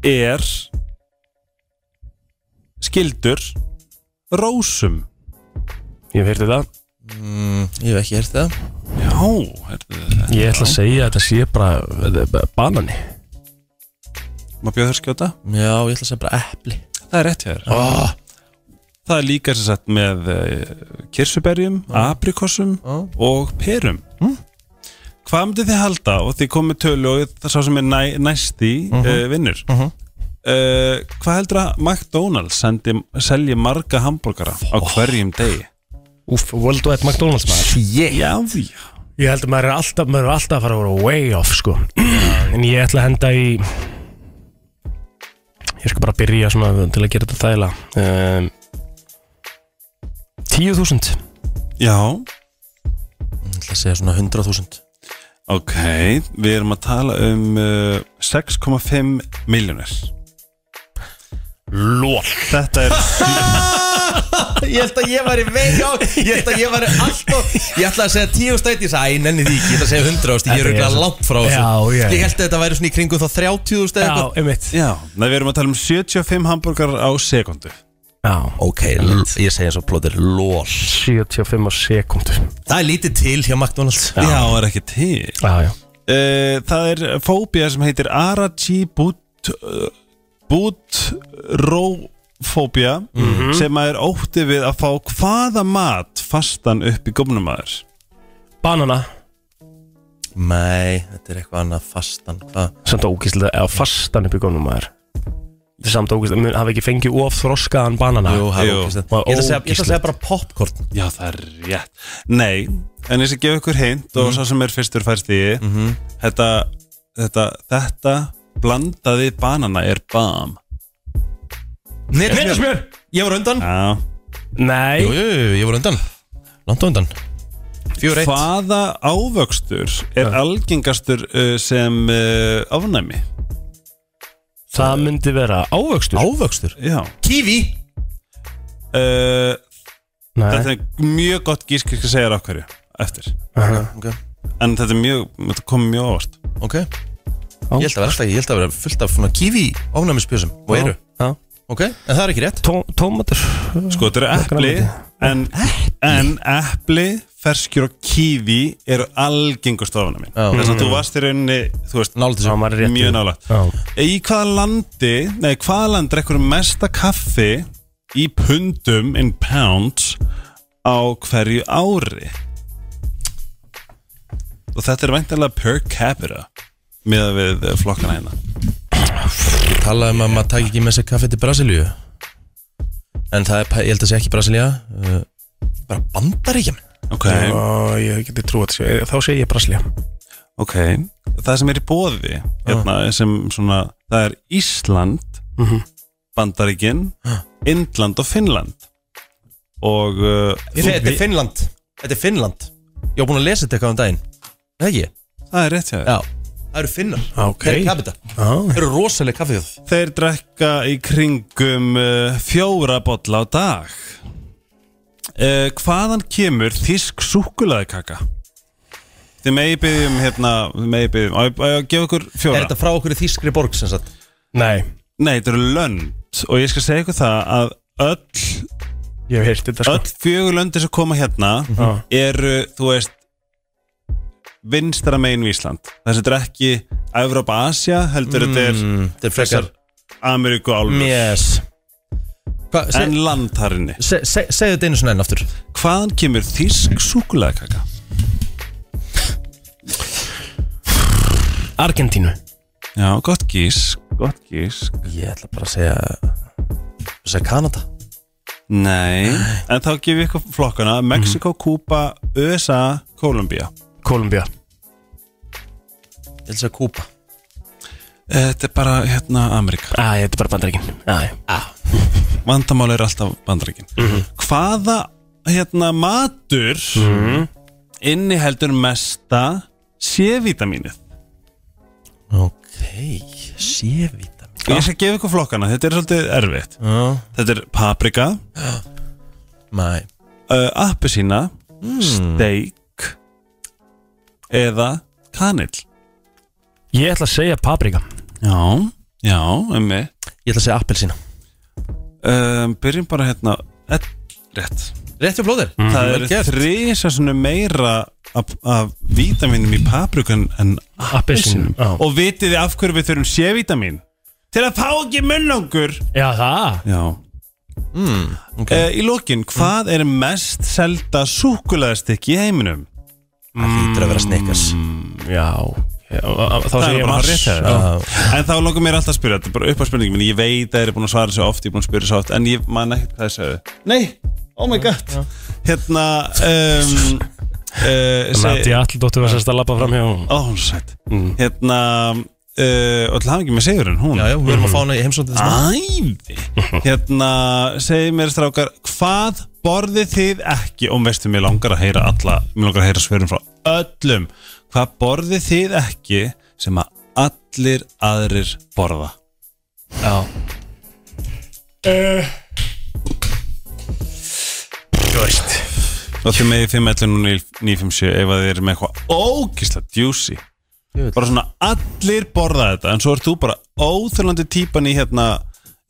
Speaker 9: er skildur rósum?
Speaker 2: Ég hef heyrti það
Speaker 1: Ég hef ekki hert það.
Speaker 9: Já, hérna,
Speaker 2: Ég ætla að segja að þetta sé bara þetta er bara banani
Speaker 9: maður bjóður skjóta
Speaker 1: Já, ég ætla að segja bara epli.
Speaker 9: Það er rétt hjá þér
Speaker 1: Oh.
Speaker 9: Það er líka sem sagt með uh, kirsuberjum, aprikossum
Speaker 1: Já.
Speaker 9: og perum Hvað myndið þið halda og þið komið tölu og það sá sem er næ, næsti uh vinnur uh Hvað heldur að McDonalds sendi, selji marga hambúrgara á hverjum degi?
Speaker 2: Úf, World Wide McDonalds maður
Speaker 1: Yeah.
Speaker 9: Já, því
Speaker 2: Ég held að maður er alltaf, maður er alltaf að fara að vera way off sko En ég ætla að henda í Ég Ég skal bara byrja svona til að gera þetta þægilega um, 10.000
Speaker 9: Já,
Speaker 1: Ég ætla að segja svona 100.000
Speaker 9: ok Við erum að tala um uh, 6,5 miljónir Lól Þetta er
Speaker 1: Ég held að ég væri vei á Ég held að ég væri alltaf Ég ætla að segja 10 stæti Ég sagði, æ, nenni því ekki Ég ætla að segja 100 stæti Ég er
Speaker 2: Þetta er
Speaker 1: auðvitað
Speaker 2: svo-
Speaker 1: langt frá
Speaker 2: Já,
Speaker 1: þessu Sko,
Speaker 2: já,
Speaker 1: Ég
Speaker 2: já.
Speaker 1: held að þetta væri svona í kringum þá 30 stæti
Speaker 2: Já, einmitt
Speaker 9: Já, nei, við erum að tala um 75 hambúrgar á sekundu
Speaker 2: Já
Speaker 1: Ok, l- ég segja eins og plóðir LOL
Speaker 2: 75 á sekundu
Speaker 1: Það er lítið til hjá McDonalds
Speaker 9: Já, það er ekki til
Speaker 2: Já, já
Speaker 9: uh, Það er fóbía sem heitir Arachi Bút uh, Bútrófóbía sem að er ótti við að fá hvaða mat fastan upp í gumnumæður
Speaker 2: Banana
Speaker 1: Nei, þetta er eitthvað annað fastan Hvað?
Speaker 2: Samt ógíslega Eða fastan upp í gónum maður Þetta er Samt ógíslega Mér hafi ekki fengið of þroskaðan banana
Speaker 1: Jú, það er
Speaker 9: Jú.
Speaker 1: ógeðslegt.
Speaker 2: Var
Speaker 1: Ég ætla að segja- ég ætla að
Speaker 2: ógeðslegt.
Speaker 1: segja bara popcorn
Speaker 9: Já, það er rétt Nei, en þess að gefa ykkur hint og svo sem er fyrstur færst í þetta, þetta, þetta blandaði banana er bam
Speaker 1: Nettismjör Ég var undan
Speaker 9: Já
Speaker 2: Nei
Speaker 1: Jú, jú, jú, ég var undan Langt á undan Fjör eitt
Speaker 9: Hvaða ávöxtur er algengastur uh, sem uh, afnæmi?
Speaker 2: Það myndi vera ávöxtur
Speaker 1: Ávöxtur
Speaker 9: Já
Speaker 1: Kiwi
Speaker 9: uh,
Speaker 2: Nei
Speaker 9: Þetta er mjög gott gísk ég skal segja þér af hverju eftir
Speaker 1: Ok,
Speaker 9: en þetta er mjög, þetta kom mjög ávart
Speaker 1: ok Ég held að vera alltaf, ég held að vera fullt af svona kiwi ofnæmisbjösum og eru,
Speaker 2: Já
Speaker 1: ok? En það er ekki rétt
Speaker 2: Tó- Tómatur
Speaker 9: sko þetta eru epli en, en epli, ferskjur og kífi eru algengust ofan að minn
Speaker 1: Já.
Speaker 9: þess að þú varst í rauninni þú veist,
Speaker 1: Nálægt þessu.
Speaker 2: Já, maður er rétt
Speaker 9: mjög
Speaker 2: í-
Speaker 9: nálægt
Speaker 2: Já.
Speaker 9: í hvaða landi, nei hvaða land drekkur mesta kaffi í pundum in pounds á hverju ári og þetta er væntanlega per capita með við eh, flokkana hérna
Speaker 1: Ég talaði um að maður taki ekki með sér kaffi til Brasilíu En það er, pa- ég held að segja ekki Brasilía uh, Bara bandaríkjum
Speaker 9: Ok,
Speaker 2: Ó, Ég geti trúið þessu Ég- Þá segi ég Brasilia
Speaker 9: ok Það sem er í bóði
Speaker 1: Ah.
Speaker 9: hérna, sem svona, það er Ísland
Speaker 1: Mhm.
Speaker 9: Bandaríkin
Speaker 1: Ah.
Speaker 9: Indland og Finnland og uh,
Speaker 1: Þetta er Finnland Þetta er Finnland Ég var búin að lesa þetta eitthvað um daginn Það ekki?
Speaker 9: það er rétt hjá þér
Speaker 1: Já Ah, Það eru finnar
Speaker 2: Ok.
Speaker 1: Þeir eru kapita Þeir eru rosalega kaffið
Speaker 9: Þeir drekka í kringum uh, fjóra bolla á dag uh, Hvaðan kemur þísk súkulaðikaka? Þið megi byggjum hérna, þið megi byggjum, á ég- á ég að gefa ykkur
Speaker 1: Er
Speaker 9: fjóra
Speaker 1: þetta frá okkur í þýskri borg sem sagt?
Speaker 2: Nei
Speaker 9: Nei, þetta eru lönd og ég skal segja ykkur það að öll
Speaker 2: Ég hef heyrt þetta sko
Speaker 9: öll fjögur löndi sem koma hérna eru, þú veist vinstra megin við Ísland þess að þetta er ekki Evrópa Asia heldur þetta er
Speaker 1: Þetta er frekar
Speaker 9: Ameríku álfur
Speaker 1: Yes Hvað,
Speaker 9: en
Speaker 1: seg,
Speaker 9: landharinni
Speaker 1: se, se, segðu þetta einu svona enn aftur
Speaker 9: hvaðan kemur þísk súkulegakaka?
Speaker 2: Argentínu
Speaker 9: Já, gott gís gott gís
Speaker 1: Ég ætla bara að segja Segja Kanada
Speaker 9: Nei, en þá gefum við ykkur flokkana Mexiko, Kúpa, USA, Kólumbía
Speaker 2: Kolumbia
Speaker 1: Ég ætla að segja Kúpa
Speaker 9: Þetta er bara hérna Ameríka
Speaker 2: Æ, þetta er bara bandaríkin Æ
Speaker 9: vandamál er alltaf bandaríkin hvaða hérna matur inniheldur mesta C-vitamínið
Speaker 1: Ok, sévita
Speaker 9: ég skal gefa ykkur flokkana, þetta er svolítið erfitt þetta er paprika
Speaker 1: Mæ,
Speaker 9: uh, appelsína steik eða kanill
Speaker 2: Ég ætla að segja paprika
Speaker 9: já, já, ummi
Speaker 1: ég ætla að segja appelsína
Speaker 9: um, byrjum bara hérna eh, rétt
Speaker 1: Rétt við blóðir
Speaker 9: það er þrísa svona meira af, af vítaminum í paprikun en
Speaker 2: Appelsínum Já.
Speaker 9: og vitið þið af hverju við þurfum C-vitamin til að fá ekki munnangur
Speaker 2: Já, það
Speaker 9: Já Hmm,
Speaker 1: okay.
Speaker 9: Eh, Í lokin, hvað er mest selda súkulæðastikk í heiminum?
Speaker 1: Það lítur að vera snikas
Speaker 2: Já Já, Þá
Speaker 9: Það
Speaker 2: segi
Speaker 9: er
Speaker 2: ég
Speaker 9: bara
Speaker 2: mars
Speaker 9: rétt hjá þér.
Speaker 2: Já.
Speaker 1: Ah.
Speaker 9: En þá langar mér alltaf að spyrja, þetta er bara upp á spurningin Ég veit að þeir eru búin að svara svo oft, ég er búin að spyrja svo oft En ég man ekkert hvað þið sögðu Nei, oh my god Hérna um, uh,
Speaker 2: Þannig að
Speaker 9: seg-
Speaker 2: Nadia Alldóttir var sérst að labba fram hjá
Speaker 9: Ó, hún er sætt Hérna, uh, öll hafingi með sigurinn, hún
Speaker 1: Já, já, við erum að fá hana í heimsóndið ah.
Speaker 9: Æði Hérna, segi mér strákar Hvað borðið þið ekki Og veistu, mér langar að heyra alla Mér langar að heyra svörum frá öllum Hvað borðið þið ekki Sem að allir aðrir borða
Speaker 1: Já
Speaker 2: Þú veist
Speaker 9: Og þið megið 511957 Ef að þið eru með eitthvað ógisla djúsi
Speaker 1: Jöfull.
Speaker 9: Bara svona allir borða þetta En svo ert þú bara óþjólandi típan í hérna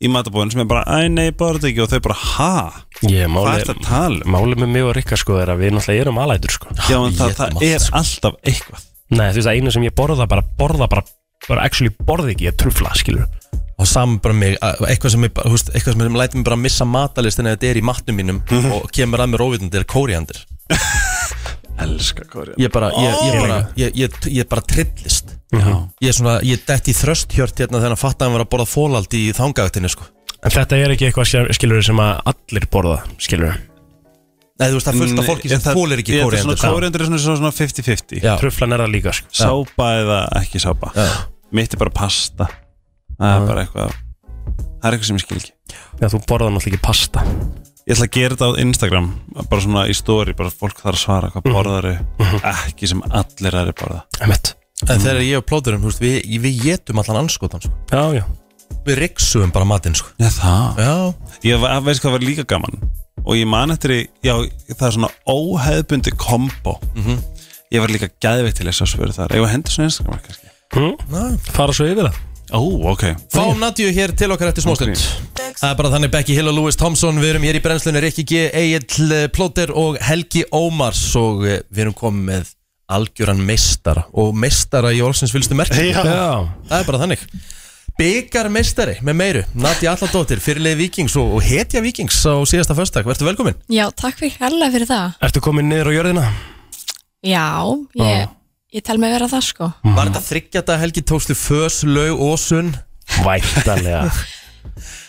Speaker 9: Í matabóðin sem er bara Æ nei, borða þetta ekki Og þau bara, ha?
Speaker 2: Ég, máli,
Speaker 9: Hvað ertu að tala um?
Speaker 2: Máli með mig og Rikka sko er að við náttúrulega erum alætur sko
Speaker 9: Já, en það, það
Speaker 1: Étum allt,
Speaker 9: er alltaf eitthvað
Speaker 2: Nei, þú veist að einu sem ég borða bara borða bara, bara actually borði ekki, ég trufla skilur
Speaker 1: Og saman bara mig, að- eitthvað sem, ég bara- þú veist, eitthvað sem ég læti mig bara að missa matalistin Eða þetta er í matnum mínum Og kemur að mér óvitandi er (laughs) kóriandir
Speaker 9: Elskar kóriander
Speaker 1: Ég bara, ég, ég bara, ég, ég, ég bara trillist
Speaker 9: Já.
Speaker 1: Ég er svona, ég detti í þrösthjört hérna Þegar hann fatt að hann var að borða fólald í þangagtinni sko
Speaker 2: En þetta er ekki eitthvað skilur sem að allir borða skilur
Speaker 1: Nei, þú veist, það er
Speaker 9: Mm,
Speaker 1: fullt af fólki sem fólir ekki kóriandir sko.
Speaker 9: Kóriandur er svona- svona 50-50
Speaker 1: Já,
Speaker 2: Truflan er það líka sko
Speaker 9: Sápa eða ekki sápa Mitt er bara pasta Það er bara eitthvað Það er eitthvað sem ég skil ekki
Speaker 2: Já, þú borðar náttúrulega ekki pasta
Speaker 9: Ég ætla að gera þetta á Instagram Bara svona í story Bara fólk þarf að svara
Speaker 1: Mhm.
Speaker 9: hvað borðar Ekki sem allir aðri borða
Speaker 2: Emmett
Speaker 1: en þegar ég og plóturum, þú veist, við, við getum allan anskotan sko.
Speaker 2: Já, já
Speaker 1: Við riksuðum bara matinn sko.
Speaker 9: Já, það
Speaker 1: Já,
Speaker 9: Ég va- veist hvað var líka gaman Og ég man eftir í Já, það er svona óheðbundi kombo
Speaker 1: Mhm.
Speaker 9: Ég var líka gæðveitt til þess að svöru þar Ég var hendur svona Instagram kannski
Speaker 2: mm? Fara svo yfir það
Speaker 9: Ó, ok
Speaker 1: Fáum Nadju hér til okkar eftir smástund Það er bara þannig Becky Hill og Lewis Thompson Við erum hér í brennslunni Rikki G, Egil Plóter og Helgi Ómars og eh, við erum komið með algjöran meistara og meistara í orðsins fylgstu merk
Speaker 2: Já
Speaker 1: Það er bara þannig Byggarmeistari með meiru, Nadja Alladóttir fyrirlið Víkings og, og hetja Víkings á síðasta föstak, verður velkomin
Speaker 10: Já, takk fyrir hérlega fyrir það.
Speaker 2: Ertu komin niður á jörðina?
Speaker 10: Já,
Speaker 2: Já.
Speaker 10: ég, ég tel mig vera það sko.
Speaker 1: Var þetta þryggjata Helgi tókstu fös, laug og sunn
Speaker 2: Væntalega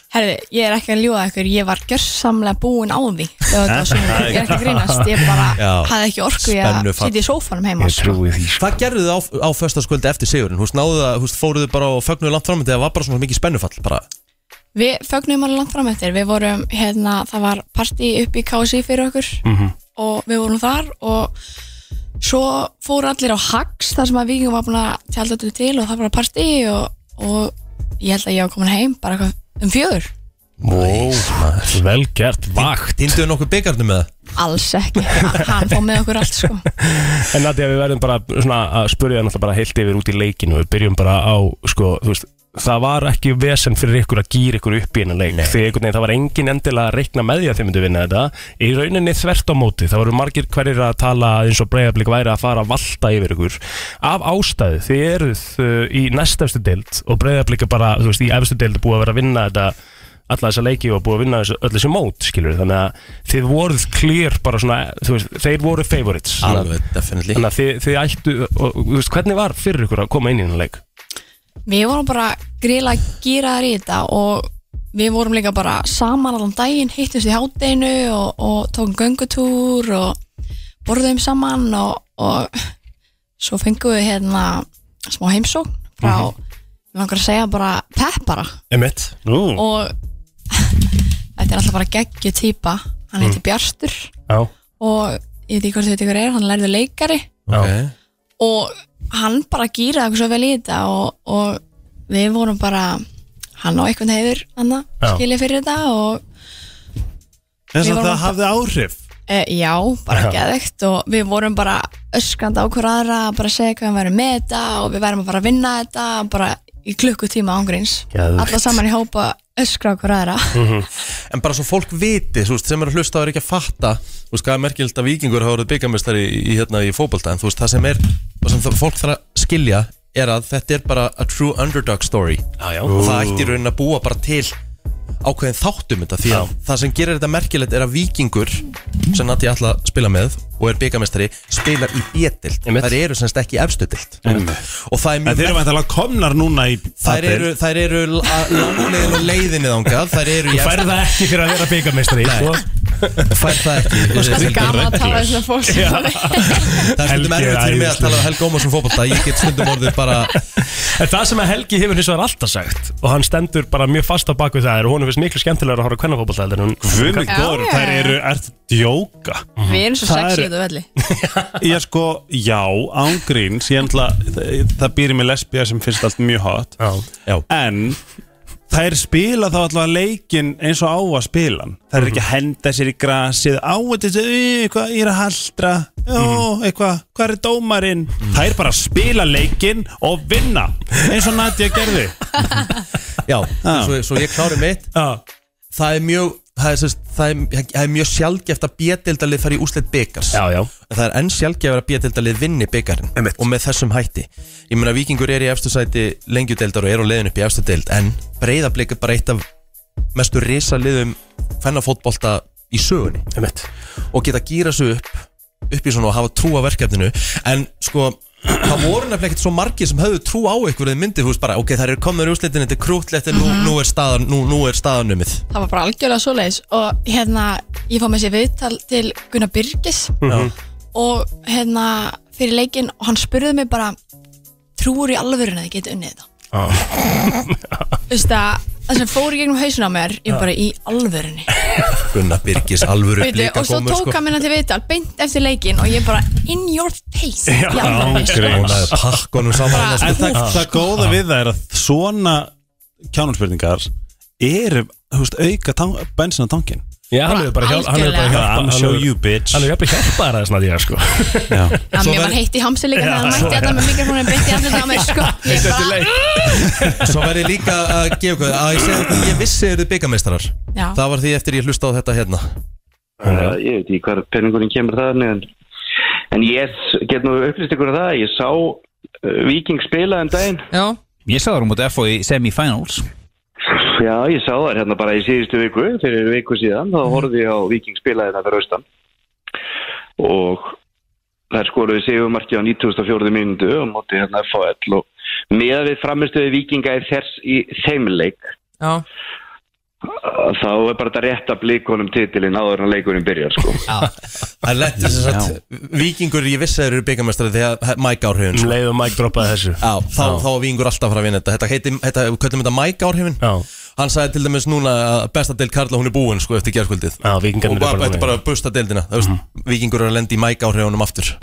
Speaker 10: Herði, ég er ekki að ljúa ykkur, ég var gjörsamlega búin á því. Það var svona, ég er ekki að grínast, ég bara
Speaker 1: Já.
Speaker 10: hafði ekki orku ég að
Speaker 1: Spennufall.
Speaker 10: sitja í sófanum heima.
Speaker 2: Ég trúi því sko
Speaker 1: Hvað gerðu þið á, á föstaskvöldi eftir sigurinn? Húst, náðu það, húst, fóruðu bara og fögnuðu langt framöndi það var bara svona mikið spennufall bara.
Speaker 10: Við fögnum alveg langt fram eftir, við vorum, hérna, það var partí upp í KSI fyrir okkur og við vorum þar og svo fóru allir á Hags þar sem að Víkingum var búin að tjálta þetta til og það var bara partí og, og ég held að ég var komin heim bara eitthvað um fjögur.
Speaker 2: Wow Vel gert, vakt
Speaker 1: Týnduðu nokkuð byggarnum með það?
Speaker 10: Alls ekki, Ha- hann fór með okkur allt sko
Speaker 2: En Nadja, við verðum bara svona að spurja náttúrulega bara heilt yfir út í leikinu Við byrjum bara á, sko, þú veist Það var ekki vesen fyrir ykkur að gýra ykkur upp í hennan leik Því einhvern veginn, það var engin endilega að reikna með því að þið myndu vinna þetta Í rauninni þvert á móti, það voru margir hverjir að tala að eins og breyðablík væri að fara að valta yfir ykkur Af ástæðu, þið eruð uh, í næstefstu deild Og breyðablík er bara, þú veist, í efstu deild er búið að vera að vinna þetta alla þessa leiki og búið að vinna þessu, öll þessi mót skilur þannig að þið voruð clear bara svona, þú veist, þeir voru favorites Svona-
Speaker 1: definitely
Speaker 2: Þannig að þið, þið ættu, og, og, þú veist, hvernig var fyrir ykkur að koma inn í þennan leik?
Speaker 10: Við vorum bara grila gýraðar í þetta og við vorum líka bara saman allan daginn, hittumst í hátdeinu og, og tókum göngutúr og borðum saman og, og svo fengum við hérna smá heimsókn frá, mm við langar að segja bara peppara
Speaker 2: Emmett Nú
Speaker 10: og (laughs) þetta er alltaf bara geggju týpa, hann heitir Bjartur
Speaker 2: Já,
Speaker 10: og ég veit ekki hvort þú veit ykkur er, hann lærði leikari
Speaker 2: já,
Speaker 10: og hann bara gýraði okkur svo vel í þetta og, og við vorum bara hann á einhvern hefur anna,
Speaker 2: Já.
Speaker 10: skilja fyrir þetta og
Speaker 9: Þess
Speaker 10: Við
Speaker 9: að
Speaker 10: vorum
Speaker 9: það
Speaker 10: alltaf-
Speaker 9: hafði áhrif
Speaker 10: e, já, bara
Speaker 2: Já.
Speaker 10: geðvegt og við vorum bara öskrandi á hver aðra að bara segja hvað við værum með þetta og við værum að fara að vinna þetta bara í klukkutíma ángríns
Speaker 2: Geðvegt.
Speaker 10: alla saman í hópa öskra á hver aðra
Speaker 1: En bara svo fólk viti, þú veist, sem er að hlusta og er ekki að fatta Þú veist, hvað er merkild að vikingur hafa verið byggamestari í, í, hérna, í fótbolta En þú veist, það sem er, það sem það, fólk þarf að skilja Er að þetta er bara a true underdog story
Speaker 2: já, já.
Speaker 1: Og það ætti í raunin að búa bara til um ákveðin þáttum þetta Því að það sem gerir þetta merkilegt er að vikingur Sem Nati ætla að spila með og er byggamestari spilar í B-dild þær eru semst ekki í efstu dild og það er
Speaker 9: En
Speaker 1: mjög
Speaker 9: þeir eru vantilega komnar núna í
Speaker 1: Þær eru, þær eru la- langlegin og leiðinni þangað Þær eru
Speaker 2: Þú færð það ekki fyrir að vera byggameistari sko.
Speaker 1: Færð það ekki
Speaker 2: Það er
Speaker 10: Gaman að tala þess að fólk
Speaker 2: Já.
Speaker 1: Það er stundum erfitt fyrir
Speaker 2: Helgi er
Speaker 1: mig að
Speaker 2: æðislegur.
Speaker 1: tala um Helga Ómarsson fótbolta Ég get stundum orðið bara
Speaker 2: En það sem að Helgi hefur hins vegar alltaf sagt og hann stendur bara mjög fast á baku það er og honum finnst miklu skemmtilegur að horfa kvennafótbolta heldur en
Speaker 9: Guð mig
Speaker 10: Já,
Speaker 9: góður,
Speaker 10: já.
Speaker 9: þær eru, ert djóka
Speaker 10: Við erum svo
Speaker 9: Það
Speaker 10: sexy
Speaker 9: eru-
Speaker 10: þetta velli
Speaker 9: Ég sko, já, ángríns Ég ætla, það, það býr í mig lesbía sem finnst allt mjög hot
Speaker 2: Já,
Speaker 1: já.
Speaker 9: En þær spila þá allavega leikinn eins og á að spila hann. Þær eru ekki að henda sér í grasið Á, þetta er eitthvað, ég er að haldra Jó, eitthvað, hvað er dómarinn? Þær bara spila leikinn og vinna Eins og Nadia gerði
Speaker 1: Já, svo, svo ég klári mitt
Speaker 9: Já.
Speaker 1: Það er mjög Það er, sérst, það er, það er mjög sjálfgeft að B-deildalið fari í úsleitt byggars
Speaker 2: Já, já.
Speaker 1: En það er enn sjálfgefur að B-deildalið vinni byggarinn Einmitt. Og með þessum hætti Ég meina vikingur er í efstu sæti lengjudeildar og er á leiðin upp í efstu deild En breyðablik er bara eitt af mestu risaliðum fennafótbolta í sögunni
Speaker 2: Einmitt.
Speaker 1: Og geta gýra sig upp upp í svona og hafa trú á verkefninu en sko, það voru nefnilega ekkert svo margir sem höfðu trú á ykkur eða myndið þú veist bara, ok, það eru komnur í úrslitin, þetta er krútlegt en nú,
Speaker 10: Mhm.
Speaker 1: nú er staðan, nú, nú er staðanumið
Speaker 10: Það var bara algjörlega svoleiðis og hérna, ég fór með sér viðtal til Gunnar Byrgis og hérna, fyrir leikinn og hann spurði mig bara trúur í alvörun að ég geti unnið þetta Þú veist að það sem fór í gegnum hausin á mér ég bara í
Speaker 1: (laughs)
Speaker 10: alvörunni
Speaker 1: Gunnar Birgis, alvöru
Speaker 10: Veitu,
Speaker 1: blika
Speaker 10: og svo
Speaker 1: gómur,
Speaker 10: tók
Speaker 1: sko.
Speaker 10: hann minna til viðtal beint eftir leikinn og ég bara in your face í alvörunni
Speaker 1: Hún
Speaker 9: Ángríns
Speaker 1: hafði pakkunum saman hérna,
Speaker 10: Bara-
Speaker 9: En
Speaker 1: sko.
Speaker 9: það, það góða við það er að svona kjánumspurningar eru þú veist, auka tang, bensin á tankin
Speaker 2: Já, hann hefur bara hjálpað
Speaker 10: Algjörlega.
Speaker 9: I'm show you bitch
Speaker 2: Hann hefur jafnvel hjálpað það svona því að sko
Speaker 10: Já,
Speaker 1: Svo
Speaker 10: mér var
Speaker 1: verð-
Speaker 10: heitt í hamsi líka
Speaker 2: Já,
Speaker 10: þegar hann
Speaker 2: svo
Speaker 10: mætti þetta með mikrofonin beint í andlitið á mér sko.
Speaker 1: (laughs)
Speaker 10: Ég bara,
Speaker 1: Svo verð ég líka að gefa ykkur að ég segi að ég vissi eru byggameistarar
Speaker 10: já,
Speaker 1: Það var því eftir ég hlusta á þetta hérna
Speaker 11: Uh, ég veit ekki hvar penningurinn kemur það en, en ég s- get nú upplýst ykkur að það ég sá uh, Viking spila en daginn
Speaker 12: Já Ég sá það um út FO í semifinals
Speaker 11: já ég sá það hérna bara í síðustu viku fyrir viku síðan þá horfði ég á Viking spila þetta fyrir austan og þær skoruðu sigumarki á 94. mínútu og móti hérna FHL og meða við framistuði Vikinga í, þess, í þeim leik
Speaker 12: Já
Speaker 11: uh, þá er bara þetta rétt að blikunum titilinn áður en leikurinn byrjar sko
Speaker 1: Það lettur sem sagt Víkingur, ég vissi að eru byggameistarar þegar Mike áhrifin sko.
Speaker 2: Leið og Mike droppaði þessu
Speaker 1: Já, þá, þá var Víkingur alltaf að fara að vinna þetta Þetta heiti, þetta, við köllum þetta Mike áhrifin
Speaker 2: Já,
Speaker 1: Hann sagði til dæmis núna að besta deil Karla hún er búin sko eftir gerðkvöldið
Speaker 2: Já, vikingarnir
Speaker 1: Og bara,
Speaker 2: eru bara
Speaker 1: Mhm. þetta
Speaker 2: búnir.
Speaker 1: er bara að busta deildina Þú veist, Víkingur er að lenda í mæk áhrifunum (laughs) aftur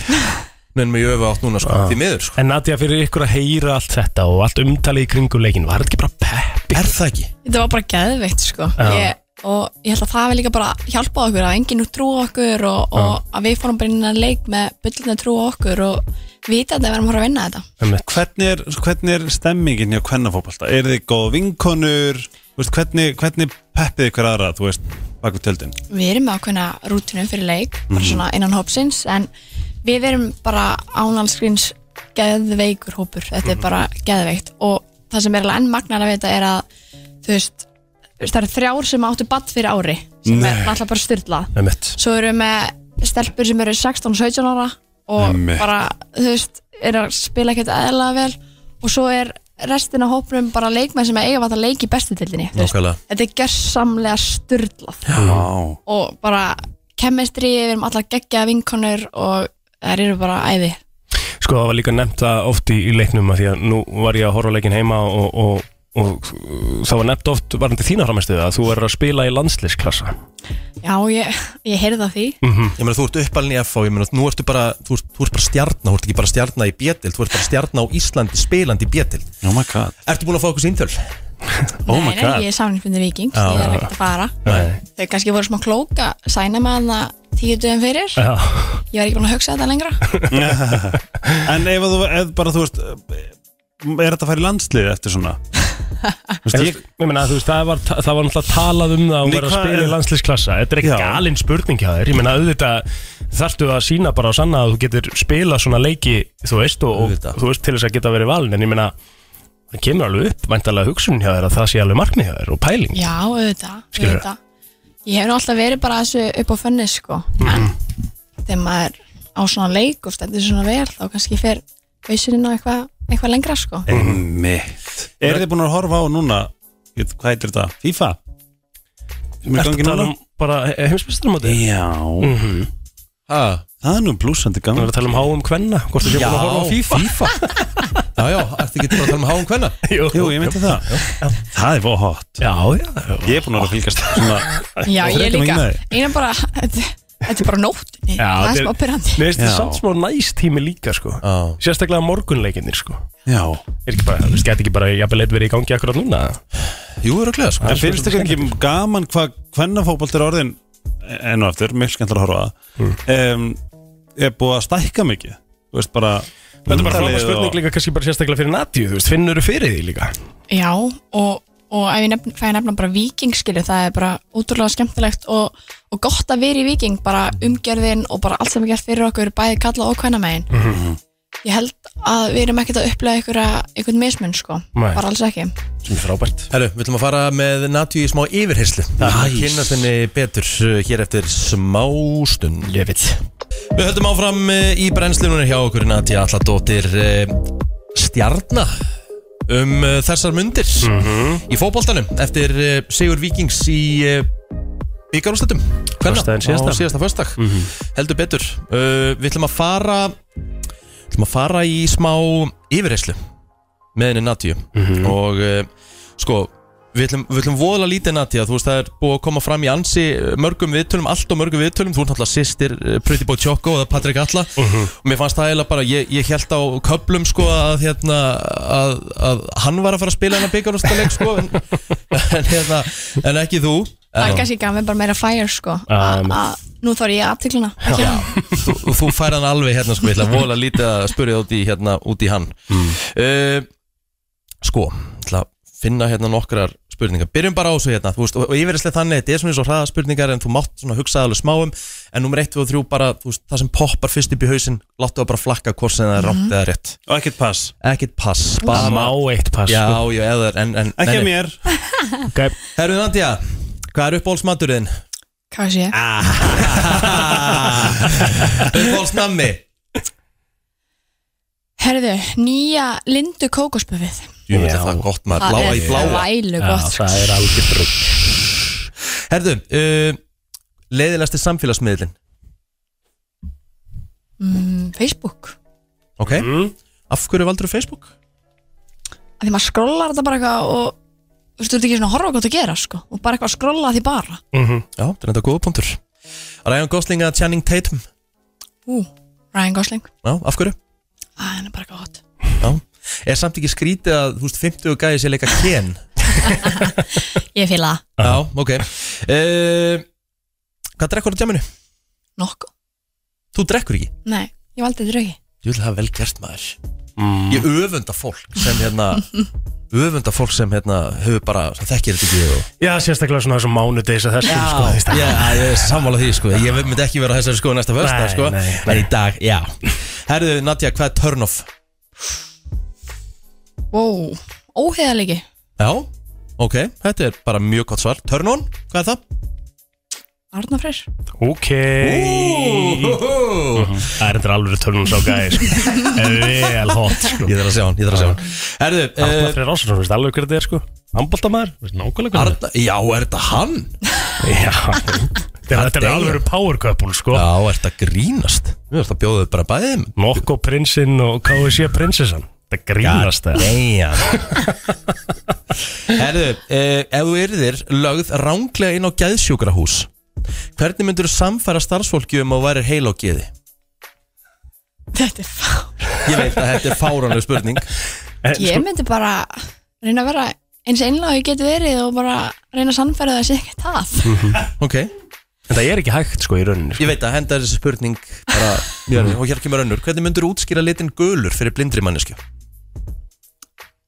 Speaker 1: Nenn með jöfu átt núna sko, því miður sko
Speaker 2: en Nadja fyrir ykkur að heyra allt þetta og allt umtalið í kringum leikin var þetta ekki bara peppi?
Speaker 1: Er það ekki?
Speaker 10: þetta var bara geðveikt sko.
Speaker 2: Já.
Speaker 10: ég, og ég held að það við líka bara hjálpa okkur að enginn trú okkur og, og að við fórum bara inn að leik með byllina trú okkur og vita að við erum að fara að vinna þetta
Speaker 2: Einmitt.
Speaker 9: hvernig er, hvernig er stemmingin hjá kvennafótbalta? Er þið góð vinkonur? Þú Veist, hvernig, hvernig peppið ykkur aðra þú veist, bak við tjöldin?
Speaker 10: við erum með ákveðna rútinu fyrir leik bara svona innan hópsins en við erum bara ánalskríns geðveikur hópur, þetta er bara geðveikt og það sem er alveg enn magnar að vita er að þú veist, þú veist, það eru þrjár sem áttu badd fyrir ári sem er náttúrulega bara styrlað
Speaker 2: Einmitt.
Speaker 10: svo erum við með stelpur sem eru 16-17 ára og
Speaker 9: Einmitt.
Speaker 10: bara, þú veist, er að spila ekkert eðlilega vel og svo er restin af hópnum bara leikmenn sem eiga að leik í bestu tildinni þú veist.
Speaker 1: Nákvæmlega.
Speaker 10: þetta er gersamlega styrlað
Speaker 9: Vá.
Speaker 10: og bara kemestri, við erum allar geggja vinkonur og þær eru bara æði
Speaker 2: Sko það var líka nefnt það oft í, í leiknum að því að nú var ég að horfa á leikin heima og, og, og það var nefnt oft varandi þína framistuð að þú verður að spila í landslisklassa
Speaker 10: já, ég, ég heyrði það því
Speaker 1: Ég meina þú ert uppalinn í FH, ég meina nú ertu bara þú ert, þú ert bara stjarnar, þú ert ekki bara stjarnar í bjötild þú ert bara stjarnar á Íslandi, spilandi í bjötild
Speaker 9: Oh my god
Speaker 1: Ertu búin að fá okkur síntöl?
Speaker 9: (laughs) Oh my
Speaker 10: nei, nei,
Speaker 9: god.
Speaker 10: ég er samningfundi vikings, ég er ekkert að fara
Speaker 2: Nei.
Speaker 10: þau kannski voru smá klóka, sæna með hana tíu dögum fyrir,
Speaker 2: Já,
Speaker 10: ég var ekki búin að hugsa þetta lengra
Speaker 9: En ef að þú, ef bara þú veist er þetta að fara í landslið eftir svona? Þú veist,
Speaker 2: En
Speaker 9: ég,
Speaker 2: ég, ég meina, þú veist, það var, það var náttúrulega talað um það að hún
Speaker 9: Nei,
Speaker 2: verður að
Speaker 9: hvað
Speaker 2: spila
Speaker 9: er-
Speaker 2: í landslisklassa Þetta er ekki
Speaker 9: Já.
Speaker 2: galinn spurning hjá þér Ég meina, auðvitað þarftu að sína bara og sanna að þú getur spila svona leiki, þú veist, og, og
Speaker 1: Auðvitað.
Speaker 2: þú veist til þess að geta verið valin En ég meina, það kemur alveg upp væntalega hugsun hjá þér að það sé alveg markmið hjá þér og pæling
Speaker 10: já, auðvitað,
Speaker 2: Skilurðu?
Speaker 10: auðvitað. ég hef nú alltaf verið bara þessu upp á fönni sko, en þegar maður á svona leik og stendur svona vel þá kannski fer hausininn á eitthvað eitthva lengra sko
Speaker 9: Einmitt Er þið búin að horfa á núna ég- Hvað heitir þetta? FIFA? Sem er
Speaker 2: Ertu
Speaker 9: gangi
Speaker 2: að tala
Speaker 9: núna?
Speaker 2: um bara heimsbestarmóti?
Speaker 9: Já
Speaker 2: Mhm.
Speaker 9: Það er nú blúsandi gaman
Speaker 2: Það er að tala um háum kvenna Hvort þú sé
Speaker 9: Já.
Speaker 2: búin að horfa á FIFA
Speaker 1: Já, já, ertu ekki bara að tala um háum kvenna?
Speaker 2: Jú,
Speaker 9: Jú, ég myndi það Það er fóð hot
Speaker 2: Já, já
Speaker 9: Ég er búin að vera að fylgjast (laughs) svona-
Speaker 10: Já,
Speaker 9: frekar
Speaker 10: ég
Speaker 9: lengi
Speaker 10: líka
Speaker 9: með þér.
Speaker 10: Einar bara, (laughs) þetta þetta er bara nóttinni Það er smá pyrrandi
Speaker 2: Mér finnst þetta samt smá næst tími líka sko Sérstaklega morgunleikinnir sko
Speaker 9: Já
Speaker 2: Er ekki bara, þú veist, gæti ekki bara jafnvel eitt verið í gangi akkurat núna
Speaker 1: Jú, eru glæða
Speaker 9: En finnst þér ekki gaman hvað kvennafótbolt er orðin enn og aftur, mjög skemmtilega að
Speaker 2: Mm.
Speaker 9: horfa um, er búið að stækka mikið Þú veist bara
Speaker 2: Þetta er bara frábær spurning líka kannski bara sérstaklega fyrir Nadju Þú veist, finnur þú fyrir því líka
Speaker 10: Já, og, og ef ég nefn, fæ að nefna bara vikingskilu, það er bara útrúlega skemmtilegt og, og gott að vera í viking, bara umgjörðin og bara allt sem er gert fyrir okkur, bæði kalla og hvenna megin.
Speaker 1: Mhm.
Speaker 10: Ég held að við erum ekkert að upplega einhverja, einhvern mismun, sko.
Speaker 1: Nei.
Speaker 10: Bara alls ekki.
Speaker 2: Sem er frábært
Speaker 1: Herru, við ætlum að fara með Natju í smá yfirherslu nice. Kynna þenni betur uh, hér eftir smá stund Ég veit Við höldum áfram uh, í brennslunum hjá okkur Natja Alladóttir uh, Stjarna um uh, þessar mundir
Speaker 2: Mhm.
Speaker 1: í fótboltanum eftir uh, Sigur Víkings í uh, byggarústatum
Speaker 2: Föstudaginn síðasta. Mhm.
Speaker 1: á síðasta föstak heldur betur uh, við ætlum að fara ætlum að fara í smá yfirreyslu með henni Natíu
Speaker 2: Mhm.
Speaker 1: og uh, sko við ætlum, við ætlum voðalega lítið Natíu þú veist það er búið að koma fram í ansi uh, mörgum viðtölum allt og mörgum viðtölum þú ert náttúrulega sýstir uh, Pretty Boy Choco og það er Patrik Alla og mér fannst það eiginlega bara ég, ég held á köplum sko að hérna að, að hann var að fara að spila hennar byggarústaleik sko en, (laughs) en, hérna, en ekki þú
Speaker 10: Það
Speaker 1: En-
Speaker 10: er kannski gaf mér bara meira fire, sko.
Speaker 1: Ah,
Speaker 10: Að- að Nú þarf ég aðtikluna.
Speaker 1: Já. þú, þú færð hann alveg hérna sko, ég ætla vola lítið að spurja út í, hérna, út í hann uh, sko, ég ætla að finna hérna nokkrar spurningar, byrjum bara á þessu hérna þú veist, og yfirreislega þannig, þetta er svona eins og hraða spurningar en þú mátt svona hugsa alveg smáum en nummer 1 og 3 bara, þú veist, það sem poppar fyrst upp í hausinn, láttu það bara flakka hvort sem það er rámt
Speaker 9: Mhm.
Speaker 1: eða rétt
Speaker 9: og ekkert pass
Speaker 1: ekkert pass, bara
Speaker 2: Má eitt pass sko.
Speaker 1: já, já, eða, en, en
Speaker 9: Ekki
Speaker 1: en-
Speaker 9: mér.
Speaker 2: okay.
Speaker 1: Herru Nandía, hvað er uppbólsmaturinn?
Speaker 10: Hvað sé ég?
Speaker 1: Ah. uppbólsnammi
Speaker 10: Herðu, nýja lindu kókosböfið.
Speaker 1: Jú, þetta er það gott maður,
Speaker 10: Það
Speaker 1: bláa
Speaker 10: er
Speaker 1: í bláa
Speaker 10: vælu gott, Já,
Speaker 2: það er algjör drugg
Speaker 1: Herðu, uh, leiðilegasti samfélagsmiðlin
Speaker 10: Mm, Facebook.
Speaker 1: Ok, af hverju valdur Facebook?
Speaker 10: að því maður skrólar þetta bara eitthvað og þú veist, þú ert ekki svona að horfa á hvað þú gera sko og bara eitthvað að skróla því bara
Speaker 1: Mm -hmm. Já, þetta er þetta góða punktur Ryan Gosling að Channing Tatum
Speaker 10: Ú, Ryan Gosling,
Speaker 1: Já, af hverju?
Speaker 10: að hann er bara eitthvað hot
Speaker 1: Já Er samt ekki skrítið að, þú veist, 50 gæði sé leika (laughs) Ken
Speaker 10: Ég fíla það,
Speaker 1: Já, ok uh, Hvað drekkur á djaminu?
Speaker 10: Nokku.
Speaker 1: Þú drekkur ekki?
Speaker 10: nei, ég valdi þetta ekki
Speaker 1: Ég vil hafa vel gert maður Mm. Ég öfunda fólk sem (laughs) hérna öfunda fólk sem hérna hefur bara, sem þekkir þetta ekki og
Speaker 2: Já, sérstaklega svona þessum mánudegis að þessum sko þú veist,
Speaker 1: Já, ég er sammála því sko Ég myndi ekki vera á þessari sko næsta fösta
Speaker 2: Nei,
Speaker 1: sko
Speaker 2: nei,
Speaker 1: En í dag, já Herðu, Nadja, hvað er turn off?
Speaker 10: Wow, óheðalegi
Speaker 1: Já, ok, þetta er bara mjög gott svar Turn on, hvað er það?
Speaker 10: Arna Freyr (laughs)
Speaker 2: Ok Mm. Það er þetta alveg törnum sá gæði (laughs) Vel hot sko.
Speaker 1: Ég þarf að sjá hann, ég þarf að sjá hann eh, Erðu
Speaker 2: Arnar Freyr Rásarsson, veist alveg hver þetta er sko Handbóltamæður, nákvæmlega hver
Speaker 1: Arna, Já, er þetta hann?
Speaker 2: Já (laughs) Þetta er- þetta er alveg power couple sko
Speaker 1: Já, er þetta grínast Við erum að bjóða þau bara bæðið
Speaker 2: Nokko prinsinn og KSC prinsessan Þetta grínast það
Speaker 1: (laughs) Herðu, uh, ef þú yrðir lögð ránglega inn á gæðsjúkrahús Hvernig myndur þú samfæra starfsfólki um að væri heil á geði?
Speaker 10: Þetta er fá
Speaker 1: Ég veit að þetta er fáránlega spurning
Speaker 10: Ég myndi bara reyna að vera eins einlega og ég geti verið og bara reyna að sannfæra það sé ekki það
Speaker 1: Ok
Speaker 2: En það er ekki hægt sko í rauninni
Speaker 1: Ég veit að henda þessi spurning bara, mm. og hér kemur önnur Hvernig myndur þú útskýra litin gulur fyrir blindri mannesku?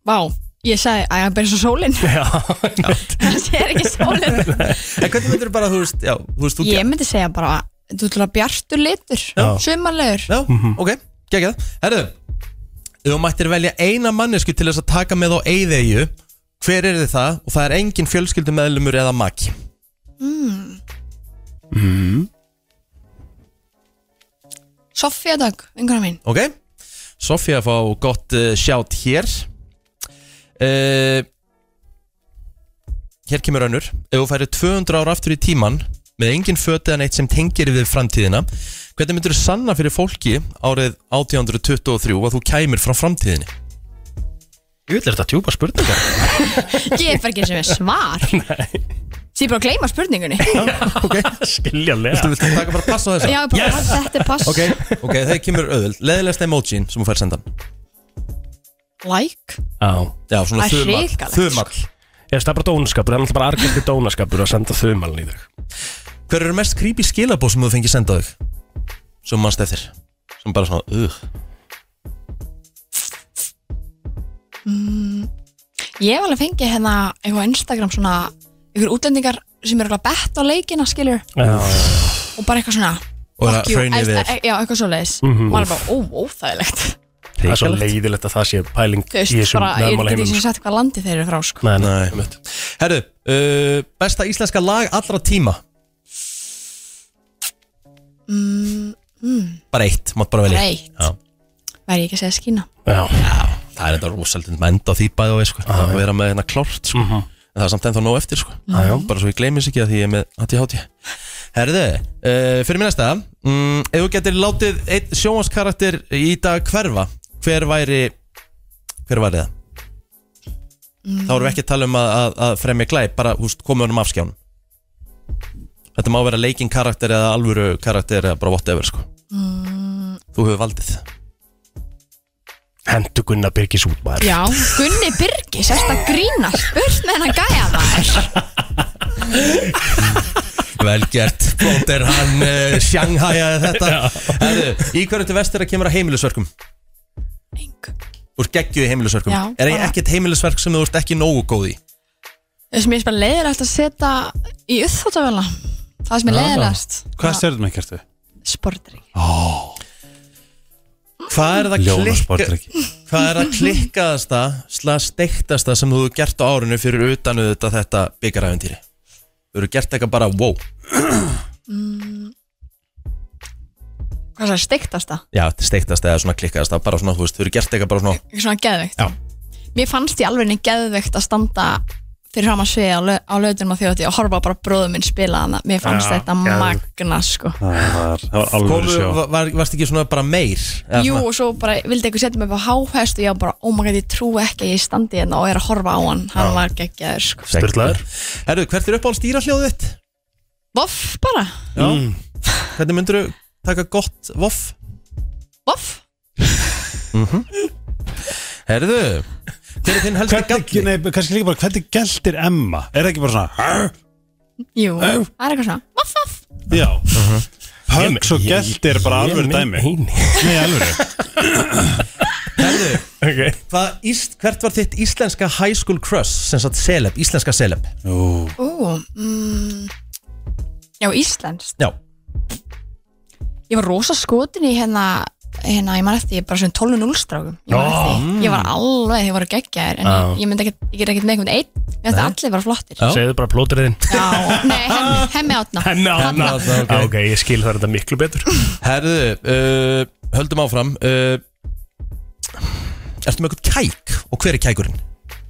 Speaker 10: Vá, ég sagði að ég byrja svo sólin
Speaker 2: Já
Speaker 10: (laughs) Það sé ekki sólin
Speaker 1: En hvernig myndur þú bara, þú veist, já, þú veist, þú
Speaker 10: Ég myndi segja bara Þú ætlar að bjartur litur,
Speaker 1: Já.
Speaker 10: sumarlegur
Speaker 1: Já, ok, gekkja það Herðu, ef þú mættir velja eina mannesku til þess að taka með á eyðeyju Hver er þið það? Og það er engin fjölskyldumeðlumur eða maki
Speaker 10: mm. Sofía Dögg, einhverja mín
Speaker 1: Ok, Sofía fá gott uh, sjátt hér uh, Hér kemur önnur Ef þú færir 200 ára aftur í tíman með engin föti en eitt sem tengir við framtíðina hvernig myndur þú sanna fyrir fólki árið 1823 að þú kæmir frá framtíðinni? Ég vil þetta tjúpa spurningar
Speaker 10: Ég fær ekki sem er svar Því ég bara að gleyma spurningunni
Speaker 2: (laughs) Skiljanlega
Speaker 1: Viltu, viltu taka bara að passa á þessu?
Speaker 10: Já, ég bara, þetta er pass
Speaker 1: Ok, ok, það kemur auðvöld Leðilegsta emojín sem þú fær sendan
Speaker 10: Like
Speaker 2: Já,
Speaker 1: Já svona
Speaker 10: Það er
Speaker 1: þumall
Speaker 10: hrikalegt.
Speaker 1: Þumall
Speaker 2: Ég veist það er bara dónaskapur, það er náttúrulega bara argæsti dónaskapur að senda þumalni í þig
Speaker 1: Hver eru mest creepy skilabóð sem þú fengið sendað þig? Sem mannst eftir Sem bara svona, uh,
Speaker 10: mm, Ég hef alveg fengið hérna eitthvað á Instagram svona einhver útlendingar sem eru að betta á leikina skilur
Speaker 2: Já,
Speaker 10: og bara eitthvað svona
Speaker 2: Og
Speaker 1: Uh,
Speaker 2: það
Speaker 10: fuck you,
Speaker 2: hraun yfir
Speaker 10: eða-
Speaker 2: þér.
Speaker 10: Já, eitthvað svo leiðis mm
Speaker 2: Mhm.
Speaker 10: Maður er bara, ó, óþægilegt
Speaker 2: Það er svo leiðilegt að það sé pæling
Speaker 10: Þú veist,
Speaker 2: í þessum
Speaker 10: bara, ég
Speaker 2: nærmála
Speaker 10: get ekki
Speaker 2: heimum
Speaker 10: sem sagt hvað landi þeir eru frá sko.
Speaker 2: Nei, nei, nei.
Speaker 1: Herru, uh, besta íslenska lag allra tíma
Speaker 10: mm, mm,
Speaker 1: Bara eitt, mátt bara velja
Speaker 10: Bara eitt.
Speaker 1: Já,
Speaker 10: Væri ég ekki að segja skína
Speaker 2: Já.
Speaker 1: Það er þetta rosalega með enda á því bæði og veið sko. Það er að vera með hérna klárt sko. En það er samt ennþá nóg eftir sko.
Speaker 2: Já, já.
Speaker 1: Bara svo ég gleymis ekki að því ég er með hátti hátti Herðu, uh, fyrir mér næsta mm, Ef þú getur látið einn sjónvanskarakter í dag hverfa Hver væri Hver væri það? Þá erum við ekki að tala um að, að, að fremja glæp Bara húst, komið honum af skjánum Þetta má vera leikin karakter eða alvöru karakter eða bara whatever sko.
Speaker 10: mm,
Speaker 1: Þú hefur valdið
Speaker 2: Hentu Gunnar Birgis út maður
Speaker 10: Já, Gunni Birgis, erst að grína Spurt með hennan gæja maður
Speaker 1: Velgert, Blóter, hann uh, sjanghæjaði þetta Herðu, Í hverju til vestir að kemur að heimilisverkum? Engu Úr geggju í heimilisverkum
Speaker 10: Já,
Speaker 1: Er
Speaker 10: bara-
Speaker 1: ekkert heimilisverk sem þú ert ekki nógu góð í?
Speaker 10: Þess að mér er bara leiðilegt að setja í uppþóttavölna Það sem er leiðilegast
Speaker 9: Hvað stjörnum ekki ertu?
Speaker 10: Sportri
Speaker 9: Oh.
Speaker 1: Hvað er það
Speaker 9: Ljónasportdrykki.
Speaker 1: klikka Hvað er það klikkaðasta slag steiktasta sem þú hefur gert á árinu fyrir utan auðvitað þetta byggaræfintýri? Þú hefur gert eitthvað bara wow
Speaker 10: mm, Hvað það er steiktasta?
Speaker 1: Já, steiktasta eða svona klikkaðasta bara svona, þú veist, þú hefur gert eitthvað bara svona
Speaker 10: Ekki svona geðveikt
Speaker 1: Já.
Speaker 10: Mér fannst ég alveg geðveikt að standa fyrir fram að svega á, lög, á lögðunum á þjóti og horfa bara bróðum minn spila hana Mér fannst
Speaker 1: Já,
Speaker 10: þetta
Speaker 1: geðveikt.
Speaker 10: magna sko
Speaker 9: Það var
Speaker 1: Komu, var, var, varst ekki svona bara meir? Eða
Speaker 10: Jú
Speaker 1: svona-
Speaker 10: og svo bara vildi eitthvað setja mig upp á háhest og ég var bara, oh my god, ég trú ekki að ég standi hérna og er að horfa á hann, hann
Speaker 1: Já.
Speaker 10: var geggjaður sko.
Speaker 1: Styrlaður Herru, hvert er uppáhald stýrahljóðið þitt?
Speaker 10: Voff bara,
Speaker 1: Já Hvernig myndur þú taka gott voff?
Speaker 10: voff
Speaker 1: Mm Herðu Hver er þinn helsti galli?
Speaker 13: Nei, kannski líka bara, hvernig geltir Emma? Er það ekki bara svona "Arr"?
Speaker 10: Jú,
Speaker 13: Ó.
Speaker 10: það er eitthvað svona voff, voff,
Speaker 13: Já
Speaker 9: Uh-huh.
Speaker 13: Höggs og geltir er bara alvöru dæmi Nei, alvöru
Speaker 1: Herðu okay. Íst, Hvert var þitt íslenska high school crush sem sagt celeb, íslenska celeb? Ú
Speaker 10: ú mm, Já, Íslands
Speaker 1: Já
Speaker 10: Ég var rosa skotin í hérna hérna, ég man eftir, ég bara sem 12-0 strákum ég, man
Speaker 1: Já. Mm.
Speaker 10: eftir því. ég var alveg, þið voru geggjaður en
Speaker 2: Já.
Speaker 10: ég, ég myndi ekkert, ég er ekkert með einhvern einn ég ætti allir bara flottir
Speaker 2: Segðu bara plótriðin
Speaker 10: Já, nei, hemmi,
Speaker 1: (laughs)
Speaker 10: hemmi átna
Speaker 2: Hanna, Ah, ok,
Speaker 1: ok.
Speaker 2: okay ég skil það er þetta miklu betur
Speaker 1: Herðu, uh, höldum áfram uh, Ertu með eitthvað kæk? Og hver er kækurinn?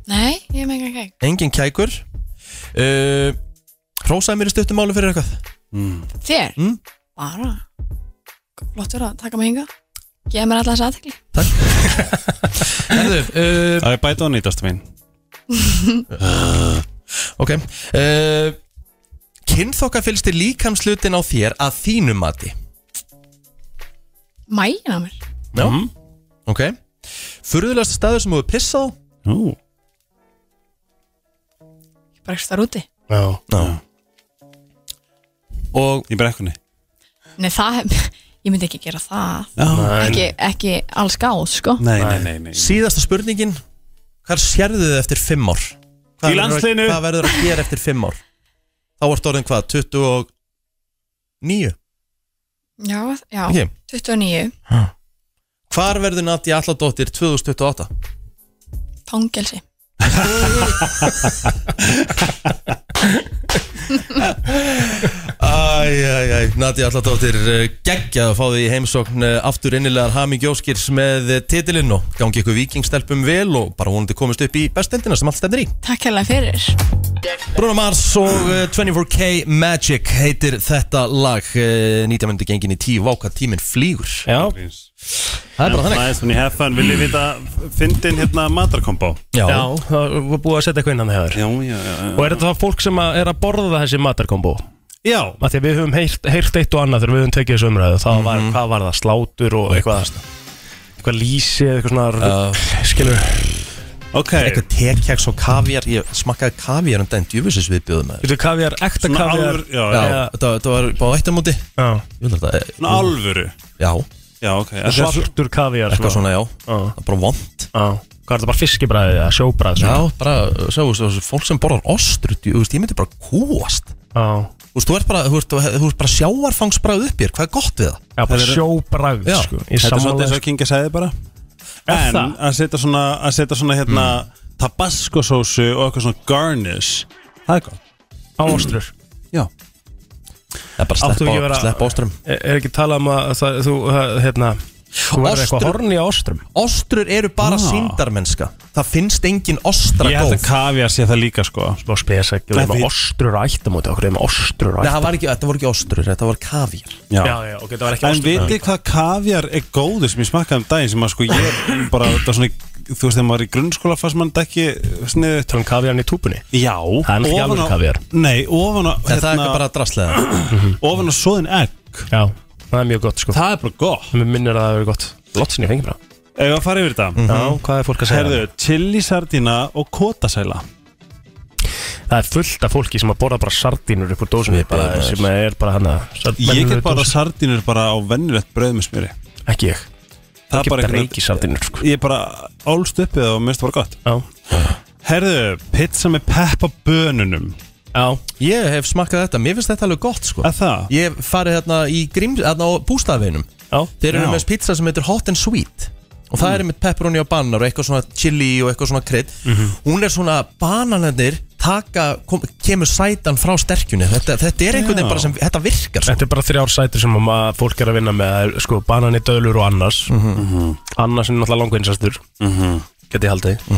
Speaker 10: Nei, ég er með engan kæk
Speaker 1: Engin kækur uh, Rósaði mér í stuttum máli fyrir eitthvað mm.
Speaker 10: Þér?
Speaker 1: Mm.
Speaker 10: Bara Flottur að taka mig hinga Geða mér alltaf þess aðtekli
Speaker 1: Herðu, uh,
Speaker 9: (laughs) Það er bæta og nýtast mín
Speaker 1: Ok uh, Kynþokka fylgst er líkamslutin á þér að þínu mati
Speaker 10: Mægin á mér
Speaker 1: Já Ok Furðulegast staður sem þú hefur pissað Ú
Speaker 10: Ég bara ekki þar úti
Speaker 1: Já
Speaker 2: Já
Speaker 1: Og
Speaker 9: Í brekkunni
Speaker 10: Nei, það (laughs) Ég myndi ekki gera það
Speaker 9: Já. Nei.
Speaker 10: ekki, ekki alls gáð, sko
Speaker 9: nei, nei.
Speaker 1: Síðasta spurningin Hvað sérðu þið eftir fimm ár?
Speaker 13: Í
Speaker 1: Hvað verður að-
Speaker 13: landsliðinu.
Speaker 1: Hvað verður að gera eftir fimm ár? Þá ertu orðin hvað? 29?
Speaker 10: Já, já
Speaker 1: Ok.
Speaker 10: 29
Speaker 1: Hvar verður Nadja Alladóttir 2028?
Speaker 10: Fangelsi
Speaker 1: Æ, Æj, æj, æj, Nadja Alladóttir eh, geggjað að fá því heimsókn eh, aftur innilegar hamingjóskir með eh, titilinn og gangi ykkur vikingstelpum vel og bara vonandi komist upp í bestendina sem allt stendur í
Speaker 10: Takk hérlega fyrir
Speaker 1: Bruno Mars og eh, 24K Magic heitir þetta lag 19 myndi gengin í 10 váka tíminn flýgur
Speaker 2: Já
Speaker 1: Það er bara þannig
Speaker 9: Nice when you have fun Vil ég vita Fyndin hérna matarkombo
Speaker 1: Já.
Speaker 2: Já, það var búið að setja eitthvað innan þegar
Speaker 9: Já, já, já
Speaker 2: Og er þetta þá fólk sem að- er að borða þessi matarkombo?
Speaker 9: Já
Speaker 2: Af því að við höfum heyrt, heyrt eitt og annað þegar við höfum tekið þessu umræðu Það var, hvað var það, slátur og eitthvað Eitthvað lýsi, eitthvað svona rugl, Skilur
Speaker 9: Ok
Speaker 1: Eitthvað tekjaks og kaviar Ég smakkaði kaviar um daginn djúfisins við bjóðum með
Speaker 2: Þetta kaviar, ekta
Speaker 1: Svona
Speaker 2: kaviar
Speaker 1: alvör- já, já. Þetta, þetta var bá eittamóti
Speaker 2: Já
Speaker 1: Svona
Speaker 9: alvöru
Speaker 1: Já
Speaker 9: Já, ok
Speaker 2: Og svartur kaviar
Speaker 1: Eitthvað svona, já
Speaker 2: Það
Speaker 1: er bara vond
Speaker 2: Já Hvað er þetta bara fiskibræðið eða sjóbræðið
Speaker 1: Já, bara, sjáu, þessu fólk sem borðar ostru, þú veist, ég myndi bara kúast
Speaker 2: Já
Speaker 1: Þú veist, þú ert bara, þú ert, þú ert bara sjávarfangsbræð upp hér, hvað er gott við það?
Speaker 2: Já, bara sjóbragð,
Speaker 1: Já.
Speaker 2: sko. Ég
Speaker 9: Þetta er
Speaker 2: sammála
Speaker 9: svolítið eins og Kinga sagði bara En
Speaker 2: það?
Speaker 9: að setja svona, að setja svona hérna tabasco sósu og eitthvað svona garnish Það er gott
Speaker 2: Á ástrur
Speaker 9: Já
Speaker 1: Það er bara
Speaker 2: Áttu ekki að vera-
Speaker 1: slepp ástrum
Speaker 2: Er er ekki talað um að það, þú, það- hérna Þú verður eitthvað
Speaker 1: Ostrur-
Speaker 2: horn í ástrum
Speaker 1: Ostrur eru bara ah. síndarmennska Það finnst engin ostra
Speaker 9: Ég held að
Speaker 1: góð
Speaker 9: kaviar sé það líka sko
Speaker 2: Smá spes ekki, við
Speaker 1: Nei,
Speaker 2: erum
Speaker 1: við-
Speaker 2: með ostrur ættum út Okkur erum með ostrur
Speaker 1: Nei, það
Speaker 2: ættum
Speaker 1: var ekki, þetta voru ekki ostrur, þetta voru kaviar
Speaker 9: Já.
Speaker 2: Já, já, ok, það var ekki
Speaker 9: En vitið þið hvað kaviar er góður sem ég smakkaði um daginn sem að sko ég bara, það var svona, þú veist þegar maður er í grunnskóla fannst maður þetta ekki sniðu
Speaker 2: Þannig kaviarinn í túpunni?
Speaker 9: Já
Speaker 2: Það er ekki alveg kaviar
Speaker 9: Nei, ofan á hérna,
Speaker 1: En það er ekki bara drastlega
Speaker 9: Ofan á svoðin egg
Speaker 2: Já, það er mjög gott sko
Speaker 9: Það er bara gott
Speaker 2: Mér minnir að það hefur gott Lotsin ég fengi bara
Speaker 9: Ef að fara yfir þetta
Speaker 2: Já, hvað er fólk að segja?
Speaker 9: Mhm. Herðu, chili sardina og kotasæla
Speaker 2: Það er fullt af fólki sem að borða bara sardínur upp úr dósunni bara,
Speaker 9: byrjaði
Speaker 2: sem er bara hana
Speaker 9: Ég get bara sardínur bara á vennilegt brauð með smjöri
Speaker 2: Ekki ég
Speaker 9: Það
Speaker 2: Ekki
Speaker 9: er bara einhvern-
Speaker 2: reykisardínur, sko.
Speaker 9: Ég bara álst uppið og minnst það bara gott
Speaker 2: Já
Speaker 9: Herðu, pizza með peppa bönunum
Speaker 2: Já
Speaker 1: Ég hef smakkað þetta, mér finnst þetta alveg gott sko
Speaker 9: Að það?
Speaker 1: Ég hef farið hérna í grims, hérna á bústafinum
Speaker 2: Já
Speaker 1: Þeir eru
Speaker 9: Já.
Speaker 1: með pizza sem heitir hot and sweet Og það er með pepperoni og banar og eitthvað svona chili og eitthvað svona krydd Hún er svona, bananarnir taka, kom, kemur sætan frá sterkjunni Þetta, þetta er einhvern veginn
Speaker 2: Já.
Speaker 1: bara sem, þetta virkar sko
Speaker 2: Þetta er bara þrjár sætur sem að ma- fólk er að vinna með Það er, sko, banani, döðlur og annars Mhm. Annars er náttúrulega langveinsastur mm -hmm. Geti haldið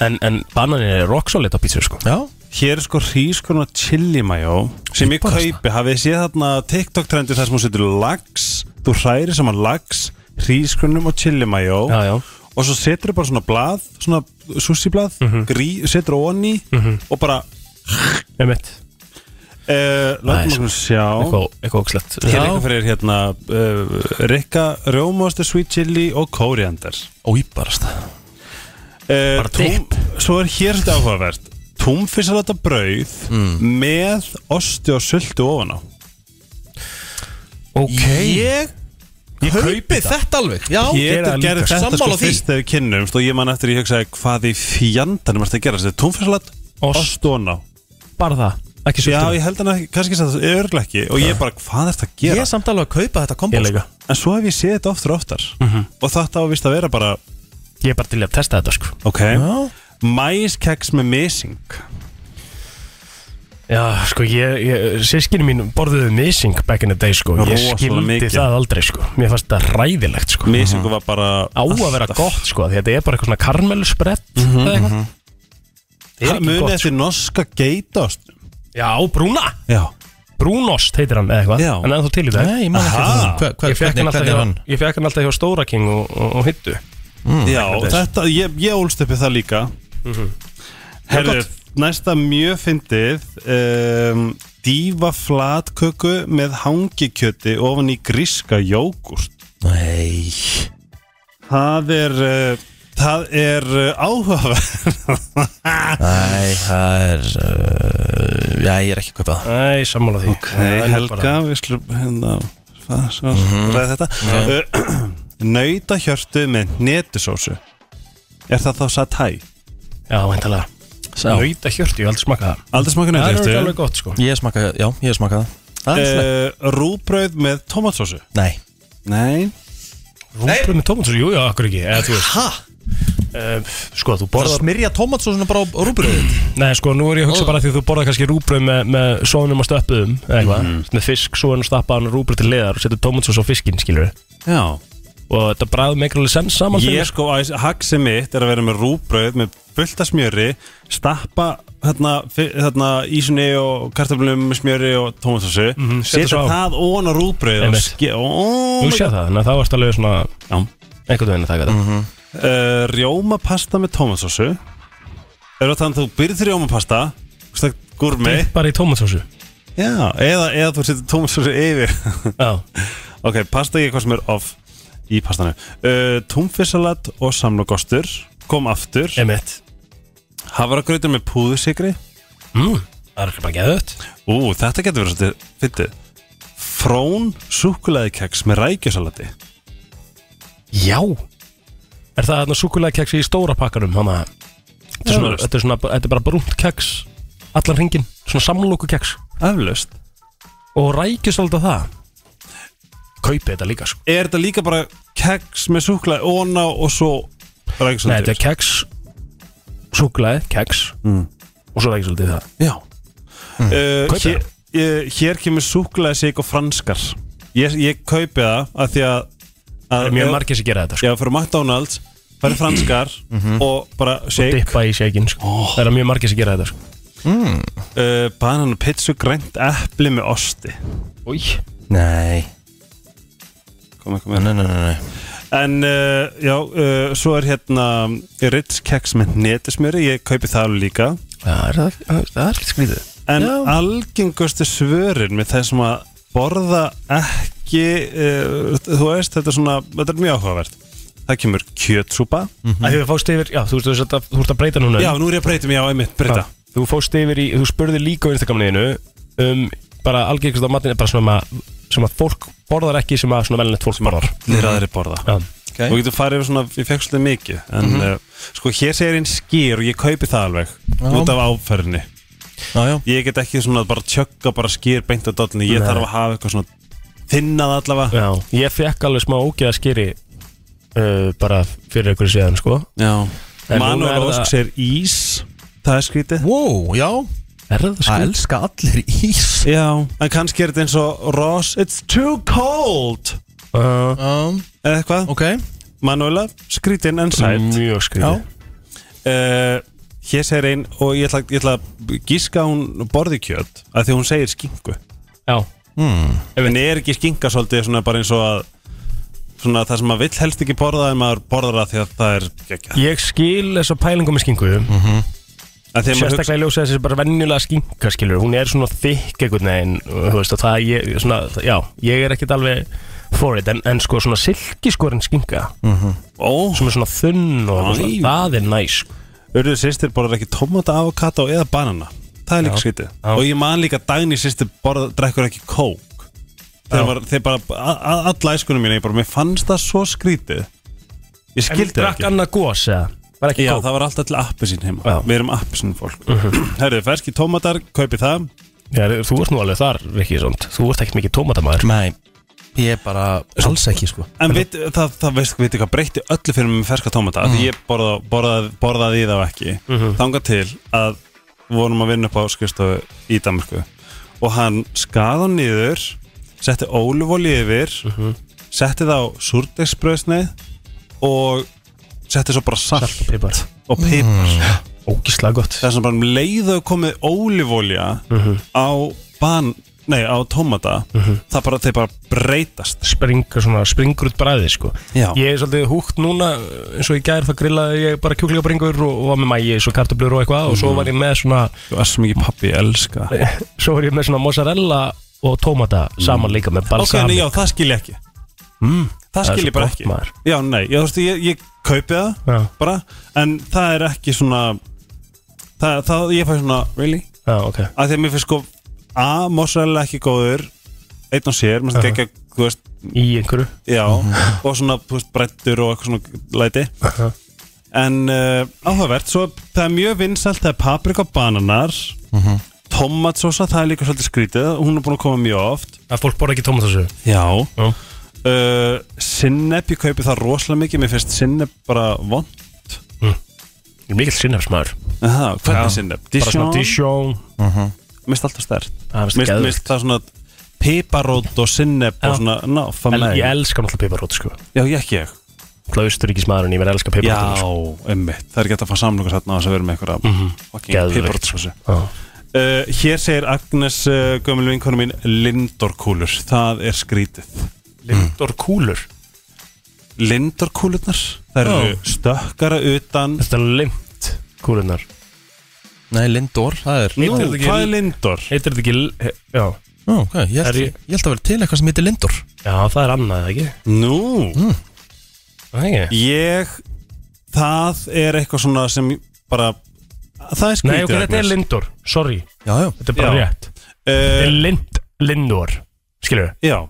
Speaker 2: en, en banani er rock solid á pítsu sko.
Speaker 1: Já
Speaker 9: Hér er sko hrískurna chili mayo sem ég kaupi, hafið þið séð þarna TikTok trendi þar sem hún setur lax þú hræri saman lax, hrískurnum og chili mayo
Speaker 2: Já, já.
Speaker 9: og svo setur bara svona blað, svona sushi blað
Speaker 2: Mhm.
Speaker 9: setur ofan í og bara
Speaker 2: Einmitt
Speaker 9: uh,
Speaker 2: Nei,
Speaker 9: látum
Speaker 2: sko.
Speaker 9: okkur sjá
Speaker 2: Eitthvað- eitthvað ógslegt
Speaker 9: Hér er eitthvað fyrir þér hérna uh, Rikka, rjómaostu, sweet chili og kóriander
Speaker 1: Óýbarast
Speaker 9: uh, tóm, Svo er hér þetta áhugavert Túnfisalata brauð með osti og sultu ofan á
Speaker 2: Ok
Speaker 1: Ég, ég kaupi þetta. alveg Já,
Speaker 9: Pétur gerði þetta sko fyrst þegar við kynnumst og ég man eftir ég hugsaði hvað í fjandanum er þetta að gera þetta er túnfisalat, ost og ná
Speaker 2: Bara það, ekki
Speaker 9: Já,
Speaker 2: sultuna.
Speaker 9: ég held hann ekki, kannski sagði það örglega ekki og ég bara, hvað er þetta að gera?
Speaker 1: Ég er samt alveg að kaupa þetta kombo
Speaker 2: Ég líka.
Speaker 9: En svo hef ég séð þetta oftar og oftar og þetta á vist að vera bara
Speaker 2: Ég er bara til í að testa þetta sko.
Speaker 9: ok, mæskeks með missing
Speaker 2: Já, sko, ég, ég sískinni mín borðuðu missing back in the day, sko Ég
Speaker 9: Rosalega
Speaker 2: skildi
Speaker 9: mikið.
Speaker 2: það aldrei, sko Mér fannst það ræðilegt, sko
Speaker 9: Missingu var bara
Speaker 2: Á að vera gott, sko, því þetta er bara eitthvað svona karmelusbrett mm
Speaker 1: Mhm,
Speaker 2: -hmm, mm -hmm. Það er ekki
Speaker 9: Munið
Speaker 2: gott, sko.
Speaker 9: eftir norska geitost
Speaker 1: sko.
Speaker 2: Já, brúna
Speaker 9: Já
Speaker 2: Brúnost heitir hann eða eitthvað
Speaker 9: Já.
Speaker 2: Hann er ennþá til í dag
Speaker 1: Nei, ég man ekki
Speaker 9: Aha.
Speaker 1: eftir honum. Hva- hva-
Speaker 2: Ég fekk hann
Speaker 1: hvernig-
Speaker 2: alltaf
Speaker 1: hvernig er
Speaker 2: hjá-
Speaker 1: hann?
Speaker 2: Ég fekk hann alltaf hjá Stóra King og, og, og Hittu Mm.
Speaker 9: Já, Mhm. þetta, ég, ég ólst upp í það líka Herðu, næsta mjög fyndið um, Dífa flatköku með hangikjöti ofan í gríska jógurt
Speaker 1: Nei
Speaker 9: Það er, uh, það er uh, áhugaverð
Speaker 1: Nei, það er uh, Já, ég er ekki að kaupa það
Speaker 2: Nei, sammála því Ok,
Speaker 9: Nei, Helga, við slum hérna hvað, svo, ræða þetta uh, (clears throat) Nautahjörtu með netusósu Er það þá satæ?
Speaker 2: Já, veintalega Nauta hjörtu, ég hef aldrei smakað það
Speaker 9: Aldrei smaka
Speaker 2: Það er örugglega
Speaker 9: nautahjörtu
Speaker 2: alveg gott, sko
Speaker 1: Ég smaka, já, ég smaka það Það er svona
Speaker 9: uh, Rúbröð með tomatsósu
Speaker 1: Nei
Speaker 9: Nei
Speaker 2: Rúmbröð með tómatur, jú, já, akkur ekki eða, þú veist.
Speaker 1: Ha?
Speaker 2: Uh, sko, þú
Speaker 1: Bara
Speaker 2: borðar
Speaker 1: smyrja tómatsósuna bara á rúbröðið
Speaker 2: Nei, sko, nú er ég að hugsa bara því að þú borðar kannski rúbröð með, með sónum og stöppuðum eða eitthvað,
Speaker 1: Mhm.
Speaker 2: með fisk, sónum og stappaðan og rúbröð til liðar og setur tómatsós á fiskinn, skilur
Speaker 9: Já
Speaker 2: Og þetta bræðum ekki alveg sens saman
Speaker 9: Ég sko, haksið mitt er að vera með rúbröð með fullta smjöri, stappa hérna, fi- hérna ísunni og kartöflum með smjöri og tómatsósu
Speaker 2: Mhm, setja
Speaker 9: setja
Speaker 2: svo á.
Speaker 9: það ón á rúbröð og
Speaker 2: Einmitt.
Speaker 9: ske- oh
Speaker 2: Nú
Speaker 9: my
Speaker 2: sé
Speaker 9: God.
Speaker 2: það, þannig að það varst alveg svona
Speaker 9: Já
Speaker 2: Einhvern veginn að taka þetta
Speaker 9: uh, Rjómapasta með tómatsósu Er það þannig að þú byrð rjómapasta Gúrmi
Speaker 2: Dip bara í tómatsósu
Speaker 9: Já, eða, eða þú setur tómatsósu yfir
Speaker 2: Já
Speaker 9: Ok, pasta ekki hvað sem er off í pastanu uh, Túnfisalat og samlokostur Kom aftur
Speaker 2: Emmett
Speaker 9: Havragrautur með púðusikri
Speaker 2: mm, Það er ekki bara geðut
Speaker 9: Ú, þetta getur verið svolítið fyndið Frón súkulaðikeks með rækjusalati
Speaker 2: Já Er það þarna súkulæðkeks í stóra pakkanum Þannig að þetta er svona-
Speaker 9: Eflaust.
Speaker 2: þetta er svona Þetta er bara brúnt keks Allan hringin Svona samlóku keks
Speaker 9: Aflust
Speaker 2: Og rækjus alltaf það Kaupið þetta líka sko
Speaker 9: Er þetta líka bara keks með súkulaði Óna og svo rækjusalati
Speaker 2: Nei, þetta er keks Súkulæð, keks
Speaker 9: mm.
Speaker 2: Og svo rækjus alltaf það
Speaker 9: Já uh,
Speaker 2: Hmm. Kaupið
Speaker 9: hér, eh, hér kemur súklaði sig og franskar ég, ég kaupi það að því að, að
Speaker 2: Það er mjög margir sem gera þetta,
Speaker 9: sko. Já, fyrir McDonalds, fyrir franskar og bara
Speaker 2: Mhm. Og
Speaker 9: shake
Speaker 2: dippa í shakein sko Það er mjög margir sem gera þetta sko
Speaker 9: mm. uh, banan og pizzu grænt epli með osti
Speaker 2: Új
Speaker 1: Nei
Speaker 9: Komið, komið
Speaker 1: Nei, nei, nei, nei
Speaker 9: En uh, já, uh, svo er hérna Ritz keks með netismjöri Ég kaupi það alveg líka
Speaker 2: Það er, það er skrítið
Speaker 9: En
Speaker 2: Já.
Speaker 9: algengustu svörin með þeim sem að borða ekki uh, Þú veist, þetta er svona Þetta er mjög áhugavert Það kemur kjötsúpa
Speaker 2: Það hefur fást yfir, já, þú veist þú veist að þú ert að breyta núna
Speaker 9: Já, nú er ég að breytum, já, einmitt, breyta
Speaker 2: Já, Þú fóst yfir í, þú spurði líka á Instagramniðinu um bara algengast á matinu bara svona sem að, sem að fólk borðar ekki sem að svona velnett fólk borðar
Speaker 9: Þeir aðri borða
Speaker 2: Já.
Speaker 9: okay. Og getur farið yfir svona, ég fekk svolítið mikið En
Speaker 2: Mhm.
Speaker 9: uh, sko, hér segir einn skýr og ég kaupi það alveg
Speaker 2: Já.
Speaker 9: Út af áferðinni
Speaker 1: já, já.
Speaker 9: Ég get ekki svona bara tjögga bara skýr beint að dollinni Ég
Speaker 2: Nei.
Speaker 9: þarf að hafa eitthvað svona Þinnað allavega
Speaker 2: Já, ég fekk alveg smá ógeða skýri uh, bara fyrir einhverju séðan sko
Speaker 9: Já
Speaker 2: En núna er
Speaker 9: Manuel
Speaker 2: það-
Speaker 9: Ósk segir ís Það er skrítið
Speaker 1: Wow, já
Speaker 2: Er það skrítið?
Speaker 1: Það elska allir ís
Speaker 9: Já En kannski er þetta eins og Ross It's too cold
Speaker 2: uh,
Speaker 1: um,
Speaker 9: Eða eitthvað
Speaker 1: Ok
Speaker 9: Manuela Skrítin en sæt
Speaker 2: Mjög skrítið.
Speaker 9: Já uh, Hér segir einn Og ég ætla, ég ætla að gíska að hún borði kjöt Af því að hún segir skingu
Speaker 2: Já
Speaker 1: mm.
Speaker 9: En er ekki skinga svolítið svona bara eins og að Svona það sem maður vill helst ekki borða En maður borðar það því að það er geggjað
Speaker 2: Ég skil þess að pælingum með skingu mm -hmm.
Speaker 9: Að því að maður
Speaker 2: Sérstaklega ljósa þessi bara venjulega skinka skilur Hún er svona þykk einhvern veginn og Þú veist og það ég, svona, já, ég er ekkit alveg for it En, en sko svona silkiskorinn skinka
Speaker 9: oh.
Speaker 2: Sem er svona þunn og eitthvað svona, það er næs sko.
Speaker 9: Urður sýstir borðar ekki tómata, avokata og eða banana Það er líka
Speaker 2: Já.
Speaker 9: skrítið Og ég man líka að Dagný sýstir borðar, drekkur ekki kók Þeir, var, þeir bara, a- a- alla æskunum mína, ég bara, mér fannst það svo skrítið
Speaker 2: En
Speaker 9: Ég skildi það
Speaker 2: drakk
Speaker 9: ekki
Speaker 2: annað gós eða? Var ekki
Speaker 9: Já,
Speaker 2: kók? Mhm.
Speaker 9: það var alltaf til appisín heima Við erum appisín fólk Herðu, ferski tómatar, kaupi það
Speaker 2: Já, þú ert nú alveg þar, Rikki, svont. Þú ert ekkert mikið tómatamæður.
Speaker 1: Nei, ég er bara alls ekki, sko.
Speaker 9: En veit, það, það veist, veit hvað breytti öllu fyrir mig með ferska tómata mm. Því ég borða, borðað, borðaði þá ekki Þangað til að við vorum að vinna upp á skrifstofu í Danmarku Og hann skað hann niður Setti ólufóli yfir Setti það á súrdegsbröðsneið Og setti svo bara salt Salt Mhm.
Speaker 2: og pipar
Speaker 9: Og pipar
Speaker 2: Ógislega gott
Speaker 9: Það er svona bara um leiðu komið ólufólja Á ban, nei, á tómata Það bara, þeir bara breytast
Speaker 2: Springur svona, springur út bræði, sko.
Speaker 9: Já.
Speaker 2: Ég er svolítið húgt núna, eins og í gær það grillaði ég bara kjúklingabringur og, og var með mægis og kartablur og eitthvað og svo var ég með svona... (laughs)
Speaker 9: Þú er svo mikið pappi, ég elska
Speaker 2: Svo var ég með svona mozzarella og tómata saman líka með
Speaker 9: Ok,
Speaker 2: balsami.
Speaker 9: nei, já, það skil ég ekki
Speaker 2: mm,
Speaker 9: Það
Speaker 2: er
Speaker 9: skil
Speaker 2: svo
Speaker 9: ég bara
Speaker 2: gott,
Speaker 9: ekki Já, nei, já, þú veist, ég, ég kaupi það
Speaker 2: Já.
Speaker 9: bara, en það er ekki svona það, það ég fæ svona Really?
Speaker 2: Já, ok
Speaker 9: Að því að mér finnst sko A, mozzarella ekki góður einn og sér, mér finnst
Speaker 2: Já.
Speaker 9: ekki að, þú veist
Speaker 2: Í einhverju
Speaker 9: Já,
Speaker 2: Mhm.
Speaker 9: og svona, þú veist, brettur og eitthvað svona læti En uh, áhugavert, svo það er mjög vinsælt það er paprika og bananar
Speaker 1: Mhm.
Speaker 9: Tomatsósa, það er líka svolítið skrítið Hún er búin að koma mjög oft
Speaker 2: Að fólk borða ekki tómatasöðu
Speaker 9: Já uh, Sinneb, ég kaupi það rosalega mikið Mér finnst sinneb bara vond
Speaker 2: Ég er mikill sinnefsmaður
Speaker 9: Aha, hvernig sinnef?
Speaker 2: Bara svona
Speaker 9: Dijon?
Speaker 2: Dijon
Speaker 9: Mhm. Mist alltaf stert
Speaker 2: Það finnst
Speaker 9: Mist,
Speaker 2: geðveikt.
Speaker 9: mist það svona piparót og sinnef og
Speaker 2: Já.
Speaker 9: svona ná,
Speaker 2: En
Speaker 9: famæg
Speaker 2: ég elska náttúrulega piparót sko
Speaker 9: Já, ég ekki ég
Speaker 2: Klausturíkismæðurinn, ég verð að elska piparót
Speaker 9: Já, einmitt Það er gett að fá samlokur þarna á þess að vera með einhverja mm
Speaker 2: Mhm.
Speaker 9: fucking
Speaker 2: Geðveikt.
Speaker 9: piparót svo
Speaker 2: Já.
Speaker 9: Uh, hér segir Agnes uh, gömul vinkonu mín Lindorkúlur, það er skrítið Mm.
Speaker 2: Lindorkúlur?
Speaker 9: Lindorkúlurnar Það eru stökkara utan
Speaker 2: Þetta er limt kúlunar
Speaker 1: Nei, Lindor, það er
Speaker 2: Nú,
Speaker 9: hvað er Lindor?
Speaker 2: Heitir þetta ekki, he- já
Speaker 1: Nú, hvað, ég held,
Speaker 2: Er ég-
Speaker 1: ég... held að vera til eitthvað sem heitir Lindor
Speaker 2: Já, það er annað, ekki?
Speaker 9: Nú
Speaker 1: mm.
Speaker 2: Ægir.
Speaker 9: Ég Það er eitthvað svona sem bara Það er skrítið
Speaker 2: Nei, ok, þetta er
Speaker 9: Agnes.
Speaker 2: Lindor, sorry
Speaker 1: Já, já
Speaker 2: Þetta er bara
Speaker 9: Já.
Speaker 2: rétt Þetta er Lind, Lindor, skilur við
Speaker 9: Já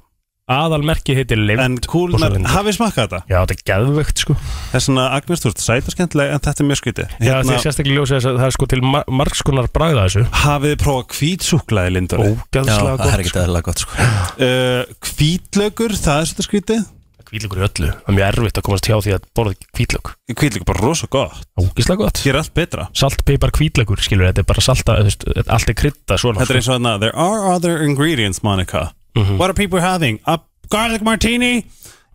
Speaker 2: Aðalmerki heitir Lind
Speaker 9: En kúlunar, hafið smakkað þetta?
Speaker 2: Já, þetta er geðvögt sko
Speaker 9: Það er svona, Agnes, þú ert sæt og skemmtileg en þetta er mjög skrítið Hérna,
Speaker 2: Já, þið sérstaklega ljósið þess að það er sko til mar margskonar bragða þessu
Speaker 9: Hafið þið prófað kvítsúklaði lindor
Speaker 2: Ógeðslega gott, sko.
Speaker 1: eðlilega gott sko
Speaker 9: uh, Kvítlaugur, það er svolítið skrítið
Speaker 2: Hvítlaugur í öllu, það er mjög erfitt að komast hjá því að borða ekki hvítlaug
Speaker 9: Kvítlaugur bara rosa gott
Speaker 2: Ógeðslega gott
Speaker 9: Gera allt betra
Speaker 2: Salt, pipar, hvítlaugur, skilur, þetta er bara salta, þú veist, þetta- allt er krydda svona sko.
Speaker 9: Þetta er eins og þarna There are other ingredients, Monica
Speaker 2: Mhm.
Speaker 9: What are people having? A garlic martini?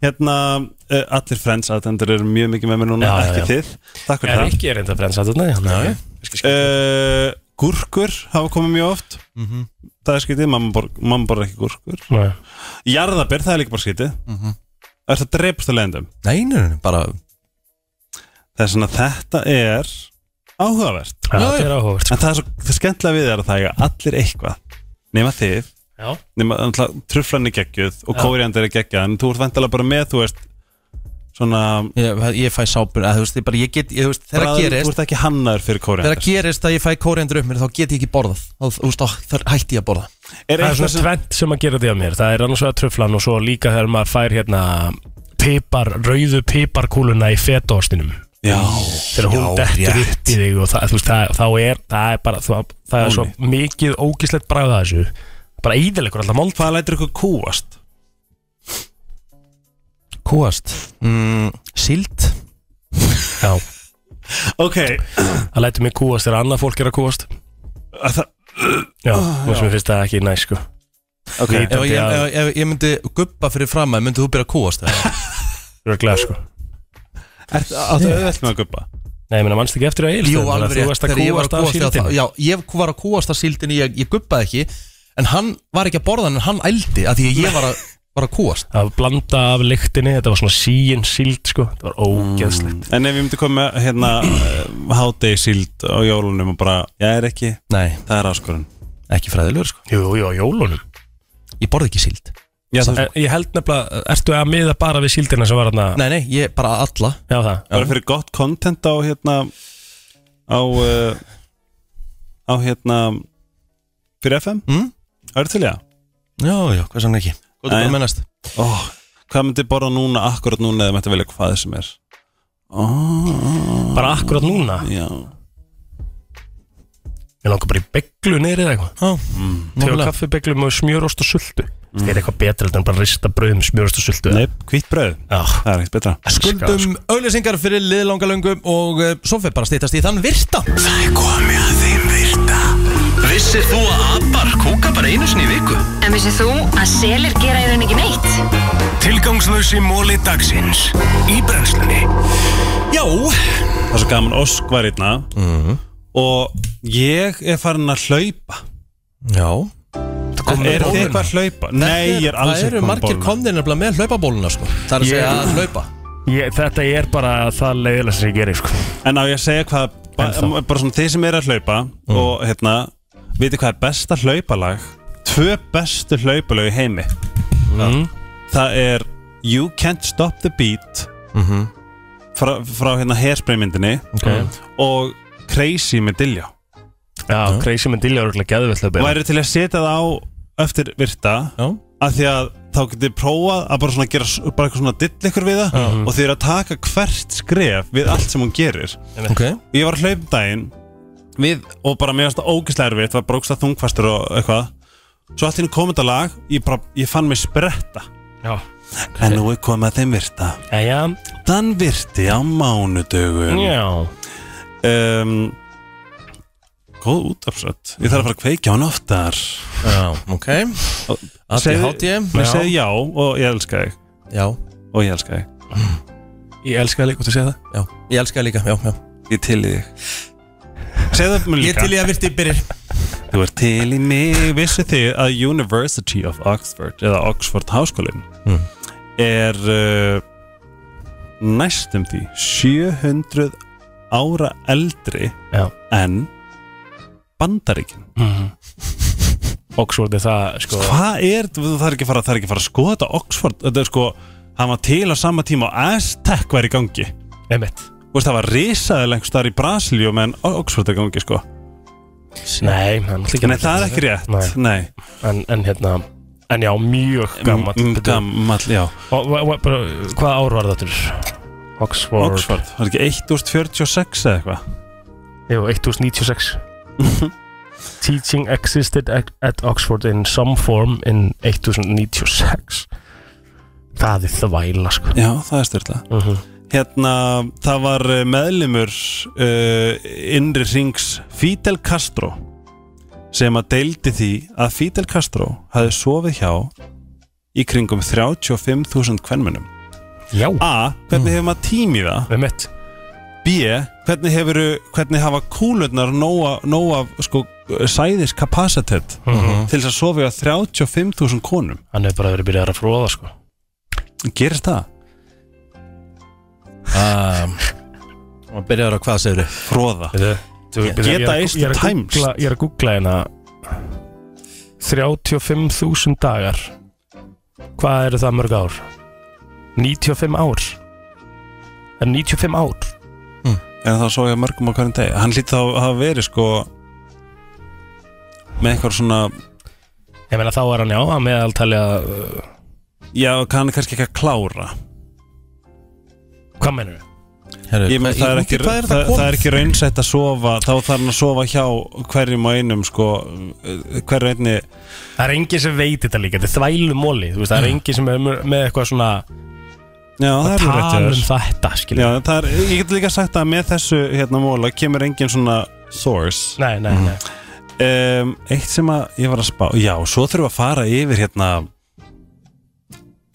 Speaker 9: Hérna, uh, allir friends attendur eru mjög mikið með mér núna,
Speaker 2: Já, já,
Speaker 9: ekki
Speaker 2: já.
Speaker 9: þið Takk fyrir
Speaker 2: Er
Speaker 9: það
Speaker 2: ekki er reynda brennsaturna, já, Eh. já
Speaker 9: uh, Gúrkur hafa komið mjög oft
Speaker 1: Mhm.
Speaker 9: Það er skrítið, mamma borð mamma borð ekki gúrkur
Speaker 2: Nei.
Speaker 9: Jarðaber, það er líka bara skrítið mm -hmm. Er það dreipast að lendum?
Speaker 1: Mhm. Nei, nei, nei, bara
Speaker 9: Það er svona, þetta er áhugavert
Speaker 2: Já, þetta er áhugavert
Speaker 9: En það er svo það skemmtilega við er að það eiga allir eitthvað Nema þið
Speaker 2: Já.
Speaker 9: Nema náttúrulega, truflan er geggjuð og
Speaker 2: Já.
Speaker 9: kóriandir er geggjað En þú ert vandalega bara með, þú veist Svona
Speaker 1: Ég, ég fæ sápun, að þú veist, ég bara, ég get, ég, þú veist, þegar það
Speaker 9: bragð- Þú
Speaker 1: gerist
Speaker 9: ert ekki hannaður fyrir
Speaker 1: Þegar það
Speaker 9: kóriandir
Speaker 1: gerist að ég fæ kórendur upp mér, þá get ég ekki borðað Þá, Þú veist, þá þar hætti ég að borða
Speaker 9: Er
Speaker 2: Það er
Speaker 9: eitthvað
Speaker 2: svona
Speaker 9: sem
Speaker 2: tvent sem að gera því að mér Það er annars vegar tröflan og svo líka þegar maður fær hérna pipar, rauðu piparkúluna í fetaostinum
Speaker 9: Já,
Speaker 2: þegar hún
Speaker 1: Já,
Speaker 2: dettur
Speaker 1: rétt.
Speaker 2: upp í þig og það, þú veist, það, þá er það er bara, það, það er svo mikið ógislegt bragða þessu bara íðilegur alltaf mál
Speaker 9: Hvað lætur ykkur kúast?
Speaker 1: Kúast mm, Sild
Speaker 2: Já,
Speaker 9: Ok,
Speaker 2: það lætur mig kúast þegar annað fólk er að kúast
Speaker 9: að það
Speaker 2: Já, og sem ég finnst það ekki næ sko
Speaker 9: Ok,
Speaker 1: Ef ég,
Speaker 2: Vitandi að-
Speaker 1: ef, ef ég myndi guppa fyrir fram að myndi þú byrja að kúast það
Speaker 2: Röglega sko
Speaker 9: Ertu áttu auðvelt með að guppa?
Speaker 2: Nei, ég meina, mannst ekki eftir að eilst
Speaker 1: Jú, alveg
Speaker 2: Þú
Speaker 1: rétt,
Speaker 2: varst að
Speaker 1: þegar ég var að kúast
Speaker 2: kúast af
Speaker 1: af það
Speaker 2: síldinu
Speaker 1: Já, ég var að kúast af síldinu, ég, ég guppaði ekki En hann var ekki að borða hann, en hann ældi að Því að ég var að, var að kúast
Speaker 2: Það var blanda af lyktinni, þetta var svona síin síld sko Það var ógeðslegt
Speaker 9: En ef ég myndi koma með hérna hátegi síld á jólunum og bara, ég er ekki,
Speaker 1: Nei,
Speaker 9: það er áskorun
Speaker 1: ekki fræðilegur sko
Speaker 2: Jú, jú, á jólunum
Speaker 1: Ég borði ekki síld
Speaker 9: Já, það
Speaker 2: En Eh, Ég held nefnilega, eh, ertu að miða bara við síldina sem var hérna
Speaker 1: Nei, nei, ég bara alla
Speaker 2: Já það,
Speaker 9: bara fyrir gott content á hérna á uh, á hérna fyrir FM
Speaker 1: Mm?
Speaker 9: Það er til ég
Speaker 1: Já, já, hvað sann ekki Hvað er
Speaker 9: Nei.
Speaker 1: það mennast?
Speaker 9: Ó, Hvað myndi borða núna, akkurat núna eða mætti velja hvað sem er Ó,
Speaker 2: bara akkurat núna
Speaker 9: já
Speaker 2: Ég langar bara í beglu niður eða eitthvað Mm.
Speaker 1: Já, Mm.
Speaker 2: Þegar
Speaker 1: nákvæmlega.
Speaker 2: kaffi beglu með smjörost og sultu Það er eitthvað betra heldur en bara að rista brauð með smjörost og sultu
Speaker 9: Nei, hvitt bröð,
Speaker 2: Já,
Speaker 9: það er ekkert betra
Speaker 1: Skuldum auðlýsingar fyrir liðlangalöngum og uh, svo fyrir bara að stýttast í þann virta
Speaker 3: Það er komið að þeim virta Vissir þú að abar kúka bara einu sinni í viku?
Speaker 6: En vissið þú að selir gera í raun ekki neitt?
Speaker 3: Tilgangslösi móli dagsins Í brennslunni
Speaker 1: Já,
Speaker 9: Það er svo gaman Ósk var hérna
Speaker 1: Mhm.
Speaker 9: og ég er farin að hlaupa
Speaker 1: já
Speaker 9: Er þið eitthvað að hlaupa? Nei, ég er alls
Speaker 1: Það
Speaker 9: ekki
Speaker 1: eru margir
Speaker 9: bóluna.
Speaker 1: komnir nefnilega með hlaupabóluna sko Það er að
Speaker 2: Ég-
Speaker 1: segja að hlaupa
Speaker 2: ég, Þetta er bara það leiðilega sem ég gerir sko
Speaker 9: En á ég að segja hvað ba
Speaker 2: Ennþá.
Speaker 9: Bara svona þið sem eru að hlaupa
Speaker 1: Mm.
Speaker 9: Og hérna, vitið hvað er besta hlaupalag? Tvö bestu hlaupalag í heimi
Speaker 2: mm.
Speaker 9: Það er You Can't Stop the Beat
Speaker 1: Mhm.
Speaker 9: frá, frá hérna hairspraymyndinni
Speaker 1: Mm.
Speaker 2: okay.
Speaker 9: Og Crazy með Dilljá
Speaker 2: Já, crazy með dilja eru ekki geðvöldlega betra
Speaker 9: Væri til að setja það á eftir virta
Speaker 1: Já.
Speaker 9: Af því að þá getið prófað að bara svona gera s- bara eitthvað svona dill ykkur við það
Speaker 2: Mhm.
Speaker 9: og þið eru að taka hvert skref við allt sem hún gerir
Speaker 1: Ok
Speaker 9: ég var að hlaupa um daginn við, og bara mér varst það ógeðslega erfitt var brókst að þungfastur og eitthvað svo allt í henni komið þetta lag ég, bara, ég fann mig spretta
Speaker 2: Já,
Speaker 9: en nú er komið að þeim virta
Speaker 2: Jæja,
Speaker 9: Sjaldan virti á mánudögum
Speaker 2: Já
Speaker 9: um, Góð útafsett Ég þarf að fara að kveikja á hann oftar
Speaker 1: Já, ok ADHD.
Speaker 9: Mér
Speaker 1: Já.
Speaker 9: segi já og ég elska þig
Speaker 1: Já
Speaker 9: Og ég elska þig Ég elska þig, gott að segja það
Speaker 1: Já, ég elska það líka, já, já
Speaker 9: Ég til í þig Segðu það mér
Speaker 1: Ég
Speaker 9: líka
Speaker 1: til ég að virti byrjir
Speaker 9: Þú ert til í mig Vissu þið að University of Oxford eða Oxford Háskólin
Speaker 1: Mm.
Speaker 9: er uh, næstum því 700 ára eldri
Speaker 2: Já.
Speaker 9: en Bandaríkin
Speaker 2: Mhm. Oxford er það sko
Speaker 9: Hvað er, þú þarf ekki að fara, þarf ekki að fara að skoða þetta Oxford, þetta er sko hann var til á sama tíma og Aztec var í gangi
Speaker 2: Einmitt.
Speaker 9: Þú veist, það var risaðil einhvers staðar í Brasilíu menn Oxford er í gangi sko
Speaker 2: Nei, hann ætla ekki að-
Speaker 9: Nei, það er ekki rétt, nei.
Speaker 2: En, en hérna En já, mjög gammal
Speaker 9: Mm, Gammal, já
Speaker 2: Hvað ár var þetta? Oxford
Speaker 9: Oxford, var ekki 1046 eða eitthvað (laughs)
Speaker 2: Jú, 1096 Teaching existed at, at Oxford in some form in 1096 Það er þvæla sko
Speaker 9: Já, það er styrla Hérna, það var eh, meðlimur uh, innri rings Fidel Castro sem að deildi því að Fidel Castro hafði sofið hjá í kringum 35.000 kvenmunum
Speaker 2: Já
Speaker 9: A. Hvernig hefur maður tím í það?
Speaker 2: Einmitt.
Speaker 9: B. Hvernig, hefur, hvernig hafa kúlurnar nóa, nóa sko, sæðis kapacitet
Speaker 2: Mhm.
Speaker 9: til þess að sofi á 35.000 konum?
Speaker 2: Hann hefur bara verið byrjað að fróða sko
Speaker 9: Gerist það?
Speaker 1: um, Og byrjar á hvað segir þau?
Speaker 9: Fróða
Speaker 2: Geta eist tæmst Ég er að googla hérna 35.000 dagar Hvað eru það mörg ár? 95 ár Það er 95 ár
Speaker 9: En það svo ég mörgum á hverjum degi Hann lítið þá að veri sko Með eitthvað svona
Speaker 2: Ég meina þá er hann já að meðaltali að uh,
Speaker 9: Já, hann er kannski ekki að klára
Speaker 2: Hvað mennur við?
Speaker 9: Ég með það er ekki, það, það, er ekki raunsætt að sofa Þá þarf hann að sofa hjá hverjum og einum sko eh, Hverju einni
Speaker 2: Það er enginn sem veit þetta líka, þetta er þvælumóli Þú veist, það er enginn sem er með- með eitthvað svona
Speaker 9: Já, það
Speaker 2: að
Speaker 9: er
Speaker 2: tala
Speaker 9: rétt hjá
Speaker 2: um
Speaker 9: þér.
Speaker 2: þetta, skilja
Speaker 9: Já, það er, ég get líka sagt að með þessu hérna móla kemur engin svona source
Speaker 2: Nei, nei, nei
Speaker 9: Mhm. um, Eitt sem að ég var að spá Já, svo þurfum við að fara yfir hérna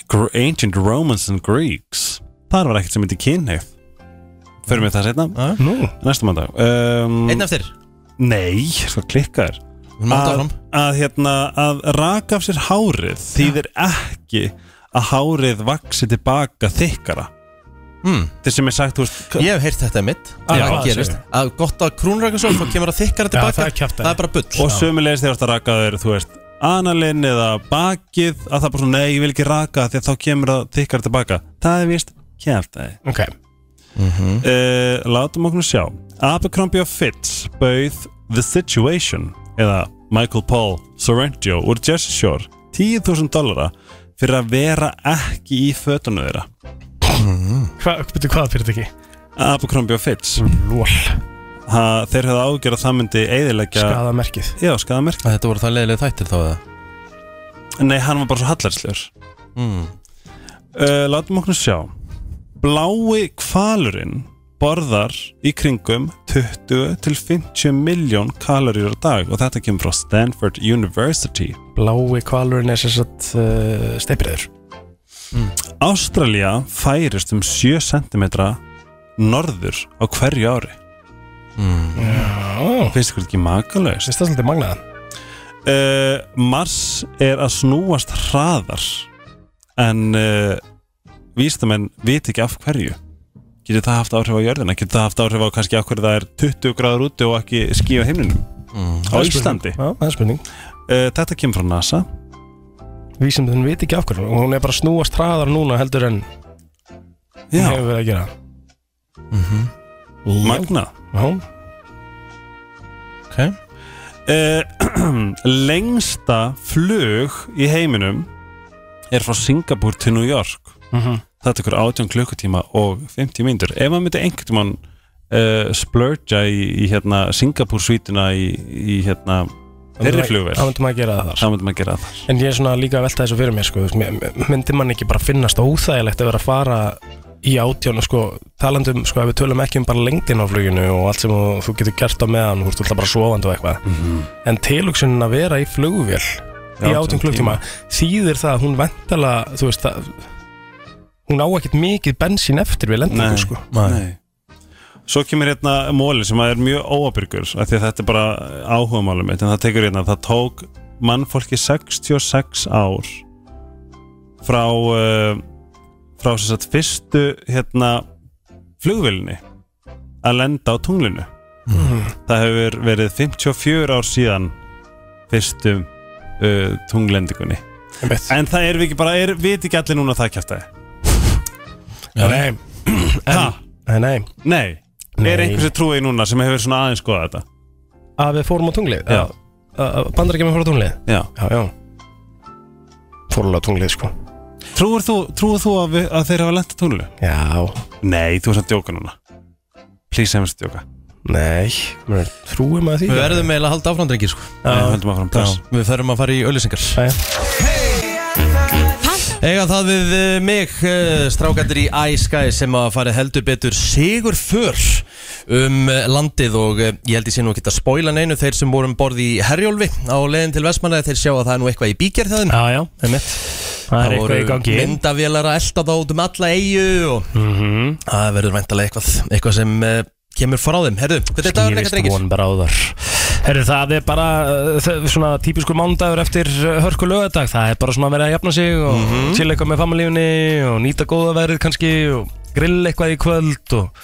Speaker 9: Gr- Ancient Romans and Greeks Þar var ekkert sem myndi kynneið Förum við það setna
Speaker 2: Nú,
Speaker 9: Næstum að um,
Speaker 1: Einn eftir
Speaker 9: Nei, sko klikka þér
Speaker 1: Hún mátt
Speaker 9: að,
Speaker 1: áfram
Speaker 9: að hérna Að raka af sér hárið Þýðir ekki að hárið vaksi tilbaka þykkara
Speaker 1: hmm.
Speaker 9: Þetta sem er sagt, þú veist
Speaker 1: Ég hef heyrt þetta mitt
Speaker 2: Já,
Speaker 1: Það
Speaker 2: hvað
Speaker 1: gerist
Speaker 2: segirðu?
Speaker 1: að Gott að krúnrakasól Þá kemur það þykkara
Speaker 2: Já,
Speaker 1: tilbaka
Speaker 2: það er kjaftæði.
Speaker 1: Það er bara bull
Speaker 9: og sömulegis þegar þú ert að raka þér þú veist, analinn eða bakið að það er bara svona, nei, ég vil ekki raka því að þá kemur það þykkar tilbaka það er vist, kjæft að
Speaker 2: ok
Speaker 9: þið Eh, látum okkur sjá Abercrombie og Fitch bauð The Situation eða Michael Paul Sorrentio úr Jersey Shore 10.000 dollara fyrir að vera ekki í fötunum þeirra
Speaker 2: Hvað, betur hvað fyrir þetta ekki?
Speaker 9: Abercrombie og Fitch
Speaker 2: Lól,
Speaker 9: ha, þeir höfðu ágjör að það myndi eigðilegja
Speaker 2: skada merkið
Speaker 9: já, skadamerk
Speaker 1: Að Þetta voru það leiðilega þættir þá eða
Speaker 9: nei, hann var bara svo hallarslegur
Speaker 1: mm.
Speaker 9: uh, Látum okkur sjá Blái kvalurinn borðar í kringum 20 til 50 miljón kaloríur á dag og þetta kemur frá Stanford University
Speaker 2: Blái kvalurinn er sem sagt uh, steipirður
Speaker 9: Ástralía færist um 7 cm norður á hverju ári
Speaker 2: Já,
Speaker 9: finnst ykkur ekki makalaust
Speaker 2: finnst það svolítið magnaðan
Speaker 9: uh, Mars er að snúast hraðar en uh, vístamenn vit ekki af hverju getur það haft áhrif á jörðina getur það haft áhrif á kannski af hverju það er 20 gráður úti og ekki skí á heimninum á
Speaker 2: Það er spurning.
Speaker 9: Íslandi uh,
Speaker 2: Já, Mm. það er spurning
Speaker 9: þetta kemur frá NASA
Speaker 2: Vísindin veit ekki af hverju og Hún er bara að snúast hraðar núna heldur en hún
Speaker 9: já,
Speaker 2: hefur verið að gera
Speaker 9: magna
Speaker 2: Já,
Speaker 1: Ok
Speaker 9: uh, (clears throat) lengsta flug í heiminum er frá Singapur til New York
Speaker 2: Mhm.
Speaker 9: það tekur 18 klukkutíma og 50 mínútur ef maður myndi einhvern tímann uh, splurja í, í hérna, Singapur svítina í, í hérna, þeirri
Speaker 2: Það
Speaker 9: flugvél
Speaker 2: myndi maður að gera það þar
Speaker 9: það myndi maður gera það
Speaker 2: En ég er svona líka að velta þessu fyrir mér sko, þú veist, mér- mér- myndi mann ekki bara finnast óþægilegt að vera að fara í átjónu sko, talandum sko, ef við tölum ekki um bara lengdin á fluginu og allt sem þú, þú getur gert á meðan þú ert alltaf bara sofandi og eitthvað en tilugsunin að vera í flugvél í
Speaker 13: Já,
Speaker 2: átjón klukktíma þýðir það að hún ventala þú veist það hún á ekkert mikið bensín eftir við lendingu sko
Speaker 9: nei. Svo kemur hérna móli sem er mjög óabyrgur af því að þetta er bara áhugamálum mitt en það tekur hérna, það tók mannfólki 66 ár frá uh, frá sem sagt fyrstu hérna flugvillinni að lenda á tunglinu
Speaker 2: Mhm.
Speaker 9: það hefur verið 54 ár síðan fyrstum uh, tunglendingunni en það erum við ekki bara, er, við ekki allir núna að það kjæft
Speaker 2: Já, nei en, en, Nei
Speaker 9: Nei, er einhver sem trúið núna sem hefur svona aðeins skoðað þetta
Speaker 2: að við fórum á tunglið
Speaker 9: Já.
Speaker 2: bandar ekki með fórum á tunglið
Speaker 9: Já.
Speaker 2: já, já. fórum alveg á tunglið sko
Speaker 9: Trúir þú, trúir þú að, við, að þeir hafa lent á tunglinu?
Speaker 2: Já
Speaker 9: Nei, þú er samt djóka núna Please sem samt djóka
Speaker 2: Nei, mér trúum að því
Speaker 1: Við verðum eiginlega að halda áfram drengir sko
Speaker 2: Já. Við
Speaker 9: höldum áfram, bless.
Speaker 1: Já, Við þurfum að fara í auðlýsingar Ega það við eh, mig eh, strákandir í Æskæ sem að fara heldur betur sigur för um eh, landið og eh, ég held ég sé nú að geta spóila neinu þeir sem vorum borði í Herjólfi á leiðin til Vestmanna þeir sjá að það er nú eitthvað í bíkjær þaðin
Speaker 2: Já, já, einmitt Það er eitthvað í gangi.
Speaker 1: myndavélar að elda þá út um alla eigu og
Speaker 2: Mhm.
Speaker 1: það verður væntalega eitthvað eitthvað sem eh, kemur frá þeim Herðu, þetta er dagur leika drengir
Speaker 2: von bráðar Herru, það er bara uh, þ- svona típiskur mándagur eftir uh, hörku lögadag Það er bara svona að vera að jafna sig og mm
Speaker 1: Mhm.
Speaker 2: chilla eitthvað með familíunni og nýta góða verið kannski og grill eitthvað í kvöld og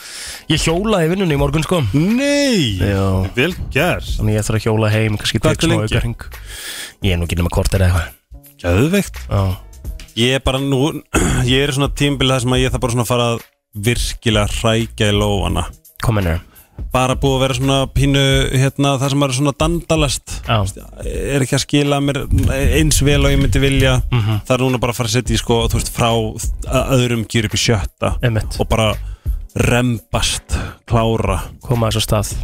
Speaker 2: ég hjólaði í vinnunni í morgun sko
Speaker 9: Nei,
Speaker 2: Já.
Speaker 9: vel gert
Speaker 2: Þannig ég þarf að hjóla heim, kannski
Speaker 9: Hvað
Speaker 2: tek
Speaker 9: ertu
Speaker 2: smá
Speaker 9: lengi?
Speaker 2: aukahring Ég er nú ekki nema kortir eða eitthvað
Speaker 9: Gæðveikt
Speaker 2: Já.
Speaker 9: Ég er bara nú (clears throat) Ég er í svona tímbil þar sem að ég þarf bara svona að fara að virkilega hrækja í lófana
Speaker 2: Kominir
Speaker 9: Bara búið að vera svona pínu hérna, þar sem maður er svona dandalast
Speaker 2: Já.
Speaker 9: Er ekki að skila mér eins vel og ég myndi vilja
Speaker 2: Mhm.
Speaker 9: Það er núna bara að fara að setja í sko þú veist, frá að öðrum gýr upp í sjötta
Speaker 2: Einmitt.
Speaker 9: Og bara rembast klára
Speaker 2: Koma þess að stað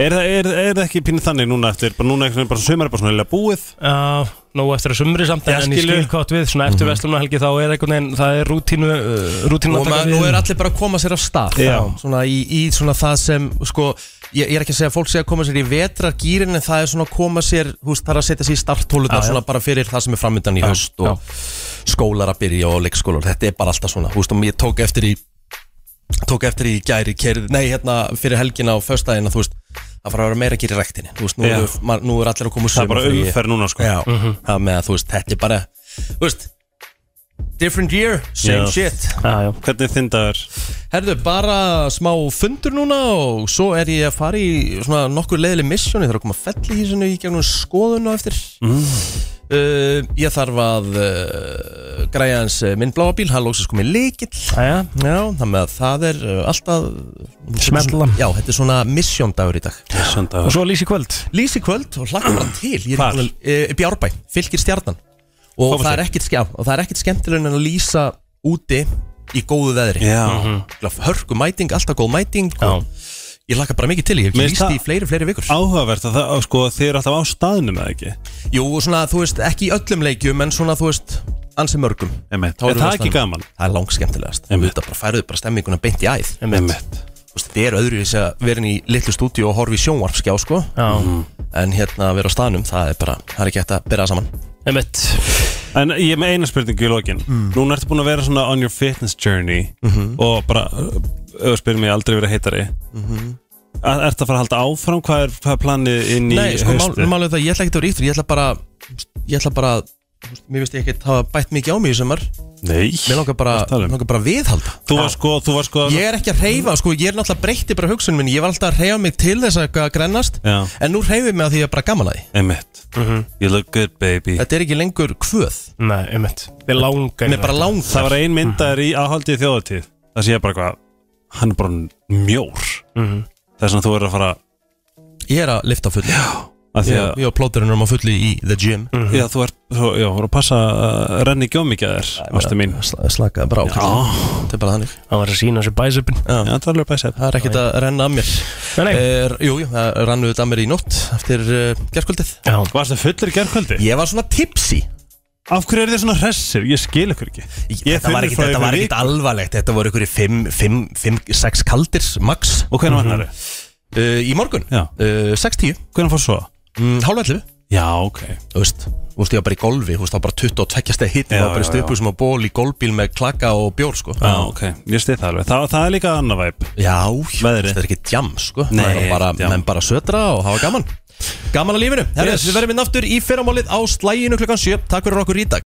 Speaker 9: Er það, er, er það ekki pínu þannig núna eftir bara núna einhvern veginn bara sumar er bara svona eiginlega búið
Speaker 2: Já, nóg eftir að sumri samt en,
Speaker 9: Já,
Speaker 2: en ég
Speaker 9: skilur.
Speaker 2: skil hvað við, svona eftir mm þá er einhvern veginn, það er rútínu uh, rútínu
Speaker 1: Mhm. og maður, nú er allir bara að koma sér af stað
Speaker 2: Já.
Speaker 1: svona í, í svona það sem sko, ég, ég er ekki að segja að fólk sé að koma sér í vetrargýrin en það er svona að koma sér þú veist, það er að setja sér í starttólunar
Speaker 2: Já, já.
Speaker 1: svona bara fyrir það sem er framöndan í höst og skólar að byrja og leikskólar þetta er bara alltaf svona, þú veist, og ég tók eftir í tók eftir í gæri kerð, nei hérna fyrir helgina og föstæðina þú veist, það fara að vera meira að gera í rektinni þú veist, nú,
Speaker 9: Já.
Speaker 1: eru, ma- nú er allir að koma úr
Speaker 9: Það er bara
Speaker 1: sumarfríi.
Speaker 9: umferð núna, sko.
Speaker 1: já, það með að þú veist, þetta er bara þú veist, different year same
Speaker 9: Já.
Speaker 1: shit
Speaker 2: Já, já.
Speaker 9: Hvernig þinn dagur?
Speaker 1: Herðu, bara smá fundur núna og svo er ég að fara í svona nokkur leiðileg misjón, ég þarf að koma að felli í í gegnum skoðun og eftir
Speaker 9: mm.
Speaker 1: uh, Ég þarf að uh, græja hans uh, minn bláa bíl, hann lóksast komið líkill
Speaker 2: Æja,
Speaker 1: Já, þannig að það er uh, alltaf
Speaker 2: Smella.
Speaker 1: Já, þetta er svona misjóndagur í dag
Speaker 2: og
Speaker 9: Söndagur
Speaker 2: svo lýs í kvöld
Speaker 1: Lýsi kvöld og hlakka bara til Ég er
Speaker 9: Hvar?
Speaker 1: ekki búin að- eh, upp í Árbæ, fylgir stjarnan og
Speaker 9: Fótbolti.
Speaker 1: það, er ekkit, skjá, og það er ekkit skemmtileg en að lýsa úti í góðu veðri
Speaker 9: Já
Speaker 1: hörku mæting, alltaf góð mæting og ég laka bara mikið til, ég hef
Speaker 9: Mér
Speaker 1: ekki
Speaker 9: finnst
Speaker 1: líst í
Speaker 9: það-
Speaker 1: fleiri, fleiri vikur
Speaker 9: Áhugavert að það, sko, þið eru alltaf á staðnum eða ekki
Speaker 1: Jú, og svona, þú veist, ekki í öllum leikjum en svona, þú veist, ansi mörgum
Speaker 9: Einmitt.
Speaker 1: Þá erum
Speaker 9: Er
Speaker 1: við
Speaker 9: það
Speaker 1: á
Speaker 9: ekki
Speaker 1: staðnum.
Speaker 9: gaman?
Speaker 1: Það er langskemmtilegast, þú
Speaker 9: Einmitt.
Speaker 1: veit að bara færðu bara stemminguna beint í æð
Speaker 9: Emmett
Speaker 1: Þú veist, Þetta er öðru þess að vera inn í litlu stúdíu og horfa í sjónvarpskjá, sko
Speaker 2: Já,
Speaker 1: En hérna að vera á staðnum, það er bara, það er ekki hægt að bera það saman
Speaker 2: emitt
Speaker 9: En ég er með eina spurningu í lokin
Speaker 1: Mm.
Speaker 9: Núna ertu búin að vera svona on your fitness journey
Speaker 1: Mhm.
Speaker 9: Og bara, öðu spyrir mig aldrei verið heitari mm
Speaker 1: Mhm.
Speaker 9: -hmm. Ertu að fara að halda áfram? Hvað er, hvað er planið inn í
Speaker 1: Nei, sko, mál,
Speaker 9: haustið?
Speaker 1: málið er það, ég ætla ekki að vera íttur, ég ætla bara, ég ætla bara, þú veist, mér veist ég ekkert hafa bætt mikið á mig í sumar
Speaker 9: Nei
Speaker 1: Mér langar bara,
Speaker 9: Hvað ertu að tala um?
Speaker 1: mér langar bara að viðhalda
Speaker 9: Þú var sko, þú var sko
Speaker 1: Ég er ekki að reyfa, sko, ég er náttúrulega breytti bara hugsun minn Ég var alltaf að reyfa mig til þess að eitthvað grennast
Speaker 9: Já.
Speaker 1: En nú reyfi mig að því ég er bara gaman að því
Speaker 9: Emmett You look good baby
Speaker 1: Mhm. Þetta er ekki lengur kvöð
Speaker 2: Nei, emitt Við langar
Speaker 1: Mér bara
Speaker 9: Það
Speaker 1: langar
Speaker 9: var ein myndaður í aðhaldi í þjóðatíð Það sé ég bara hvað Hann er bara mjór
Speaker 2: Mhm.
Speaker 9: Þess að þú er að fara
Speaker 1: Ég er að lifta á fulli
Speaker 9: að því að
Speaker 1: Ég og plóturinn erum á fulli í the gym
Speaker 9: Já, þú ert, þú, já, þú er að passa að renni ekki ómikið að þér, ástu mín
Speaker 1: Sla- Slakaði bara á Þetta er bara þannig
Speaker 2: Það var að sína sér bæsöpun
Speaker 9: Já, það er alveg bæsið
Speaker 1: Það er ekkert að renna að mér
Speaker 2: Nei, nei
Speaker 1: er, Jú, jú, það rannu þetta að mér í nótt Eftir uh, gerkvöldið
Speaker 2: Já,
Speaker 9: Varstu fullur í gerðkvöldi?
Speaker 1: Ég var svona tipsy
Speaker 9: Af hverju er þið svona hressir? Ég skil ykkur ekki Ég
Speaker 1: Þetta var ekkit, þetta var ekkit alvarlegt Þetta voru ykkur í 5-6 kaldir max
Speaker 9: Og hvenær vaknaðirðu?
Speaker 1: Uh, í morgun, uh, 6-10
Speaker 9: Hvernig fórst svo?
Speaker 1: Mm, Hálfætlu
Speaker 9: Já, ok
Speaker 1: Þú veist, þú veist ég var bara í golfi Þú veist, það var bara 22 steg hitt
Speaker 9: Já,
Speaker 1: Það var bara
Speaker 9: já,
Speaker 1: stöpuð sem á ból í golfbíl með klaka og bjór sko.
Speaker 9: Já, ok, ég stið það alveg Þa, Það er líka annar væp
Speaker 1: Já, Veðri. þetta er ekki jam sko
Speaker 9: Nei,
Speaker 1: Það er bara,
Speaker 9: ekkert jam.
Speaker 1: menn bara södra og hafa gaman Gaman að lífinu Herres,
Speaker 9: Yes.
Speaker 1: Við verðum inn aftur í fyrramálið á slæginu klukkan 7 Takk fyrir okkur í dag